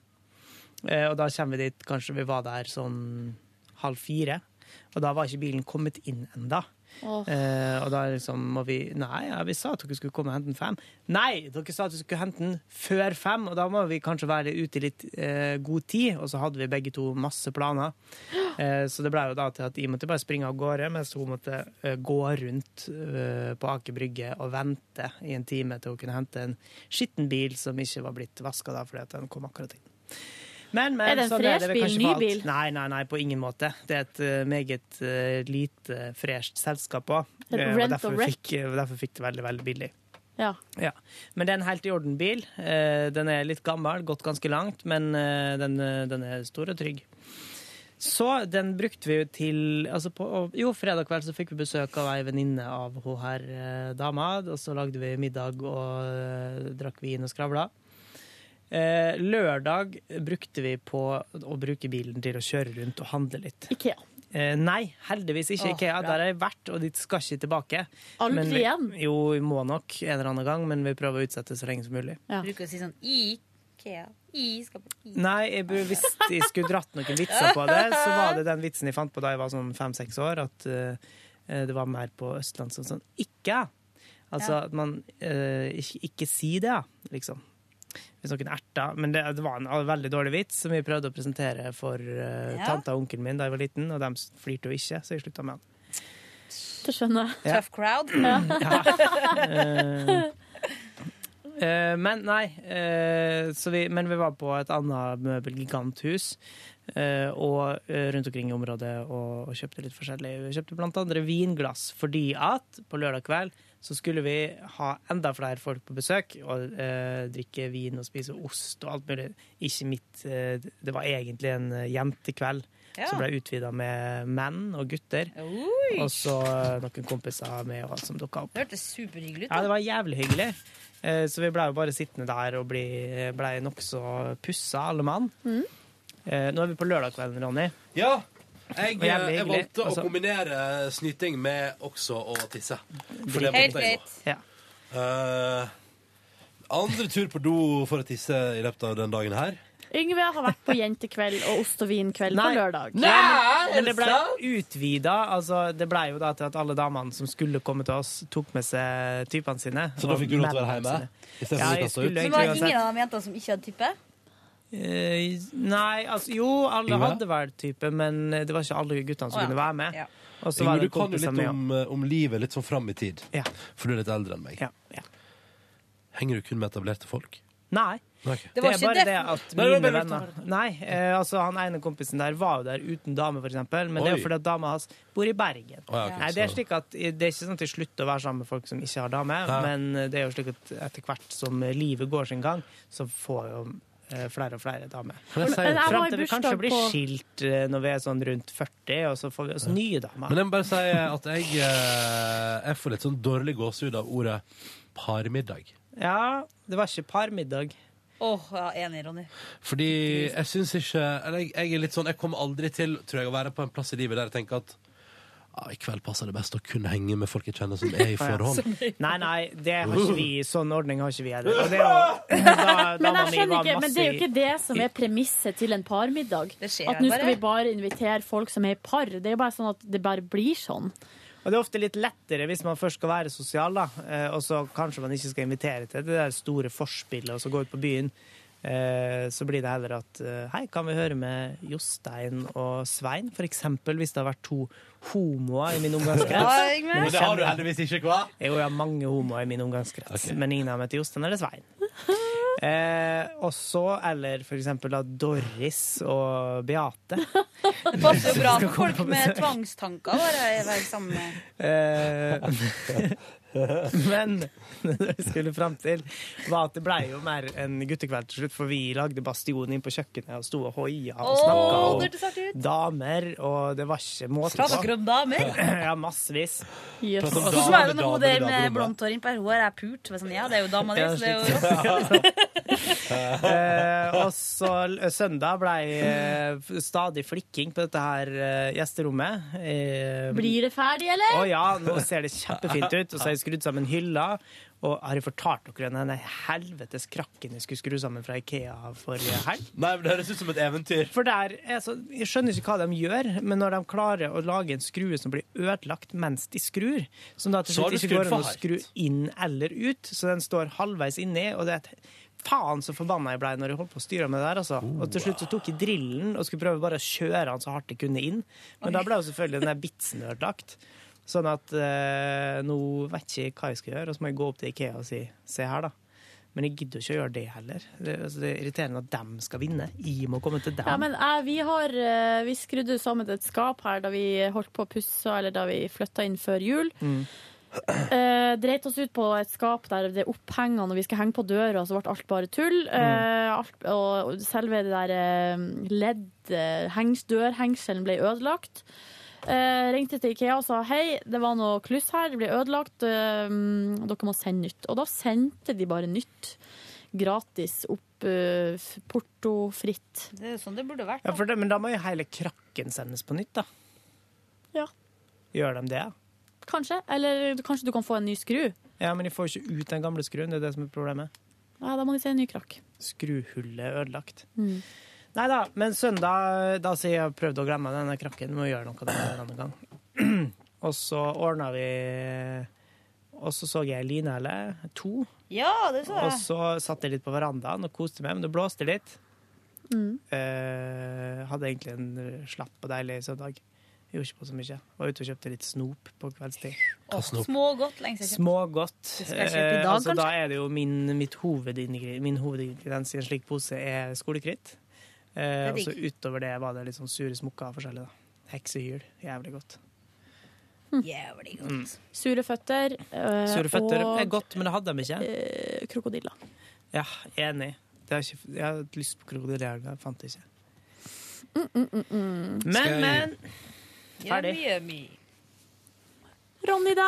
[SPEAKER 3] Eh, Og da kommer vi dit, kanskje vi var der sånn halv fire. Og da var ikke bilen kommet inn enda.
[SPEAKER 4] Åh.
[SPEAKER 3] Eh, og da liksom må vi Nei, ja, vi sa at dere skulle komme og hente den fem. Nei, dere sa at vi skulle hente den før fem, og da må vi kanskje være ute i litt eh, god tid. Og så hadde vi begge to masse planer. Eh, så det ble jo da til at jeg måtte bare springe av gårde, mens hun måtte eh, gå rundt eh, på Aker Brygge og vente i en time til hun kunne hente en skitten bil som ikke var blitt vaska da, fordi at den kom akkurat inn. Men, men,
[SPEAKER 4] Er det en
[SPEAKER 3] sånn er det
[SPEAKER 4] fresh
[SPEAKER 3] vel
[SPEAKER 4] bil,
[SPEAKER 3] kanskje
[SPEAKER 4] ny
[SPEAKER 3] for alt.
[SPEAKER 4] bil?
[SPEAKER 3] Nei, nei, nei, på ingen måte. Det er et eh, meget eh, lite fresht selskap òg.
[SPEAKER 4] Et rent og
[SPEAKER 3] derfor,
[SPEAKER 4] wreck.
[SPEAKER 3] fikk- eh, derfor fikk det veldig, veldig billig.
[SPEAKER 4] Ja.
[SPEAKER 3] Ja. Men det er en helt i orden bil. Eh, Den er litt gammel, gått ganske langt, men eh, den, eh, den er stor og trygg. Så den brukte vi jo til altså på, og- Jo, fredag kveld så fikk vi besøk av ei venninne av hun her eh, dama. Og så lagde vi middag og eh, drakk vin og skravla. Eh, lørdag brukte vi på å bruke bilen til å kjøre rundt og handle litt.
[SPEAKER 4] Ikea.
[SPEAKER 3] Eh, nei, heldigvis ikke
[SPEAKER 4] Åh,
[SPEAKER 3] Ikea.
[SPEAKER 4] bra.
[SPEAKER 3] Der har jeg vært, og dit skal ikke tilbake.
[SPEAKER 8] Aldri
[SPEAKER 3] Men vi,
[SPEAKER 8] igjen?
[SPEAKER 3] Jo, vi må nok en eller annen gang, men vi prøver å utsette så lenge som mulig.
[SPEAKER 8] Bruker å si sånn Ikea. I skal på I.
[SPEAKER 3] Nei, jeg, bur- hvis jeg skulle dratt noen vitser på det, så var det den vitsen jeg fant på da jeg var sånn fem-seks år, at eh, det var mer på Østland som sånn ikke. Altså
[SPEAKER 25] Ja.
[SPEAKER 3] at man eh, ikke, ikke si det, liksom. Hvis noen erter. Men det, det var en veldig dårlig vits som jeg prøvde å presentere for eh,
[SPEAKER 4] Ja.
[SPEAKER 3] tanta og onkelen min da jeg var liten, og de flirte jo ikke, så jeg slutta med den.
[SPEAKER 4] Det skjønner jeg.
[SPEAKER 3] Ja. Tough
[SPEAKER 8] crowd. Mm.
[SPEAKER 3] Eh, Eh, men nei, eh, så vi, men vi var på et annet møbelgiganthus eh, og eh, rundt omkring i området og, og kjøpte litt forskjellig. Vi kjøpte blant andre vinglass fordi at på lørdag kveld så skulle vi ha enda flere folk på besøk og eh, drikke vin og spise ost og alt mulig. Ikke mitt eh, Det var egentlig en eh, jentekveld
[SPEAKER 8] Ja.
[SPEAKER 3] som ble utvida med menn og gutter.
[SPEAKER 8] Oi.
[SPEAKER 3] Og så eh, noen kompiser med og alt som dukka opp.
[SPEAKER 8] Det hørtes superhyggelig ut.
[SPEAKER 3] Ja,
[SPEAKER 8] da.
[SPEAKER 3] det var jævlig hyggelig. Eh, Så vi blei jo bare sittende der og blei ble nokså pussa, alle mann. Eh, nå er vi på lørdagskvelden, Ronny.
[SPEAKER 2] Ja. Jeg, eh,
[SPEAKER 3] Og jævlig
[SPEAKER 2] jeg
[SPEAKER 3] hyggelig.
[SPEAKER 2] valgte
[SPEAKER 3] Altså-
[SPEAKER 2] å kombinere snyting med også å tisse. For det
[SPEAKER 3] Helt
[SPEAKER 2] måtte jeg
[SPEAKER 3] greit.
[SPEAKER 2] gå. Eh, andre tur på do for å tisse i løpet av den dagen her.
[SPEAKER 4] Yngve har vært på jentekveld og ost og vin-kveld på
[SPEAKER 3] Nei.
[SPEAKER 4] lørdag.
[SPEAKER 3] men, men det ble utvida. Altså, det ble jo da til at alle damene som skulle komme til oss, tok med seg typene sine.
[SPEAKER 2] Så da
[SPEAKER 3] og
[SPEAKER 2] fikk du lov til å være
[SPEAKER 3] mennene
[SPEAKER 2] hjemme?
[SPEAKER 3] sine.
[SPEAKER 2] I stedet for å
[SPEAKER 3] Ja,
[SPEAKER 2] bli kastet ut?
[SPEAKER 3] jeg skulle
[SPEAKER 8] Men
[SPEAKER 3] egentlig
[SPEAKER 8] var det ingen
[SPEAKER 3] uansett-
[SPEAKER 8] av de jentene som ikke hadde type?
[SPEAKER 3] Eh, nei, altså jo, alle
[SPEAKER 2] Yngve?
[SPEAKER 3] hadde vel type, men det var ikke alle guttene som
[SPEAKER 8] Å, ja.
[SPEAKER 3] kunne være med.
[SPEAKER 8] Ja.
[SPEAKER 3] Og så
[SPEAKER 2] Yngve,
[SPEAKER 3] var det
[SPEAKER 2] du kan jo
[SPEAKER 3] kompisene
[SPEAKER 2] litt
[SPEAKER 3] mine.
[SPEAKER 2] om, om livet litt sånn fram i tid. For du er litt eldre enn meg. Henger du kun med etablerte folk?
[SPEAKER 3] Nei.
[SPEAKER 2] Nei, ok.
[SPEAKER 3] Det, er bare det at
[SPEAKER 2] Nei, det
[SPEAKER 3] mine
[SPEAKER 2] var bare
[SPEAKER 3] venner
[SPEAKER 2] rykter.
[SPEAKER 3] Nei, eh, altså han ene kompisen der var jo der uten dame, for eksempel. Men det er
[SPEAKER 2] Oi.
[SPEAKER 3] jo fordi at dama hans bor i Bergen.
[SPEAKER 2] Å, ja, ok,
[SPEAKER 3] Nei, det er
[SPEAKER 2] så-
[SPEAKER 3] slik at eh, det er ikke sånn at de slutter å være sammen med folk som ikke har dame,
[SPEAKER 2] Ja.
[SPEAKER 3] men eh, det er jo slik at etter hvert som eh, livet går sin gang, så får jo eh, flere og flere damer.
[SPEAKER 2] Kan jeg si- Men jeg var i
[SPEAKER 3] Fram til vi kanskje
[SPEAKER 2] bursdag
[SPEAKER 3] blir
[SPEAKER 2] på-
[SPEAKER 3] skilt eh, når vi er sånn rundt 40, og så får vi oss nye damer.
[SPEAKER 2] Men jeg må bare si at jeg, eh, jeg får litt sånn dårlig gåsehud av ordet parmiddag.
[SPEAKER 3] Ja, det var ikke parmiddag.
[SPEAKER 8] Åh, ja, enig, Ronny.
[SPEAKER 2] Fordi jeg syns ikke Eller jeg, jeg er litt sånn Jeg kommer aldri til, tror jeg, å være på en plass i livet der jeg tenker at ja, i kveld passer det best å kun henge med folk jeg kjenner som er i forhold.
[SPEAKER 3] Nei, nei, det har ikke vi. Sånn ordning har ikke vi heller. Og det er jo, da,
[SPEAKER 4] Men
[SPEAKER 3] dama
[SPEAKER 4] jeg
[SPEAKER 3] mi var
[SPEAKER 4] skjønner ikke, men
[SPEAKER 3] masse
[SPEAKER 4] det er jo
[SPEAKER 3] i-
[SPEAKER 4] ikke det som er premisset til en parmiddag.
[SPEAKER 8] skjer
[SPEAKER 4] At nå
[SPEAKER 8] bare.
[SPEAKER 4] skal vi bare invitere folk som er i par. Det er jo bare sånn at det bare blir sånn.
[SPEAKER 3] Og det er ofte litt lettere hvis man først skal være sosial, da. Eh, og så kanskje man ikke skal invitere til det der store forspillet, og så gå ut på byen. Eh, så blir det heller at eh, hei, kan vi høre med Jostein og Svein, for eksempel, hvis det har vært to homoer i min omgangskrets.
[SPEAKER 2] Ja, Yngve. Men det har du heldigvis ikke, hva?
[SPEAKER 3] Jo, jeg har mange homoer i min omgangskrets, men ingen av dem heter Jostein eller Svein. Eh, og så, eller for eksempel da Doris og Beate.
[SPEAKER 8] Det passer jo bra for folk med tvangstanker å være være sammen med
[SPEAKER 3] Eh, Men det jeg skulle fram til, var at det blei jo mer en guttekveld til slutt, for vi lagde bastion inn på kjøkkenet og sto og hoia og
[SPEAKER 8] Åh, det
[SPEAKER 3] snakka
[SPEAKER 8] hørtes artig
[SPEAKER 3] om damer, og det var ikke måte
[SPEAKER 8] Snakket dere om damer?
[SPEAKER 3] Ja, massevis.
[SPEAKER 4] Yes.
[SPEAKER 8] Og så var jo når hun der med blondt hår innpå her, hun er pult. Så var jeg sånn, ja, det er jo dama di, så det er jo
[SPEAKER 3] Eh, og så l- søndag blei eh, f- stadig flikking på dette her eh, gjesterommet. Eh,
[SPEAKER 4] Blir det ferdig, eller?
[SPEAKER 3] Å ja, nå ser det kjempefint ut. Og så har jeg skrudd sammen hylla. Og har jeg fortalt dere den der helvetes krakken jeg skulle skru sammen fra Ikea forrige helg?
[SPEAKER 2] Nei, men Det høres ut som et eventyr.
[SPEAKER 3] For der, er så- Jeg skjønner ikke hva de gjør, men når de klarer å lage en skrue som blir ødelagt mens de skrur, som da til
[SPEAKER 2] Så har
[SPEAKER 3] slutt
[SPEAKER 2] du
[SPEAKER 3] ikke går
[SPEAKER 2] skrudd
[SPEAKER 3] an å
[SPEAKER 2] for hardt.
[SPEAKER 3] skru inn eller ut, så den står halvveis inni, og det er et Faen så forbanna jeg blei når jeg holdt på å styre med det der. Altså.
[SPEAKER 2] Oh,
[SPEAKER 3] Og til slutt så tok jeg drillen og skulle prøve bare å kjøre han så hardt jeg kunne inn. Men da ble jo selvfølgelig den der bitsen ødelagt. Sånn at eh, nå vet jeg ikke hva jeg skal gjøre, og så må jeg gå opp til Ikea og si se her, da. Men jeg gidder jo ikke å gjøre det heller. Det, altså, det er irriterende at dem skal vinne. Jeg må komme til dem.
[SPEAKER 4] Ja, men jeg, vi, har, eh, vi skrudde jo sammen et skap her da vi holdt på å pusse, eller da vi flytta inn før jul.
[SPEAKER 3] Mm.
[SPEAKER 4] Eh, dreit oss ut på et skap der det er opphengende, og vi skal henge på døra, så ble alt bare tull. Eh, alt, og og selve det der eh, ledd, eh, hengs, dørhengselen ble ødelagt. Eh, ringte til Ikea og sa hei, det var noe kluss her, det ble ødelagt, eh, dere må sende nytt. Og da sendte de bare nytt. Gratis, opp eh, f- portofritt.
[SPEAKER 8] Det er jo sånn det burde vært.
[SPEAKER 3] Ja, for det, men da må jo hele krakken sendes på nytt, da.
[SPEAKER 4] Ja.
[SPEAKER 3] Gjør de det?
[SPEAKER 4] Kanskje. Eller du- kanskje du kan få en ny skru.
[SPEAKER 3] Ja, men de får jo ikke ut den gamle skruen. Det er det som er problemet.
[SPEAKER 4] Nei, da må de se en ny krakk.
[SPEAKER 3] Skruhullet er ødelagt.
[SPEAKER 4] Mm.
[SPEAKER 3] Nei da, men søndag da sier jeg prøvde å glemme denne krakken. Må gjøre noe av det en annen gang. Og så ordna vi Og så så jeg Linehelle to.
[SPEAKER 8] Ja, det så
[SPEAKER 3] Og
[SPEAKER 8] jeg.
[SPEAKER 3] så satt jeg litt på verandaen og koste meg, men det blåste litt.
[SPEAKER 8] Mm.
[SPEAKER 3] Eh, hadde egentlig en slapp og deilig søndag. Gjorde ikke på så mye. Var ute og kjøpte litt snop på kveldstid.
[SPEAKER 8] Smågodt lenge siden.
[SPEAKER 3] Smågodt.
[SPEAKER 8] Det skal jeg kjøpe i dag,
[SPEAKER 3] Eh, altså, da
[SPEAKER 8] kanskje?
[SPEAKER 3] er det jo min, mitt hovedingre- min hovedingrediens i en slik pose er skolekritt. Eh,
[SPEAKER 8] Det er
[SPEAKER 3] og så
[SPEAKER 8] digg.
[SPEAKER 3] utover det var det litt sånn sure smokker forskjellig. da. Heksehyl. Jævlig godt.
[SPEAKER 8] Jævlig godt.
[SPEAKER 3] Mm.
[SPEAKER 4] Sure føtter. eh,
[SPEAKER 3] Sure føtter
[SPEAKER 4] og
[SPEAKER 3] er godt, men det hadde de ikke.
[SPEAKER 4] eh, krokodiller.
[SPEAKER 3] Ja, enig. Det har ikke, jeg har hatt lyst på krokodille i helga, jeg fant det ikke.
[SPEAKER 4] Mm, mm, mm, mm.
[SPEAKER 3] Men, men.
[SPEAKER 8] Ferdig.
[SPEAKER 3] Ferdig.
[SPEAKER 4] Ronny, da?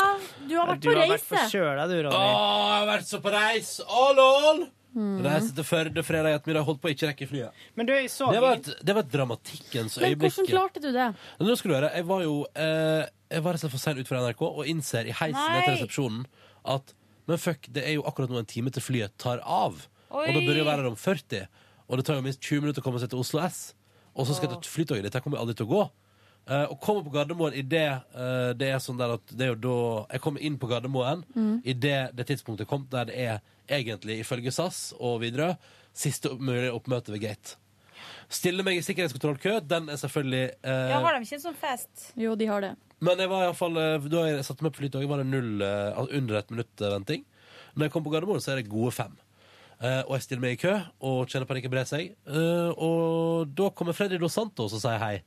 [SPEAKER 4] Du har vært
[SPEAKER 3] Du
[SPEAKER 4] på
[SPEAKER 3] har vært
[SPEAKER 4] reise.
[SPEAKER 3] forkjøla,
[SPEAKER 2] Å,
[SPEAKER 3] du, Ronny.
[SPEAKER 2] jeg har vært så på reis! Å, lol!
[SPEAKER 4] Mm.
[SPEAKER 2] Reise til Førde fredag ettermiddag, holdt på å ikke rekke flyet.
[SPEAKER 3] Men du, jeg så
[SPEAKER 2] Det var, et, det var et dramatikkens
[SPEAKER 4] Men
[SPEAKER 2] øyeblikk.
[SPEAKER 4] hvordan klarte du det?
[SPEAKER 2] Men nå skal du høre, jeg var jo eh, Jeg var rett og slett for sen ut fra NRK og innser i heisen
[SPEAKER 4] Nei!
[SPEAKER 2] ned til resepsjonen at Men fuck, det er jo akkurat nå en time til flyet tar av. Og da
[SPEAKER 4] Oi!
[SPEAKER 2] bør det jo være her om 40. Og det tar jo minst 20 minutter å komme seg til Oslo S. Og så skal jeg til flytoget ditt. Jeg kommer aldri til å gå. Eh, og kommer på Gardermoen i det eh, Det er sånn der at det er jo da Jeg kommer inn på Gardermoen
[SPEAKER 26] Mm.
[SPEAKER 2] i det, det tidspunktet kom der det er egentlig, ifølge SAS og Widerøe, siste mulige oppmøte ved gate. Stille meg i sikkerhetskontrollkø. Den er selvfølgelig eh,
[SPEAKER 8] Ja, har de ikke en sånn fest?
[SPEAKER 4] Jo, de har det.
[SPEAKER 2] men jeg var i hvert fall, eh, da jeg satte meg på flytoget, var det null, eh, al- under et minutt eh, venting. Når jeg kom på Gardermoen, så er det gode fem. Eh, og jeg stiller meg i kø, og kjenner panikken bre seg. Eh, og da kommer Freddy Dos Santos og sier hei.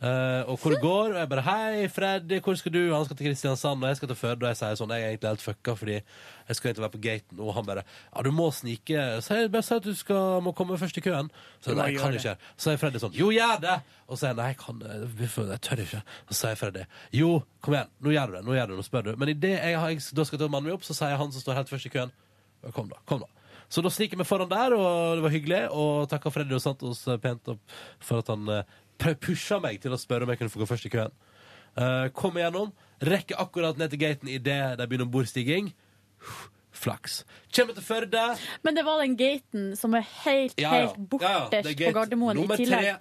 [SPEAKER 2] Eh, og hvor det går, og jeg bare Hei, Freddy, hvor skal du? Han skal til Kristiansand, og jeg skal til Førde. Og jeg sier sånn, jeg er egentlig helt fucka, fordi jeg skulle egentlig være på gaten. Og han bare Ja, du må snike. Så jeg bare sier at du skal, må komme først i køen. Så
[SPEAKER 25] Du
[SPEAKER 2] jeg,
[SPEAKER 25] må
[SPEAKER 2] nei, jeg kan
[SPEAKER 25] gjøre
[SPEAKER 2] ikke. Så er Freddy sånn Jo, gjør det! Og så er jeg nei, jeg kan jeg føler- jeg tør ikke. Så sier Freddy jo, kom igjen, nå gjør du det. nå gjør du det, nå spør du. Men idet jeg, har- jeg da skal ta mannen min opp, så sier han som står helt først i køen, kom da. kom da. Så da sniker jeg meg foran der, og det var hyggelig. Og takka Freddy og Santos eh, pent opp for at han eh, pr- pusha meg til å spørre om jeg kunne få gå først i køen. Eh, kom igjennom. Rekker akkurat ned til gaten idet de begynner ombordstiging. Flaks. Kommer til Førde.
[SPEAKER 4] Men det var den gaten som er helt,
[SPEAKER 2] Ja, ja.
[SPEAKER 4] helt
[SPEAKER 2] Ja, ja,
[SPEAKER 4] borterst
[SPEAKER 2] det er
[SPEAKER 4] på
[SPEAKER 2] gate
[SPEAKER 4] Gardermoen i
[SPEAKER 2] nummer
[SPEAKER 4] tillegg.
[SPEAKER 2] tre.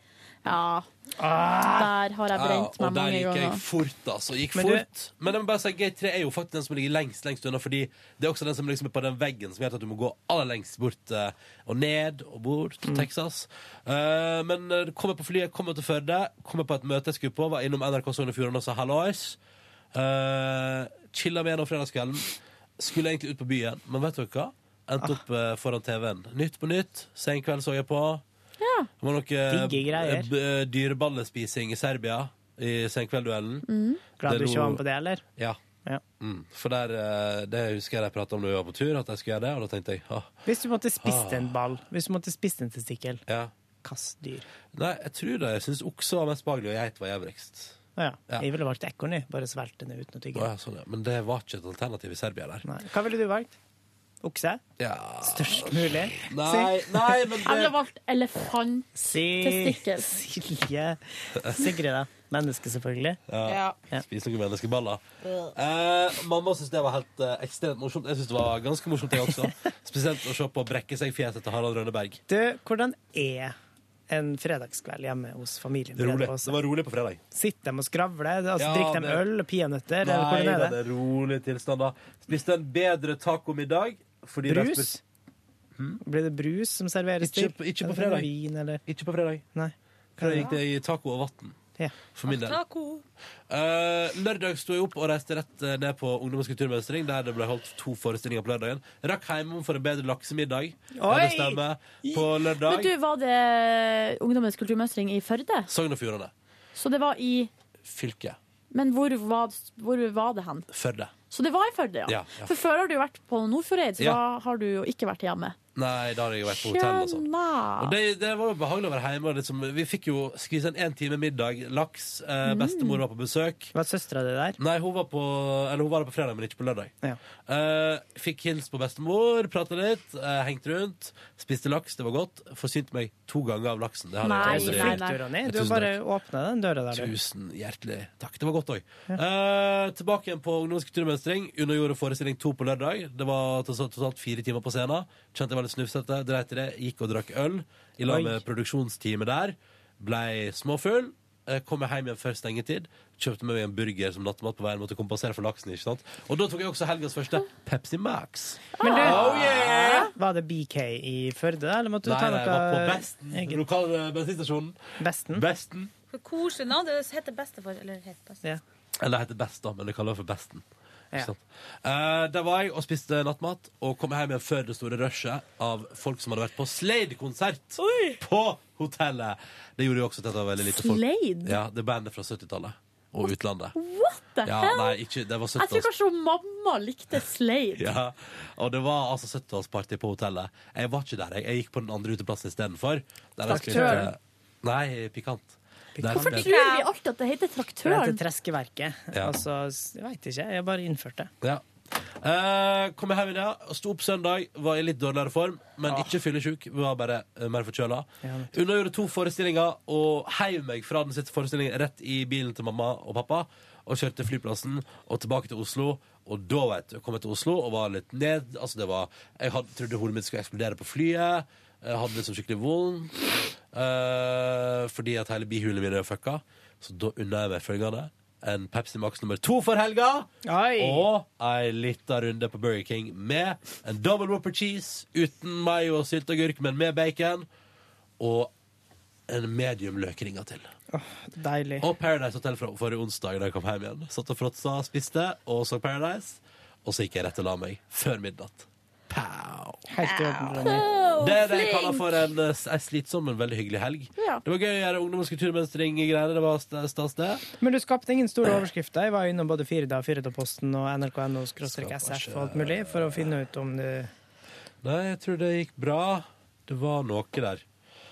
[SPEAKER 2] Ah.
[SPEAKER 4] Ja. Der har jeg brent
[SPEAKER 2] Ja,
[SPEAKER 4] meg
[SPEAKER 2] Og
[SPEAKER 4] mange
[SPEAKER 2] der gikk
[SPEAKER 4] ganger.
[SPEAKER 2] jeg fort, altså. Gikk
[SPEAKER 3] Men
[SPEAKER 2] men
[SPEAKER 3] du-
[SPEAKER 2] fort. Men jeg må bare si, gate 3 er jo faktisk den som ligger lengst lengst unna, fordi det er også den som liksom er på den veggen som gjør at du må gå aller lengst bort eh, og ned og bort til
[SPEAKER 4] Mm.
[SPEAKER 2] Texas. Eh, men uh, kommer på flyet, kommer til Førde, kommer på et møte jeg skulle på, var innom NRK Sogn og Fjordane og sa hallois. Uh, chilla med gjennom fredagskvelden. Skulle egentlig ut på byen, men vet dere hva?
[SPEAKER 3] Ah.
[SPEAKER 2] Endte opp eh, foran TV-en. Nytt på nytt. Sen kveld så jeg på. Det var noe eh,
[SPEAKER 3] Digge greier.
[SPEAKER 2] b- eh, dyreballespising i Serbia i senkveldduellen.
[SPEAKER 3] Mm. Glad
[SPEAKER 2] Det
[SPEAKER 3] du ikke
[SPEAKER 2] lo-
[SPEAKER 3] var med på det, eller?
[SPEAKER 2] Ja. Mm. For der, eh, det husker jeg de prata om da vi var på tur, at jeg skulle gjøre det, og da tenkte jeg ah,
[SPEAKER 3] Hvis du måtte spist
[SPEAKER 2] Ah.
[SPEAKER 3] en ball, hvis du måtte spist en testikkel,
[SPEAKER 2] ja.
[SPEAKER 3] kast dyr.
[SPEAKER 2] Nei, jeg tror det. Jeg syns okse var mest behagelig, og geit var jævligst.
[SPEAKER 3] Å ja.
[SPEAKER 2] Ja.
[SPEAKER 3] Jeg ville valgt ekorn, jeg. bare svelge den uten å
[SPEAKER 2] Å
[SPEAKER 3] tygge.
[SPEAKER 2] ja, sånn, ja. Men det var ikke et alternativ i Serbia der.
[SPEAKER 3] Hva ville du valgt? Okse?
[SPEAKER 2] Ja.
[SPEAKER 3] Størst mulig?
[SPEAKER 2] Nei, nei, men
[SPEAKER 4] Jeg ville valgt elefant.
[SPEAKER 3] Si-
[SPEAKER 4] Testikkel.
[SPEAKER 3] Silje. Sigrid, da. Menneske, selvfølgelig.
[SPEAKER 2] Ja.
[SPEAKER 3] Ja.
[SPEAKER 2] Spis noen menneskeballer. Eh, mamma syntes det var helt eh, ekstremt morsomt. Jeg syntes det var ganske morsomt, jeg også. Spesielt å se på brekke seg fjeset til Harald Rønneberg.
[SPEAKER 3] Du, hvordan er en fredagskveld hjemme hos familien?
[SPEAKER 2] Det er rolig.
[SPEAKER 3] Bredås?
[SPEAKER 2] Det var rolig på fredag.
[SPEAKER 3] Sitter de og skravler? Altså,
[SPEAKER 2] Ja,
[SPEAKER 3] drikker de
[SPEAKER 2] det-
[SPEAKER 3] øl og peanøtter? eller
[SPEAKER 2] Nei,
[SPEAKER 3] hvordan er
[SPEAKER 2] da,
[SPEAKER 3] det?
[SPEAKER 2] det er rolig tilstand da. Spiste en bedre tacomiddag. fordi det er
[SPEAKER 3] Brus?
[SPEAKER 2] spes-
[SPEAKER 3] Blir det brus som serveres
[SPEAKER 2] Hmm? Ikke-
[SPEAKER 3] til?
[SPEAKER 2] ikke på
[SPEAKER 3] Eller
[SPEAKER 2] fredag.
[SPEAKER 3] blir det Vin, eller?
[SPEAKER 2] Ikke på fredag.
[SPEAKER 3] Nei.
[SPEAKER 2] Hva gikk det i taco og vann?
[SPEAKER 3] Ja.
[SPEAKER 2] For min del.
[SPEAKER 8] Taco.
[SPEAKER 2] Eh, lørdag sto jeg opp og reiste rett eh, ned på Ungdommens kulturmønstring, der det ble holdt to forestillinger på lørdagen. Rakk hjemom for en bedre laksemiddag. Ja,
[SPEAKER 4] Oi!
[SPEAKER 2] Det stemmer. På
[SPEAKER 4] Men
[SPEAKER 2] lørdag.
[SPEAKER 4] du, var det Ungdommens kulturmønstring i Førde?
[SPEAKER 2] Sogn og Fjordane.
[SPEAKER 4] Så det var i
[SPEAKER 2] Fylke.
[SPEAKER 4] Men hvor var, hvor var det hen?
[SPEAKER 2] Førde.
[SPEAKER 4] Så det var i Førde, ja.
[SPEAKER 2] Ja, ja.
[SPEAKER 4] For før har du jo vært på Nordfjordeid, så
[SPEAKER 2] Ja.
[SPEAKER 4] da har du jo ikke vært hjemme.
[SPEAKER 2] Nei, da har jeg vært på hotell og sånn. Og
[SPEAKER 4] Skjønna!
[SPEAKER 2] det, det var jo behagelig å være hjemme. og Liksom, vi fikk jo skvise en én time middag, laks. Eh,
[SPEAKER 3] Mm.
[SPEAKER 2] bestemor var på besøk.
[SPEAKER 3] Var søstera di der?
[SPEAKER 2] Nei, hun var, på, eller hun var der på fredag, men ikke på lørdag. Eh, fikk hils på bestemor, prata litt, eh, hengte rundt. Spiste laks, det var godt. Forsynte meg to ganger av laksen. Det har
[SPEAKER 3] Nei,
[SPEAKER 2] jeg aldri
[SPEAKER 3] nei,
[SPEAKER 2] gjort.
[SPEAKER 3] nei. Ronny,
[SPEAKER 2] Jeg
[SPEAKER 3] Du
[SPEAKER 2] tusen
[SPEAKER 3] bare
[SPEAKER 2] takk.
[SPEAKER 3] åpna den døra der, du.
[SPEAKER 2] Tusen hjertelig takk. Det var godt òg. Eh, tilbake igjen på Ungdommens kulturmønstring. Undergjorde forestilling to på lørdag. Det var to- totalt fire timer på scenen. Kjente jeg var litt snufsete, dreit i det. Gikk og drakk øl i lag
[SPEAKER 25] Oi.
[SPEAKER 2] med produksjonsteamet der. Blei småfull. Eh, Kom jeg hjem igjen før stengetid. Kjøpte med meg en burger som nattmat på veien. Måtte kompensere for laksen. ikke sant? Og da tok jeg også helgas første Pepsi Max.
[SPEAKER 3] Men du,
[SPEAKER 2] Oh, yeah!
[SPEAKER 3] var det BK i Førde, da, eller måtte du
[SPEAKER 2] Nei,
[SPEAKER 3] ta
[SPEAKER 2] nei,
[SPEAKER 3] noe
[SPEAKER 2] jeg var på Besten, lokal eh, bensinstasjonen.
[SPEAKER 3] Besten?
[SPEAKER 2] Besten.
[SPEAKER 8] Så Koselig navn. Det heter bestefar. Eller heter best.
[SPEAKER 3] Ja.
[SPEAKER 2] Eller det heter Best, da, men det kaller jeg for Besten.
[SPEAKER 8] Ja.
[SPEAKER 2] Ikke sant? Eh, der var jeg og spiste nattmat, og kom hjem igjen før det store rushet av folk som hadde vært på Slade-konsert på hotellet. Det gjorde jo også at det var veldig lite folk.
[SPEAKER 4] Slade?
[SPEAKER 2] Ja, det er bandet fra 70-tallet og utlandet.
[SPEAKER 4] What the
[SPEAKER 2] Ja,
[SPEAKER 4] hell?
[SPEAKER 2] nei, ikke, det var
[SPEAKER 4] Jeg tror
[SPEAKER 2] 70-tallet.
[SPEAKER 4] kanskje hun mamma likte Slade.
[SPEAKER 2] Ja, og det var altså 70-tallsparty på hotellet. Jeg var ikke der, jeg. Jeg gikk på den andre uteplassen istedenfor. Der jeg
[SPEAKER 3] Traktøren?
[SPEAKER 2] spilte- Nei, Pikant. Der
[SPEAKER 3] Hvorfor
[SPEAKER 2] spilte-
[SPEAKER 4] Tror vi alltid at det heter
[SPEAKER 3] Det heter
[SPEAKER 4] Traktøren?
[SPEAKER 3] Treskeverket.
[SPEAKER 2] Ja.
[SPEAKER 3] Altså, s- jeg veit ikke, jeg bare innførte det.
[SPEAKER 2] Ja. Eh, kom jeg hjem i dag, sto opp søndag, var i litt dårligere form, men ikke fyllesyk. Var bare eh, mer forkjøla. Unnagjorde to forestillinger og heiv meg fra den siste forestillingen rett i bilen til mamma og pappa. Og kjørte til flyplassen og tilbake til Oslo. Og da vet du, kom jeg til Oslo og var litt ned. Altså, det var, jeg hadde, trodde hodet mitt skulle eksplodere på flyet. Jeg hadde liksom skikkelig vondt. eh, fordi at hele bihulene mine er fucka. Så da unna jeg meg følgende. En Pepsi Max nummer to for helga. Og ei lita runde på Burger King med en double whopper cheese uten mayo og sylteagurk, men med bacon. Og en medium løkringer til.
[SPEAKER 3] Deilig.
[SPEAKER 2] Og Paradise Hotel fra forrige onsdag da jeg kom hjem igjen. Satt og fråtsa, spiste og så Paradise. Og så gikk jeg rett og la meg før midnatt.
[SPEAKER 3] Helt i orden, Ronny.
[SPEAKER 2] Det er det jeg kaller for en, eh, s- en slitsom, men veldig hyggelig helg.
[SPEAKER 3] Ja.
[SPEAKER 2] Det var gøy å gjøre ungdommens kulturmønstring-greier. Det var st- stas, det.
[SPEAKER 3] Men du skapte ingen store overskrifter. Jeg var innom både Firda, Firdaposten og nrk.no SF og alt mulig for å finne ut om du
[SPEAKER 2] Nei, jeg tror det gikk bra. Det var noe der.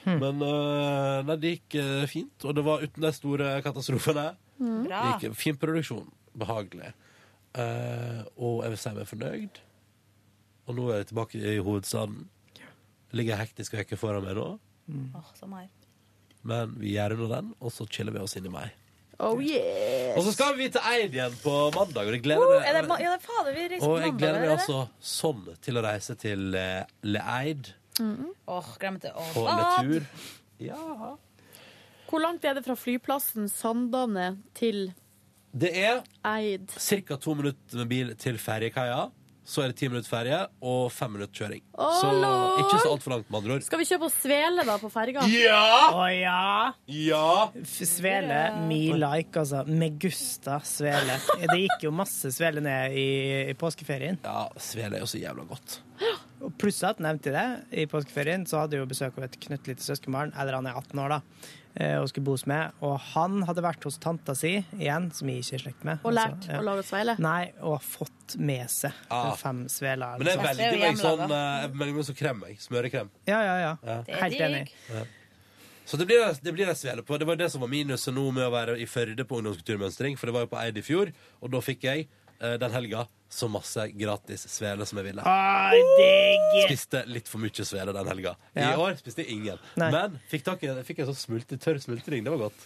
[SPEAKER 8] Hmm.
[SPEAKER 2] Men eh, nei, det gikk eh, fint, og det var uten de store katastrofene.
[SPEAKER 5] Mm.
[SPEAKER 2] Det
[SPEAKER 5] Bra.
[SPEAKER 8] Ah.
[SPEAKER 2] gikk Fin produksjon. Behagelig. Eh, og jeg vil si meg fornøyd. Og nå er jeg tilbake i hovedstaden. Det ligger en hektisk uke foran meg nå,
[SPEAKER 8] Åh, som her.
[SPEAKER 2] men vi gjør unna den, og så chiller vi oss inn i mai.
[SPEAKER 8] Oh yeah!
[SPEAKER 2] Og så skal vi til Eid igjen på mandag, og det gleder
[SPEAKER 8] Oh,
[SPEAKER 2] meg.
[SPEAKER 8] er det, ma- ja, det er fader, vi reiser
[SPEAKER 2] Og jeg
[SPEAKER 8] mandag,
[SPEAKER 2] gleder meg
[SPEAKER 8] eller?
[SPEAKER 2] altså sånn til å reise til eh, Leeid
[SPEAKER 8] Mhm. Åh, glemte å
[SPEAKER 2] på en tur. Ja.
[SPEAKER 4] Hvor langt er det fra flyplassen Sandane til
[SPEAKER 2] Det er
[SPEAKER 4] Eid?
[SPEAKER 2] ca. to minutter med bil til ferjekaia. Så er det ti minutter ferje og fem minutter kjøring.
[SPEAKER 4] Å,
[SPEAKER 2] så
[SPEAKER 4] lol.
[SPEAKER 2] ikke så altfor langt, med andre ord.
[SPEAKER 4] Skal vi kjøpe oss svele da på ferga? Ah!
[SPEAKER 2] Ja!
[SPEAKER 3] Å ja!
[SPEAKER 2] Ja!
[SPEAKER 3] Svele, me like, altså. Megusta svele. Det gikk jo masse svele ned i, i påskeferien.
[SPEAKER 2] Ja, svele er jo så jævla godt.
[SPEAKER 3] Og pluss at nevnte jeg det, i påskeferien så hadde jeg jo besøk av et knøttlite søskenbarn, eller han er 18 år, da, eh, og skulle bos med. Og han hadde vært hos tanta si igjen, som jeg ikke er i slekt med.
[SPEAKER 4] Og lært
[SPEAKER 3] Altså, ja.
[SPEAKER 4] å lage sveile?
[SPEAKER 3] Nei, og fått med seg
[SPEAKER 2] Ja.
[SPEAKER 3] fem sveler.
[SPEAKER 2] Men jeg
[SPEAKER 3] liksom.
[SPEAKER 2] velger meg sånn eh, Jeg velger meg sånn krem. jeg. Smørekrem.
[SPEAKER 3] Ja, ja, ja. Helt enig.
[SPEAKER 2] Ja. Så det blir, det blir jeg svele på. Det var det som var minuset nå med å være i Førde på ungdomskulturmønstring, for det var jo på Eid i fjor, og da fikk jeg eh, den helga så masse gratis svele som jeg ville.
[SPEAKER 3] Ai, digg!
[SPEAKER 2] Spiste litt for mye svele den helga. I
[SPEAKER 3] Ja.
[SPEAKER 2] år spiste jeg ingen.
[SPEAKER 3] Nei.
[SPEAKER 2] Men fikk, tak i, fikk en sånn smulte, tørr smultring. Det var godt.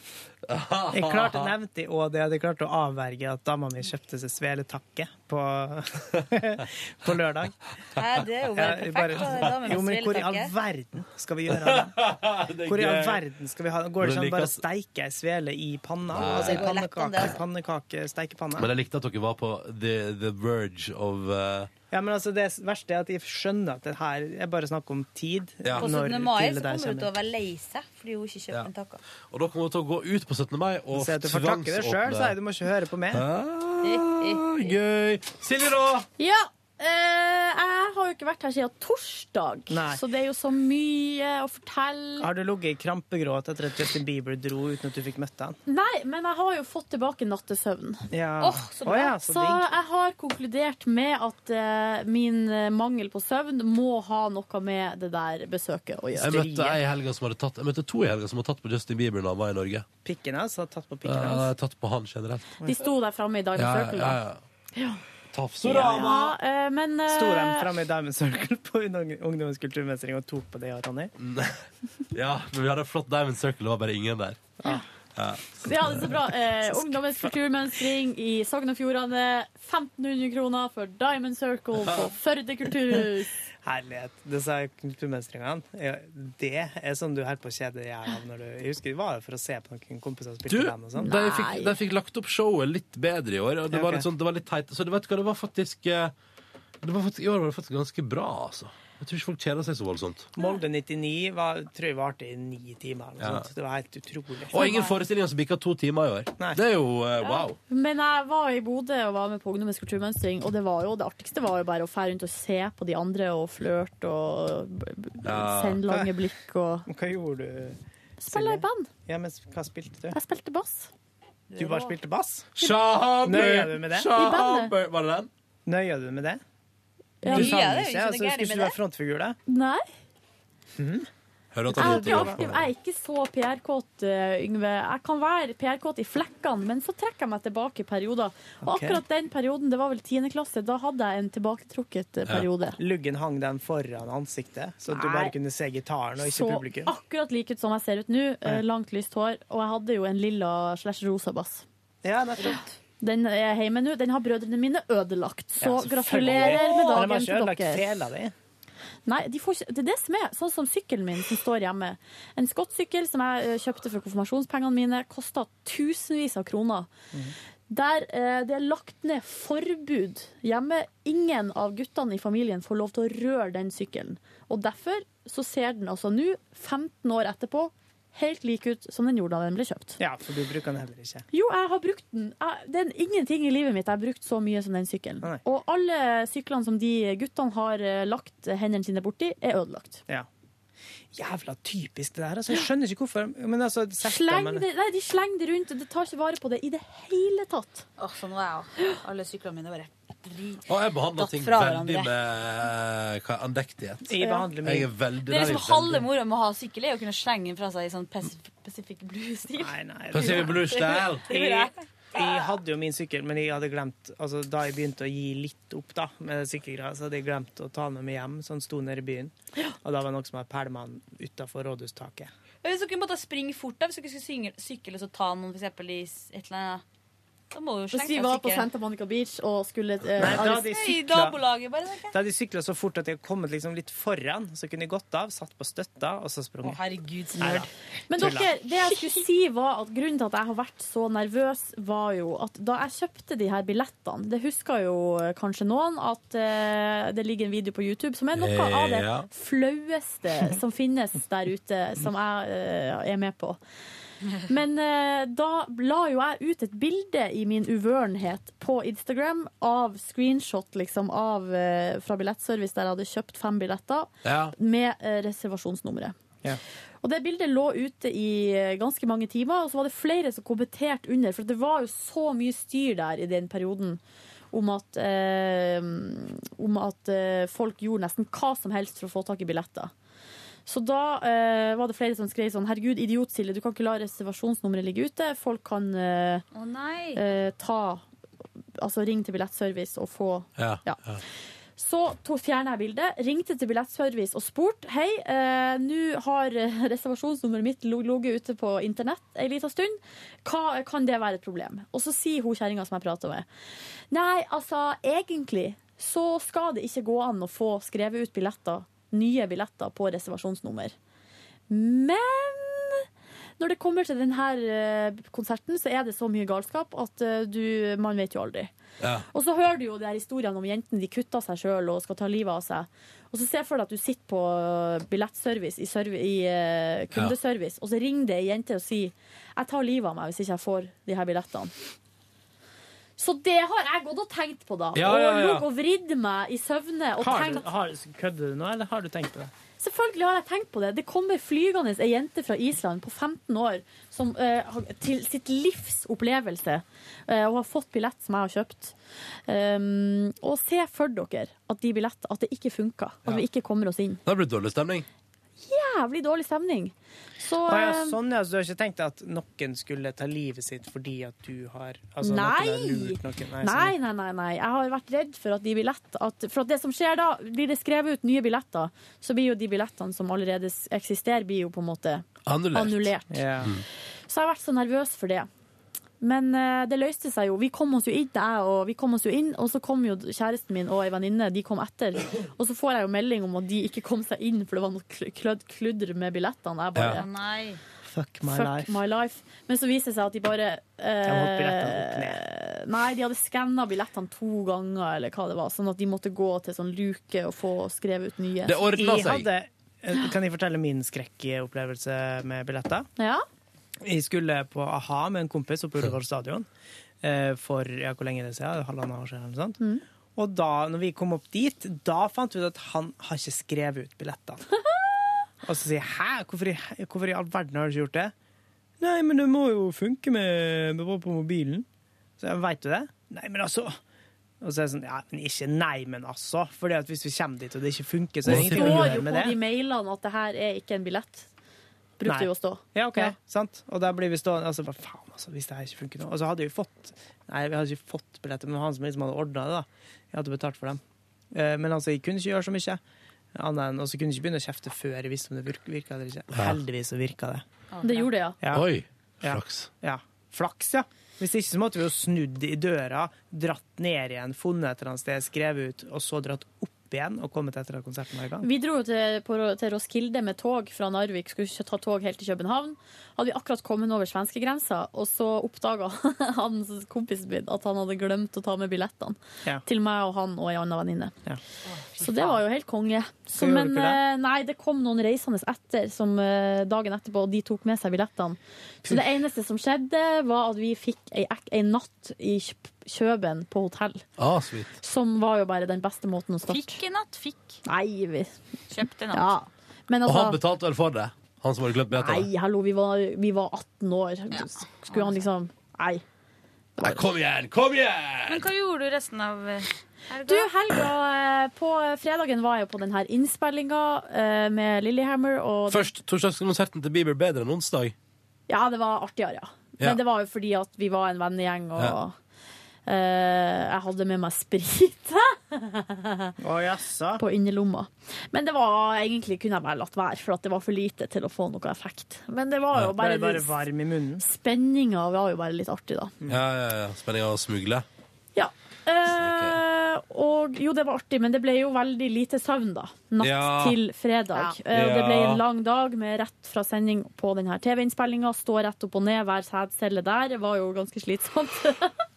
[SPEAKER 3] Jeg klarte nevnte og det hadde klart å avverge at dama mi kjøpte seg sveletakke på, på lørdag.
[SPEAKER 8] Hæ, det er jo
[SPEAKER 3] Ja,
[SPEAKER 8] bare
[SPEAKER 3] jeg
[SPEAKER 8] perfekt, da, en dame med
[SPEAKER 3] jo, men hvor i all
[SPEAKER 8] sveletakke.
[SPEAKER 3] verden skal vi gjøre av det?
[SPEAKER 2] Det er
[SPEAKER 3] Hvor i all
[SPEAKER 2] gøy.
[SPEAKER 3] verden skal vi ha Går
[SPEAKER 2] Men
[SPEAKER 3] det
[SPEAKER 2] jeg
[SPEAKER 3] ikke an
[SPEAKER 2] liker
[SPEAKER 3] bare å
[SPEAKER 2] at-
[SPEAKER 3] steike ei svele i panna?
[SPEAKER 2] Nei.
[SPEAKER 3] Altså i
[SPEAKER 2] Det går lett an,
[SPEAKER 3] pannekake, pannekake,
[SPEAKER 2] Men
[SPEAKER 3] steikepanne?
[SPEAKER 2] jeg likte at dere var på the, the verge of eh,
[SPEAKER 3] Ja, men altså Det verste er at jeg skjønner at det her er bare snakk om tid.
[SPEAKER 2] Ja.
[SPEAKER 8] På
[SPEAKER 3] Når
[SPEAKER 8] 17. mai
[SPEAKER 3] til
[SPEAKER 8] så
[SPEAKER 3] det der
[SPEAKER 8] kommer hun til å
[SPEAKER 3] kommer.
[SPEAKER 8] være lei seg fordi hun ikke kjøpte en takke.
[SPEAKER 2] Og da kommer vi til å gå ut på 17. mai og
[SPEAKER 3] Så at du får takke deg sjøl, så du må ikke høre på meg.
[SPEAKER 2] Ah, gøy. Silje, da?
[SPEAKER 4] Ja. eh, jeg har jo ikke vært her siden torsdag,
[SPEAKER 3] Nei.
[SPEAKER 4] så det er jo så mye å fortelle.
[SPEAKER 3] Har du ligget i krampegråt etter at Justin Bieber dro uten at du fikk møtt han?
[SPEAKER 4] Nei, men jeg har jo fått tilbake nattesøvn.
[SPEAKER 3] Ja. Åh, så bra. Å ja,
[SPEAKER 2] Altså,
[SPEAKER 3] så
[SPEAKER 4] så
[SPEAKER 3] digg.
[SPEAKER 4] jeg har konkludert med at eh, min eh, mangel på søvn må ha noe med det der besøket å
[SPEAKER 2] Jeg
[SPEAKER 4] gjøre.
[SPEAKER 2] møtte, ei i helga som hadde tatt, jeg møtte to i helga som hadde tatt på Justin Bieber da han var i Norge.
[SPEAKER 3] Pikken hans altså, har tatt på
[SPEAKER 2] Eh,
[SPEAKER 3] pikken hans.
[SPEAKER 2] tatt på han generelt.
[SPEAKER 4] De sto der framme i Diamond
[SPEAKER 2] Ja,
[SPEAKER 4] Circle. da.
[SPEAKER 2] ja, ja.
[SPEAKER 4] Ja.
[SPEAKER 3] Tafsorama!
[SPEAKER 4] Ja, eh, men eh,
[SPEAKER 3] Sto de framme i Diamond Circle på ungdom- ungdommens kulturmestring og tok på det, ja, Ronny?
[SPEAKER 2] ja, men vi hadde en flott Diamond Circle, det var bare ingen der. Ja.
[SPEAKER 4] Ja, det er så bra. Eh, ungdommens kulturmønstring i Sogn og Fjordane. 1500 kroner for Diamond Circle på Førde kulturhus.
[SPEAKER 3] Herlighet. Disse kulturmestringene, ja, det er sånn du holder på å kjede deg i hjel av når du Jeg husker vi var der for å se på noen kompiser
[SPEAKER 2] Du,
[SPEAKER 3] spille band og sånn.
[SPEAKER 2] de fikk, de fikk lagt opp showet litt bedre i år. Og det,
[SPEAKER 3] Ja,
[SPEAKER 2] var
[SPEAKER 3] ok.
[SPEAKER 2] litt sånn, det var litt teit. Så du vet hva, det var faktisk eh, det var faktisk, I år var det faktisk ganske bra, altså. Jeg tror ikke folk kjeder seg så voldsomt.
[SPEAKER 3] Molde 99 var, tror jeg varte i ni timer. Eller noe
[SPEAKER 2] Ja.
[SPEAKER 3] sånt. Det var helt utrolig.
[SPEAKER 2] Og ingen forestillinger som bikka to timer i år. Det er jo eh, wow.
[SPEAKER 4] Men jeg var i Bodø og var med på Ungdommens kulturmønstring, og det, var jo, det artigste var jo bare å fære rundt og se på de andre og flørte og b- b-
[SPEAKER 3] Ja.
[SPEAKER 4] sende lange blikk og
[SPEAKER 3] Hva gjorde du?
[SPEAKER 4] Spille i band.
[SPEAKER 3] Ja, men hva spilte du?
[SPEAKER 4] Jeg spilte bass.
[SPEAKER 3] Du bare spilte bass?
[SPEAKER 2] Shahabu!
[SPEAKER 3] Nøyer du med det?
[SPEAKER 4] Shahabu! I
[SPEAKER 2] Var det den?
[SPEAKER 3] Nøyer du med det?
[SPEAKER 4] Ja.
[SPEAKER 3] du
[SPEAKER 4] Nøyer
[SPEAKER 3] sang
[SPEAKER 4] jeg, det er jo
[SPEAKER 3] ikke,
[SPEAKER 4] ikke noe
[SPEAKER 3] altså,
[SPEAKER 4] gærent
[SPEAKER 3] skulle
[SPEAKER 4] med
[SPEAKER 3] ikke du være
[SPEAKER 4] det.
[SPEAKER 3] frontfigur, da?
[SPEAKER 4] Nei.
[SPEAKER 2] Hører at han
[SPEAKER 4] Jeg,
[SPEAKER 2] roter i hvert
[SPEAKER 4] jeg
[SPEAKER 2] fall.
[SPEAKER 4] er ikke så PR-kåt, eh, Yngve. Jeg kan være PR-kåt i flekkene, men så trekker jeg meg tilbake i perioder. Og
[SPEAKER 3] Ok.
[SPEAKER 4] akkurat den perioden, det var vel 10. klasse, da hadde jeg en tilbaketrukket eh, periode.
[SPEAKER 3] Luggen hang den foran ansiktet, så at du
[SPEAKER 4] Nei.
[SPEAKER 3] bare kunne se gitaren og ikke
[SPEAKER 4] Så
[SPEAKER 3] publikum.
[SPEAKER 4] akkurat like ut som jeg ser ut nå. eh,
[SPEAKER 3] Ja.
[SPEAKER 4] Langt, lyst hår. Og jeg hadde jo en lilla slash rosa bass.
[SPEAKER 3] Ja, nettopp.
[SPEAKER 4] Den er hjemme nå. Den har brødrene mine ødelagt. Så
[SPEAKER 3] Ja, selvfølgelig.
[SPEAKER 4] gratulerer med
[SPEAKER 3] Men de har
[SPEAKER 4] dagen
[SPEAKER 3] ikke
[SPEAKER 4] til
[SPEAKER 3] ødelagt fela
[SPEAKER 4] dere.
[SPEAKER 3] di.
[SPEAKER 4] Nei, de får ikke, det er det som er sånn som sykkelen min som står hjemme. En skottsykkel som jeg eh, kjøpte for konfirmasjonspengene mine, kosta tusenvis av kroner. Der eh, det er lagt ned forbud hjemme. Ingen av guttene i familien får lov til å røre den sykkelen. Og derfor så ser den altså nå, 15 år etterpå, helt lik ut som den gjorde da den ble kjøpt.
[SPEAKER 3] Ja, for du bruker den heller ikke.
[SPEAKER 4] Jo, jeg har brukt den. Jeg, det er ingenting i livet mitt jeg har brukt så mye som den sykkelen. Og alle syklene som de guttene har eh, lagt hendene sine borti, er ødelagt.
[SPEAKER 3] Ja. Jævla typisk det der. Altså, jeg skjønner ikke hvorfor. Men altså, sett da,
[SPEAKER 4] Sleng
[SPEAKER 3] men-
[SPEAKER 4] det, nei, de slenger det rundt, og de tar ikke vare på det i det hele tatt.
[SPEAKER 8] Åh, sånn var jeg òg. Alle syklene mine bare drit.
[SPEAKER 2] Og jeg behandler ting
[SPEAKER 8] fra
[SPEAKER 2] veldig
[SPEAKER 8] hverandre.
[SPEAKER 2] med hva, andektighet.
[SPEAKER 8] Jeg behandler
[SPEAKER 2] Jeg er veldig
[SPEAKER 8] Det er
[SPEAKER 2] der,
[SPEAKER 8] liksom halve moroa med å ha sykkel, er å kunne slenge den fra seg i sånn Pacific, Pacific Blue-stil.
[SPEAKER 2] Pacific Blue Style.
[SPEAKER 8] Det vil jeg.
[SPEAKER 3] Jeg, jeg hadde jo min sykkel, men jeg hadde glemt altså, Da jeg begynte å gi litt opp da, med sykkelgreia, så hadde jeg glemt å ta den med meg hjem, så den sto nede i byen. Og da var det noen som hadde pælma den utafor rådhustaket.
[SPEAKER 8] Men Hvis dere måtte springe fort, da, hvis dere skulle synge, sykle og så ta noen for eksempel, i s- et eller annet Da må jo
[SPEAKER 4] Hvis
[SPEAKER 8] slenge
[SPEAKER 4] vi
[SPEAKER 8] seg
[SPEAKER 4] var på
[SPEAKER 8] sykkelen.
[SPEAKER 4] Santa Monica Beach og skulle eh,
[SPEAKER 3] altså Nei, da
[SPEAKER 4] arrest-
[SPEAKER 3] hadde jeg
[SPEAKER 8] I
[SPEAKER 3] sykla
[SPEAKER 8] nabolaget, bare. tenker jeg.
[SPEAKER 3] da hadde jeg syklet så fort at jeg hadde kommet liksom litt foran, så kunne jeg gått av, satt på støtta, og så sprunget.
[SPEAKER 8] Å, herregud, så
[SPEAKER 3] Neida.
[SPEAKER 8] nerd.
[SPEAKER 4] Men
[SPEAKER 3] Tulla.
[SPEAKER 4] dere, det jeg skulle si var at grunnen til at jeg har vært så nervøs, var jo at da jeg kjøpte de her billettene Det husker jo eh, kanskje noen at eh, det ligger en video på YouTube som er noe av det
[SPEAKER 26] Ja.
[SPEAKER 4] flaueste som finnes der ute, som jeg eh, er med på. Men eh, da la jo jeg ut et bilde i min uvørenhet på Instagram av screenshot liksom, av, eh, fra Billettservice der jeg hadde kjøpt fem billetter
[SPEAKER 2] Ja.
[SPEAKER 4] med eh, reservasjonsnummeret. Og det bildet lå ute i eh, ganske mange timer, og så var det flere som kommenterte under, for det var jo så mye styr der i den perioden. Om at, eh, om at eh, folk gjorde nesten hva som helst for å få tak i billetter. Så da eh, var det flere som skrev sånn Herregud, idiot Silje, du kan ikke la reservasjonsnummeret ligge ute. Folk kan eh,
[SPEAKER 8] Å nei.
[SPEAKER 4] eh, ta Altså ringe til billettservice og få
[SPEAKER 2] Ja.
[SPEAKER 4] Ja. så to- fjernet jeg bildet, ringte til Billettservice og spurte Hei, eh, nå har eh, reservasjonsnummeret mitt lo- ligget ute på internett en liten stund. Hva, kan det være et problem? Og så sier hun kjerringa som jeg prater med, nei, altså, egentlig så skal det ikke gå an å få skrevet ut billetter, nye billetter på reservasjonsnummer. Men når det kommer til denne eh, konserten, så er det så mye galskap at eh, du, man vet jo aldri.
[SPEAKER 2] Ja.
[SPEAKER 4] Og så hører du jo de her historiene om jentene de kutter seg sjøl og skal ta livet av seg. Og så ser jeg for deg at du sitter på eh, billettservice i, servi i eh, kundeservice, og så ringer det ei jente og sier jeg tar livet av meg hvis ikke jeg får de her billettene. Så det har jeg gått og tenkt på, da.
[SPEAKER 3] Ja, ja,
[SPEAKER 4] Og
[SPEAKER 3] ja.
[SPEAKER 4] ligget og vridd meg i søvne og
[SPEAKER 3] Har, du-
[SPEAKER 4] tenkt
[SPEAKER 3] har, kødder du nå, eller har du tenkt på det?
[SPEAKER 4] Selvfølgelig har jeg tenkt på det. Det kommer flygende ei jente fra Island på 15 år som, eh, har- til sitt livs opplevelse. Eh, hun har fått billett som jeg har kjøpt. Um, og se for dere at, de billett, at det ikke funka. At vi ikke kommer oss inn.
[SPEAKER 2] Det har blitt dårlig stemning.
[SPEAKER 4] Jævlig dårlig stemning. Så
[SPEAKER 3] Å ja,
[SPEAKER 4] eh,
[SPEAKER 3] sånn, ja. Så du har ikke tenkt at noen skulle ta livet sitt fordi at du har altså, Noen har
[SPEAKER 4] Nei!
[SPEAKER 3] lurt noen? sånn.
[SPEAKER 4] Nei, nei, nei, nei. Jeg har vært redd for at de billett, at, For at det som skjer da, blir det skrevet ut nye billetter, så blir jo de billettene som allerede s- eksisterer, blir jo på en måte
[SPEAKER 2] Annullert.
[SPEAKER 4] annullert.
[SPEAKER 2] Mm.
[SPEAKER 4] Så jeg har vært så nervøs for det. Men eh, det løste seg jo. Vi kom oss jo inn, jeg og vi kom oss jo inn, og så kom jo kjæresten min og ei venninne, de kom etter. Og så får jeg jo melding om at de ikke kom seg inn, for det var noe kl- klødd kludder med billettene. Jeg bare
[SPEAKER 3] Ja.
[SPEAKER 8] Nei.
[SPEAKER 3] Fuck my
[SPEAKER 4] Fuck
[SPEAKER 3] life.
[SPEAKER 4] my life. Men så viser det seg at de bare eh,
[SPEAKER 3] Jeg holdt billettene opp ned.
[SPEAKER 4] Nei, de hadde skanna billettene to ganger, eller hva det var, sånn at de måtte gå til sånn luke og få skrevet ut nye.
[SPEAKER 3] Jeg hadde- eh, kan jeg fortelle min skrekkopplevelse med billetter?
[SPEAKER 4] Ja?
[SPEAKER 3] Jeg skulle på a-ha med en kompis oppe på Ullevål stadion eh, for ja, hvor lenge er det siden? Halvannet år siden? Eller noe sånt.
[SPEAKER 4] Mm.
[SPEAKER 3] Og da når vi kom opp dit, da fant vi ut at han har ikke skrevet ut billettene. Og så sier jeg hæ, hvorfor i, hvorfor i all verden har du ikke gjort det? Nei, men det må jo funke med, med på mobilen. Så jeg, vet du det? Nei, men altså, Og så er det sånn, ja, men ikke nei, men altså. Fordi at hvis vi kommer dit og det ikke funker, så
[SPEAKER 4] Det
[SPEAKER 3] er det ingenting å
[SPEAKER 4] står jo
[SPEAKER 3] gjøre
[SPEAKER 4] på
[SPEAKER 3] med det.
[SPEAKER 4] de mailene at det her er ikke en billett. Brukte
[SPEAKER 3] Nei.
[SPEAKER 4] jo å stå.
[SPEAKER 3] Ja, ok,
[SPEAKER 4] Ja.
[SPEAKER 3] sant. Og der blir vi stående altså, hva faen, altså, hvis det her ikke funker nå. Og så hadde vi fått Nei, vi hadde ikke fått billetter, men han som liksom hadde ordna det, da. Jeg hadde betalt for dem. Eh, Men altså, jeg kunne ikke gjøre så mye. Annet enn, og så kunne jeg ikke begynne å kjefte før jeg visste om det virk- virka eller ikke.
[SPEAKER 2] Ja.
[SPEAKER 3] Heldigvis så virka det.
[SPEAKER 4] Det gjorde det, ja.
[SPEAKER 2] Oi,
[SPEAKER 3] flaks. Ja. Flaks, ja. Hvis ikke så måtte vi jo snudd i døra, dratt ned igjen, funnet et eller annet sted, skrevet ut, og så dratt opp igjen og kommet etter at konserten var i gang.
[SPEAKER 4] Vi dro jo til, på, Ro- til Roskilde med tog fra Narvik, skulle ikke ta tog helt til København. Hadde vi akkurat kommet over svenskegrensa, og så oppdaga han kompisen min at han hadde glemt å ta med billettene
[SPEAKER 3] Ja.
[SPEAKER 4] til meg og han og ei anna venninne.
[SPEAKER 3] Ja.
[SPEAKER 4] Så det var jo helt konge. Så,
[SPEAKER 3] gjorde
[SPEAKER 4] men
[SPEAKER 3] dere det?
[SPEAKER 4] eh, nei, det kom noen reisende etter som eh, dagen etterpå, og de tok med seg billettene. Så det eneste som skjedde, var at vi fikk ei, ek- ei natt i Kjøp- Kjøben på hotell.
[SPEAKER 2] Ah, sweet.
[SPEAKER 4] Som var jo bare den beste måten å starte.
[SPEAKER 16] Fikk en natt, fikk.
[SPEAKER 4] Nei, vi
[SPEAKER 16] Kjøpte en natt.
[SPEAKER 4] Ja. Men
[SPEAKER 2] Og han
[SPEAKER 4] altså,
[SPEAKER 2] betalte vel for det? Han som hadde glemt
[SPEAKER 4] nei,
[SPEAKER 2] billettene?
[SPEAKER 4] hallo, vi var, vi var 18 år. Skulle han liksom Nei.
[SPEAKER 2] Nei, kom igjen! Kom igjen!
[SPEAKER 16] Men hva gjorde du resten av eh, helga?
[SPEAKER 4] Du, helga eh, På fredagen var jeg på denne innspillinga eh, med Lillehammer, og
[SPEAKER 2] Først torsdagskonserten til Bieber bedre enn onsdag.
[SPEAKER 4] Ja, det var artigere, ja. Men
[SPEAKER 2] Ja.
[SPEAKER 4] det var jo fordi at vi var en vennegjeng, og
[SPEAKER 2] Ja.
[SPEAKER 4] eh, jeg hadde med meg sprit på innerlomma. Men det var egentlig kunne jeg bare latt være, for at det var for lite til å få noe effekt. Men det var jo
[SPEAKER 3] Ble
[SPEAKER 4] bare,
[SPEAKER 3] det bare varm i munnen.
[SPEAKER 4] Spenninga var jo bare litt artig, da.
[SPEAKER 2] Ja, ja, ja. Spenninga å smugle.
[SPEAKER 4] Ja. Eh, og jo, det var artig, men det ble jo veldig lite søvn, da. Natt
[SPEAKER 2] Ja.
[SPEAKER 4] til fredag.
[SPEAKER 2] Ja.
[SPEAKER 4] Eh, og det ble
[SPEAKER 2] Ja.
[SPEAKER 4] en lang dag med rett fra sending på denne TV-innspillinga. Stå rett opp og ned, hver sædcelle der. Det var jo ganske slitsomt.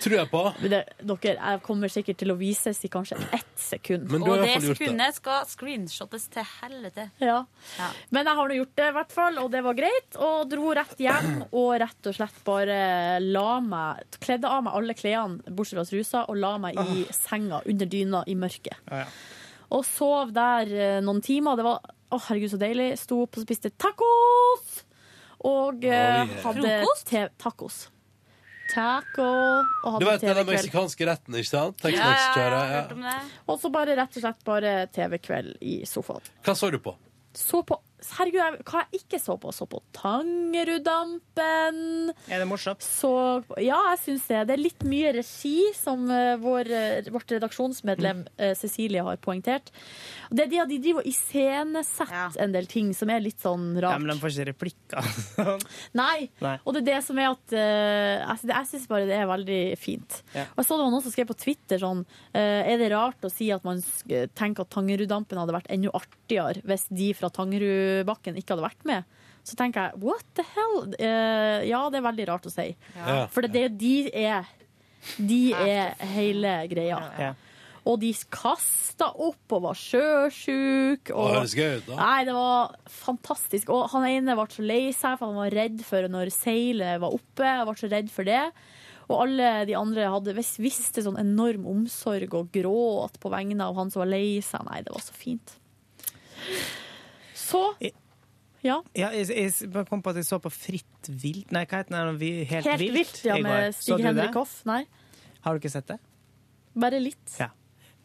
[SPEAKER 2] Tror jeg på.
[SPEAKER 4] Men det, dere, jeg kommer sikkert til å vises i kanskje ett sekund.
[SPEAKER 2] Men du har i
[SPEAKER 16] Og det
[SPEAKER 2] hvert fall gjort det.
[SPEAKER 16] sekundet skal screenshottes til helvete.
[SPEAKER 4] Ja.
[SPEAKER 16] Ja.
[SPEAKER 4] Men jeg har nå gjort det, i hvert fall, og det var greit. Og dro rett hjem og rett og slett bare la meg Kledde av meg alle klærne bortsett fra trusa og la meg i senga under dyna i mørket. Og sov der eh, noen timer. Det var å herregud, så deilig. Sto opp og spiste tacos! Og eh,
[SPEAKER 2] Oi, eh.
[SPEAKER 4] hadde
[SPEAKER 2] Frokost?
[SPEAKER 4] te tacos. Taco og
[SPEAKER 2] Du
[SPEAKER 4] hadde
[SPEAKER 2] vet den
[SPEAKER 4] TV-kveld.
[SPEAKER 2] meksikanske retten, ikke sant? Tex-Mex kjører, ja.
[SPEAKER 4] Og så bare rett og slett bare TV-kveld i sofaen.
[SPEAKER 2] Hva så du på?
[SPEAKER 4] Så på Herregud, jeg, hva jeg ikke så på? Så på Tangeruddampen.
[SPEAKER 3] Er det morsomt?
[SPEAKER 4] Så, ja, jeg syns det. Det er litt mye regi, som eh, vår, eh, vårt
[SPEAKER 3] Mm.
[SPEAKER 4] redaksjonsmedlem eh, Cecilie har poengtert. Det er de, de driver og iscenesetter en del ting som er litt sånn
[SPEAKER 3] Ja,
[SPEAKER 4] rart.
[SPEAKER 3] men de får ikke replikker.
[SPEAKER 4] Nei.
[SPEAKER 3] Nei.
[SPEAKER 4] Og det er det som er at eh, altså, det- Jeg syns bare det er veldig fint.
[SPEAKER 3] Ja.
[SPEAKER 4] Og jeg så det var noen som skrev på Twitter sånn eh, Er det rart å si at man sk- tenker at Tangeruddampen hadde vært enda artigere hvis de fra Tangerudbakken ikke hadde vært med? Så tenker jeg what the hell? Eh, ja, det er veldig rart å si.
[SPEAKER 3] Ja.
[SPEAKER 4] For det, det, de er De er hele greia.
[SPEAKER 3] Ja.
[SPEAKER 4] Og de kasta opp og var sjøsjuke.
[SPEAKER 2] Å, høres gøy ut, da.
[SPEAKER 4] Nei, det var fantastisk. Og han ene ble så lei seg, for han var redd for når seilet var oppe. Jeg ble så redd for det. Og alle de andre hadde vis- visste sånn enorm omsorg og gråt på vegne av han som var lei seg. Nei, det var så fint. Så Ja.
[SPEAKER 3] Ja, jeg, jeg bare kom på at jeg så på Fritt vilt Nei, hva heter den? Vi- Helt,
[SPEAKER 4] Helt
[SPEAKER 3] vilt?
[SPEAKER 4] vilt, ja,
[SPEAKER 3] i går.
[SPEAKER 4] med
[SPEAKER 3] Så du det?
[SPEAKER 4] Stig-Henrik Hoff. Nei,
[SPEAKER 3] Har du ikke sett det?
[SPEAKER 4] bare litt.
[SPEAKER 3] Ja.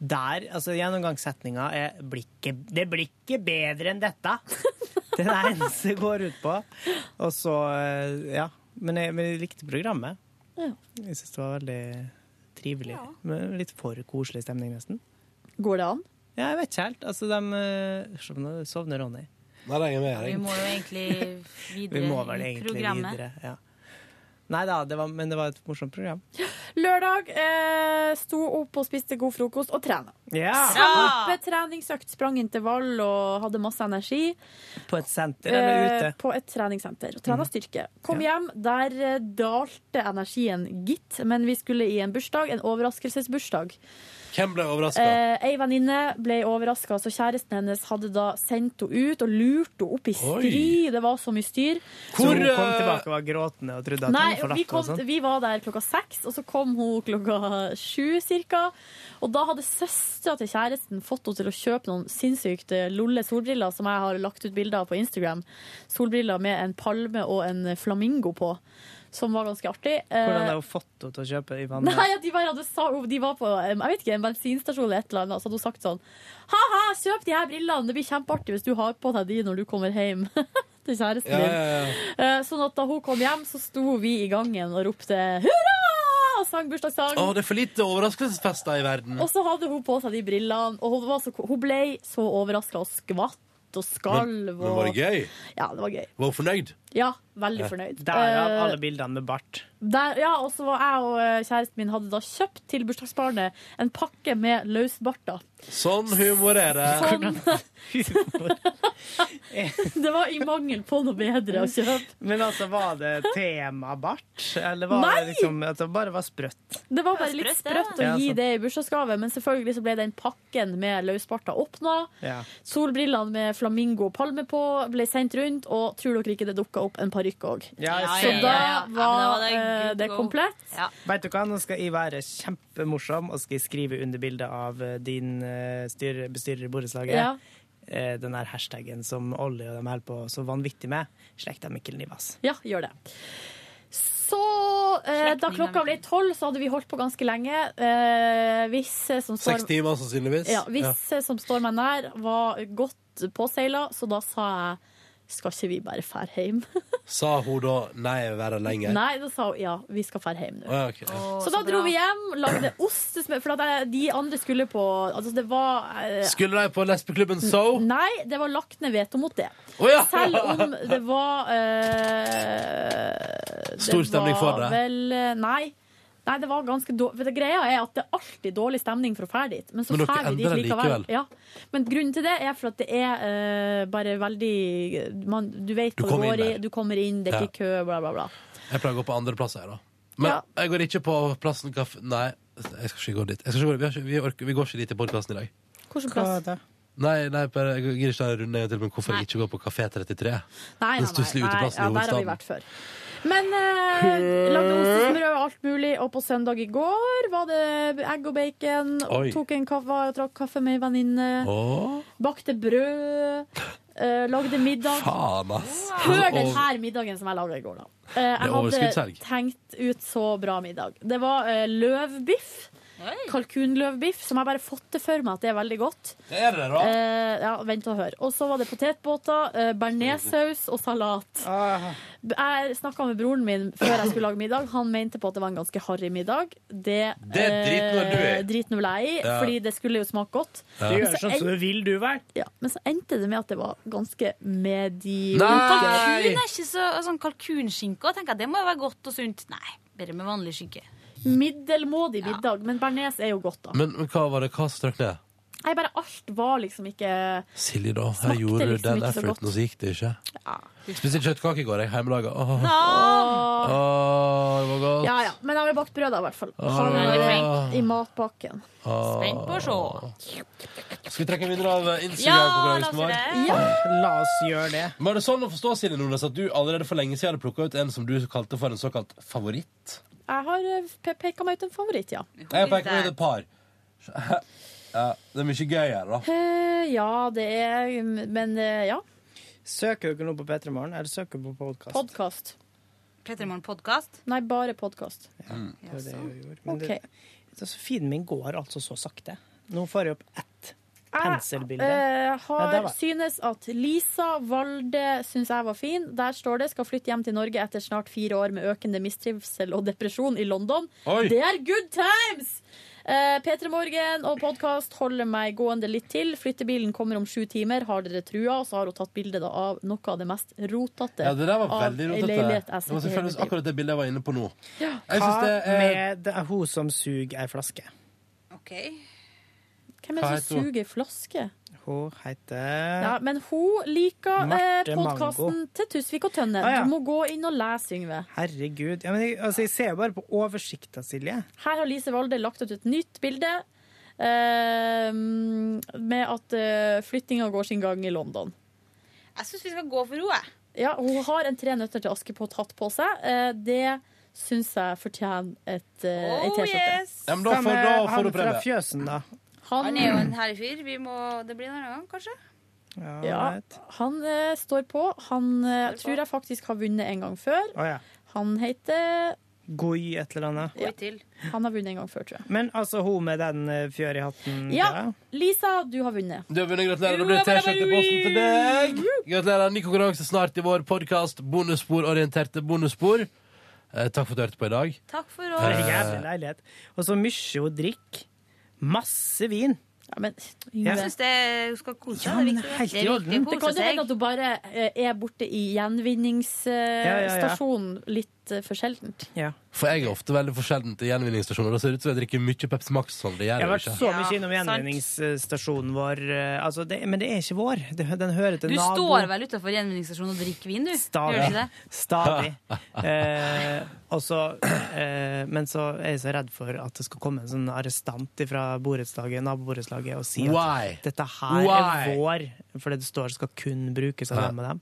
[SPEAKER 3] Der, altså Gjennomgangssetninga er blikket, 'Det blir ikke bedre enn dette'. Det er det eneste det går ut på. Og så, eh, ja. Men jeg, men jeg likte programmet.
[SPEAKER 4] Ja.
[SPEAKER 3] Jeg syns det var veldig trivelig. Men litt for koselig stemning, nesten.
[SPEAKER 4] Går det an?
[SPEAKER 3] Ja, jeg vet ikke helt. Altså, de eh, se på nå Sovner Ronny.
[SPEAKER 2] Nei, jeg er med.
[SPEAKER 16] Vi må jo egentlig videre
[SPEAKER 3] Vi må vel
[SPEAKER 16] i
[SPEAKER 3] egentlig
[SPEAKER 16] programmet.
[SPEAKER 3] videre. Ja. Nei da, det var, men det var et morsomt program.
[SPEAKER 4] Lørdag eh, sto opp og spiste god frokost og trena.
[SPEAKER 3] Ja.
[SPEAKER 4] Kjempetreningsøkt. Sprang intervall og hadde masse energi.
[SPEAKER 3] På et senter eller
[SPEAKER 4] Eh,
[SPEAKER 3] ute. Mhm.
[SPEAKER 4] På et treningssenter. Og trena styrke. Kom hjem, der eh, dalte energien gitt, men vi skulle i en bursdag, en overraskelsesbursdag.
[SPEAKER 2] Hvem ble overraska?
[SPEAKER 4] Eh, ei venninne ble overraska, så kjæresten hennes hadde da sendt henne ut og lurt henne opp i stri. Det var så mye styr.
[SPEAKER 3] Hvor, hun kom tilbake og var gråtende og trodde at
[SPEAKER 4] eh, Nei,
[SPEAKER 3] hun forlatt
[SPEAKER 4] vi,
[SPEAKER 3] det og
[SPEAKER 4] kom,
[SPEAKER 3] sånn.
[SPEAKER 4] vi var der klokka seks, og så kom hun klokka sju cirka. Og da hadde søstera til kjæresten fått henne til å kjøpe noen sinnssykt eh, lolle solbriller som jeg har lagt ut bilder av på Instagram. Solbriller med en palme og en flamingo på. som var ganske artig.
[SPEAKER 3] Hvordan
[SPEAKER 4] Eh,
[SPEAKER 3] har hun fått henne til å kjøpe i vannet?
[SPEAKER 4] Nei, at de bare hadde sa, de var på em, jeg vet ikke, en bensinstasjon eller et eller annet, så hadde hun sagt sånn Ha-ha, kjøp de her brillene, det blir kjempeartig hvis du har på deg de når du kommer hjem. Til kjæresten
[SPEAKER 5] Ja,
[SPEAKER 4] din.
[SPEAKER 5] ja,
[SPEAKER 4] Eh, Sånn at da hun kom hjem, så sto vi i gangen og ropte hurra! Og sang bursdagssang.
[SPEAKER 2] Å, det er for lite overraskelsesfester i verden.
[SPEAKER 4] Og så hadde hun på seg de brillene, og hun, var så, hun ble så overraska og skvatt og
[SPEAKER 2] Men,
[SPEAKER 4] skalv.
[SPEAKER 2] men var det
[SPEAKER 4] og-
[SPEAKER 2] gøy?
[SPEAKER 4] Ja, det var gøy.
[SPEAKER 2] Var hun fornøyd?
[SPEAKER 4] Ja, veldig fornøyd.
[SPEAKER 3] Derav
[SPEAKER 4] Eh,
[SPEAKER 3] alle bildene med bart.
[SPEAKER 4] der, ja, og så var jeg og eh, kjæresten min hadde da kjøpt til bursdagsbarnet en pakke med løsbarter.
[SPEAKER 2] Sånn humor er det.
[SPEAKER 4] Sånn. det var i mangel på noe bedre å kjøpe.
[SPEAKER 3] Men altså, var det tema bart? Eller var
[SPEAKER 4] Nei!
[SPEAKER 3] det liksom at det bare var sprøtt?
[SPEAKER 4] Det var bare litt sprøtt å
[SPEAKER 3] Ja,
[SPEAKER 4] gi
[SPEAKER 3] sant.
[SPEAKER 4] det i bursdagsgave, men selvfølgelig så ble den pakken med løsbarter åpna.
[SPEAKER 3] Ja.
[SPEAKER 4] Solbrillene med flamingo og palme på ble sendt rundt, og tror dere ikke det dukka opp en parykk òg?
[SPEAKER 3] Ja, jeg
[SPEAKER 4] så
[SPEAKER 3] ser det.
[SPEAKER 4] da
[SPEAKER 3] Ja,
[SPEAKER 4] var,
[SPEAKER 3] men da var det
[SPEAKER 4] eh,
[SPEAKER 3] good
[SPEAKER 4] det
[SPEAKER 3] go.
[SPEAKER 4] komplett.
[SPEAKER 3] Vet du hva, nå skal jeg være kjempemorsom og skal jeg skrive under bildet av eh, din eh, styr, bestyrer i borettslaget.
[SPEAKER 4] Ja.
[SPEAKER 3] Eh, Den der hashtaggen som Olli og dem holder på så vanvittig med. Slekta Mikkel Nivas.
[SPEAKER 4] Ja, gjør det. Så eh, da klokka ble tolv, så hadde vi holdt på ganske lenge. Eh, hvis eh, som står
[SPEAKER 2] Seks timer, sannsynligvis.
[SPEAKER 4] Ja, hvis eh, som står meg nær, var godt påseila, så da sa jeg skal ikke vi bare fære hjem?
[SPEAKER 2] Sa hun da nei, være lenger?
[SPEAKER 4] Nei, da sa hun ja, vi skal fære hjem nå.
[SPEAKER 2] Å, ja, ok, ja.
[SPEAKER 4] så da dro vi hjem, lagde ostesmør For at jeg, de andre skulle på Altså, det var eh,
[SPEAKER 2] Skulle de på lesbeklubben So?
[SPEAKER 4] Nei, det var lagt ned veto mot det.
[SPEAKER 2] Å, ja!
[SPEAKER 4] Selv om det var eh,
[SPEAKER 2] Stor stemning for det.
[SPEAKER 4] var Vel, eh, nei. Nei, det var ganske dårlig. For det greia er at det er alltid dårlig stemning for å fære dit. Men så
[SPEAKER 2] Men dere
[SPEAKER 4] fær vi dit
[SPEAKER 2] endrer det
[SPEAKER 4] likevel.
[SPEAKER 2] likevel.
[SPEAKER 4] Ja. Men grunnen til det er for at det er eh, bare veldig man, Du vet
[SPEAKER 2] Du
[SPEAKER 4] hva
[SPEAKER 2] kommer
[SPEAKER 4] det går i,
[SPEAKER 2] inn der.
[SPEAKER 4] du kommer inn, det er ikke kø, bla, bla, bla.
[SPEAKER 2] Jeg pleier å gå på andreplasser, jeg, da. Men jeg går ikke på plassen kaffe... Nei, jeg skal ikke gå dit. Jeg skal ikke gå dit. Vi, har ikke, vi, orker, vi går ikke dit i podkasten i dag.
[SPEAKER 4] Hvilken
[SPEAKER 3] Hva
[SPEAKER 4] plass?
[SPEAKER 3] da?
[SPEAKER 2] Nei, nei bare, jeg gir ikke den runden en gang til, men hvorfor jeg ikke gå på Kafé 33?
[SPEAKER 4] Nei, nei,
[SPEAKER 2] Den
[SPEAKER 4] nei,
[SPEAKER 2] stusslige
[SPEAKER 4] nei.
[SPEAKER 2] uteplassen
[SPEAKER 4] Ja,
[SPEAKER 2] i
[SPEAKER 4] der har vi
[SPEAKER 2] hovedstaden.
[SPEAKER 4] vært før. Men eh, lagde ostesmør og alt mulig, og på søndag i går var det egg og bacon.
[SPEAKER 5] Oi.
[SPEAKER 4] Og tok en kaffe, drakk kaffe med ei venninne.
[SPEAKER 5] Åh.
[SPEAKER 4] Bakte brød. eh, lagde middag.
[SPEAKER 2] Faen, ass.
[SPEAKER 4] Hør den
[SPEAKER 2] Og-
[SPEAKER 4] her middagen som jeg laga i går, da. Eh,
[SPEAKER 2] Det er
[SPEAKER 4] jeg hadde
[SPEAKER 2] overskuddshelg.
[SPEAKER 4] tenkt ut så bra middag. Det var eh, løvbiff. Kalkunløvbiff, som jeg bare fått det for meg at det er veldig godt.
[SPEAKER 2] Det er det, da.
[SPEAKER 4] Eh, ja, vent og hør. Og så var det potetbåter, eh, bearnéssaus og salat.
[SPEAKER 3] Ah.
[SPEAKER 4] B- Jeg snakka med broren min før jeg skulle lage middag. Han mente på at det var en ganske harry middag. Det,
[SPEAKER 3] Det er driten når du er.
[SPEAKER 4] eh, driten vel jeg i,
[SPEAKER 3] Ja.
[SPEAKER 4] fordi det skulle jo smake godt.
[SPEAKER 3] Du
[SPEAKER 4] Men
[SPEAKER 3] gjør
[SPEAKER 4] så
[SPEAKER 3] sånn
[SPEAKER 4] en-
[SPEAKER 3] som du vil, du vel?
[SPEAKER 4] ja, men så endte det med at det var ganske
[SPEAKER 16] Kalkun
[SPEAKER 4] mediokert.
[SPEAKER 16] er ikke så sånn kalkunskinke. og tenker jeg, Det må jo være godt og sunt. Nei, bedre med vanlig skinke.
[SPEAKER 4] Middelmådig middag, men bearnés er jo godt, da.
[SPEAKER 2] Men, men hva var det? Hva strøk ned?
[SPEAKER 4] Nei, bare alt var liksom ikke
[SPEAKER 2] Silje, da.
[SPEAKER 4] Smakte
[SPEAKER 2] Jeg gjorde
[SPEAKER 4] liksom
[SPEAKER 2] den
[SPEAKER 4] ikke så godt.
[SPEAKER 2] efforten, og så gikk det ikke. Spiste kjøttkake i går, jeg. Hjemmelaga. Åh.
[SPEAKER 4] Åh.
[SPEAKER 2] Åh, det var godt.
[SPEAKER 4] Ja, ja. Men jeg har bakt brød, da, i hvert fall.
[SPEAKER 3] Ah.
[SPEAKER 2] Åh.
[SPEAKER 4] Han
[SPEAKER 2] Veldig
[SPEAKER 4] er
[SPEAKER 2] flink.
[SPEAKER 4] i matpakken.
[SPEAKER 2] Åh. Skal vi trekke videre av eh, Instagram-konkurransen vår?
[SPEAKER 3] La oss gjøre det.
[SPEAKER 2] Men er det sånn å forstå, Silje Nordnes, at du allerede for lenge siden hadde plukka ut en som du kalte for en såkalt favoritt?
[SPEAKER 4] Jeg har eh, pe- peka meg ut en favoritt, ja.
[SPEAKER 2] Jeg peker på et par. Ja, det er mye gøy her, da.
[SPEAKER 4] Eh, Ja, det er Men eh, ja.
[SPEAKER 3] Søker dere nå på P3 Morgen, eller søker dere på podkast?
[SPEAKER 4] Podkast.
[SPEAKER 16] Petremorgen podkast?
[SPEAKER 4] Nei, bare podkast.
[SPEAKER 3] Det var det jeg gjorde. Men
[SPEAKER 4] Ok.
[SPEAKER 3] det, altså, feeden min går altså så sakte. Nå får jeg opp ett
[SPEAKER 4] Ah,
[SPEAKER 3] penselbilde.
[SPEAKER 4] Jeg
[SPEAKER 3] Ja, der
[SPEAKER 4] Eh, har
[SPEAKER 3] var-
[SPEAKER 4] synes at Lisa Valde syns jeg var fin. Der står det 'skal flytte hjem til Norge etter snart fire år med økende mistrivsel og depresjon i London'.
[SPEAKER 5] Oi.
[SPEAKER 4] Det er good times! Eh, P3 Morgen og podkast holder meg gående litt til. Flyttebilen kommer om sju timer. Har dere trua? Og så har hun tatt bilde da av noe av det mest rotete
[SPEAKER 2] Ja, det der var
[SPEAKER 4] av
[SPEAKER 2] veldig
[SPEAKER 4] ei
[SPEAKER 2] rotete.
[SPEAKER 4] leilighet jeg har
[SPEAKER 2] Det
[SPEAKER 4] sett
[SPEAKER 2] var
[SPEAKER 4] i hele
[SPEAKER 2] selvfølgelig
[SPEAKER 4] mitt liv.
[SPEAKER 2] akkurat det bildet jeg var inne på nå. Jeg
[SPEAKER 3] altså, Hva
[SPEAKER 2] synes det er-
[SPEAKER 3] med det er hun som suger ei flaske?
[SPEAKER 16] OK.
[SPEAKER 4] Hvem er
[SPEAKER 3] Hva
[SPEAKER 4] det
[SPEAKER 3] heter
[SPEAKER 4] som
[SPEAKER 3] hun?
[SPEAKER 4] suger flaske?
[SPEAKER 3] Hun heter
[SPEAKER 4] Ja, men hun liker
[SPEAKER 3] Eh, Marte
[SPEAKER 4] eh, podkasten
[SPEAKER 3] Mango.
[SPEAKER 4] til Tusvik og Tønne.
[SPEAKER 3] Ah, ja.
[SPEAKER 4] Du må gå inn og lese, Yngve.
[SPEAKER 3] Herregud. Ja, men jeg, altså, jeg ser jo bare på oversikta, Silje.
[SPEAKER 4] Her har Lise Walde lagt ut et nytt bilde eh, med at eh, flyttinga går sin gang i London.
[SPEAKER 16] Jeg syns vi skal gå for henne, jeg.
[SPEAKER 4] Ja, hun har en Tre nøtter til Askepott-hatt på seg. Eh, det syns jeg fortjener et, eh, ei
[SPEAKER 16] Oh,
[SPEAKER 4] T-skjorte.
[SPEAKER 16] yes.
[SPEAKER 2] Ja, men da
[SPEAKER 3] Hva
[SPEAKER 2] får-
[SPEAKER 3] med
[SPEAKER 2] da får
[SPEAKER 3] han
[SPEAKER 2] du prøve.
[SPEAKER 3] Fra fjøsen, da.
[SPEAKER 4] Han,
[SPEAKER 16] Han er jo en herrefyr. Vi må, det blir en annen gang, kanskje?
[SPEAKER 4] ja, han eh, står på. Han eh, tror jeg faktisk har vunnet en gang før.
[SPEAKER 3] Å ja.
[SPEAKER 4] Han heter
[SPEAKER 3] Goi et eller annet.
[SPEAKER 4] ja. Han har vunnet en gang før, tror jeg.
[SPEAKER 3] Men altså hun med den eh, fjør i hatten
[SPEAKER 4] Ja, Lisa, du har vunnet.
[SPEAKER 2] Du har vunnet. Gratulerer. Det blir T-skjorte i posten til deg. Gratulerer. Ny konkurranse snart i vår podkast Bonusspor orienterte bonusspor. Eh, takk for at du hørte på i dag.
[SPEAKER 8] Takk for
[SPEAKER 3] For en jævlig leilighet. Og så mye å drikke. Masse vin.
[SPEAKER 4] Ja, men
[SPEAKER 8] Jeg syns det hun skal kose seg. det er viktig.
[SPEAKER 3] helt
[SPEAKER 8] Det
[SPEAKER 3] i
[SPEAKER 8] er
[SPEAKER 3] orden.
[SPEAKER 8] viktig å
[SPEAKER 4] Det
[SPEAKER 8] kose
[SPEAKER 4] kan jo hende
[SPEAKER 8] seg.
[SPEAKER 4] at hun bare eh, er borte i
[SPEAKER 2] Ja, ja, ja.
[SPEAKER 4] gjenvinningsstasjonen litt eh, for sjeldent.
[SPEAKER 2] For jeg er ofte veldig for sjelden til gjenvinningsstasjoner. Det ser ut som jeg drikker mye Pepsi Max. Sånn. Det
[SPEAKER 3] Jeg
[SPEAKER 2] gjør
[SPEAKER 3] har
[SPEAKER 2] jeg
[SPEAKER 3] vært
[SPEAKER 2] ikke.
[SPEAKER 3] så mye innom gjenvinningsstasjonen vår, eh, altså det, men det er ikke vår. Det, den hører til
[SPEAKER 8] Du
[SPEAKER 3] nabo.
[SPEAKER 8] står vel utafor gjenvinningsstasjonen og drikker vin, du? Gjør du ikke det?
[SPEAKER 3] Stadig. Eh, og så, eh, men så er jeg så redd for at det skal komme en sånn arrestant fra borettslaget, naboborettslaget og si at
[SPEAKER 2] Why?
[SPEAKER 3] dette her
[SPEAKER 2] Why?
[SPEAKER 3] er vår, fordi det står skal kun brukes av
[SPEAKER 2] Ja.
[SPEAKER 3] dem og dem.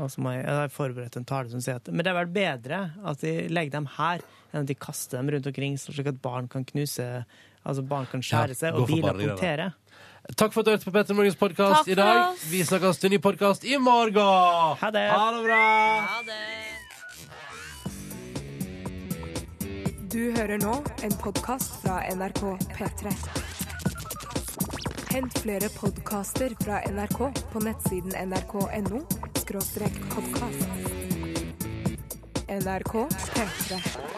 [SPEAKER 3] Og så må jeg, jeg har forberedt en tale som sier at Men det er vel bedre at de legger dem her, enn at de kaster dem rundt omkring, slik at barn kan knuse Altså barn kan skjære seg,
[SPEAKER 2] gå
[SPEAKER 3] og
[SPEAKER 2] for
[SPEAKER 3] biler
[SPEAKER 2] barnegreier.
[SPEAKER 3] punktere.
[SPEAKER 2] Takk for at du hørte på Petter Morgens podkast
[SPEAKER 3] Takk
[SPEAKER 2] i
[SPEAKER 3] for
[SPEAKER 2] dag.
[SPEAKER 3] oss.
[SPEAKER 2] Vi snakkes til ny podkast i morgen.
[SPEAKER 3] Ha det.
[SPEAKER 2] Ha det bra.
[SPEAKER 1] Du hører nå en podkast fra NRK P3. Hent flere podkaster fra NRK på nettsiden nrk.no podkast. NRK P3.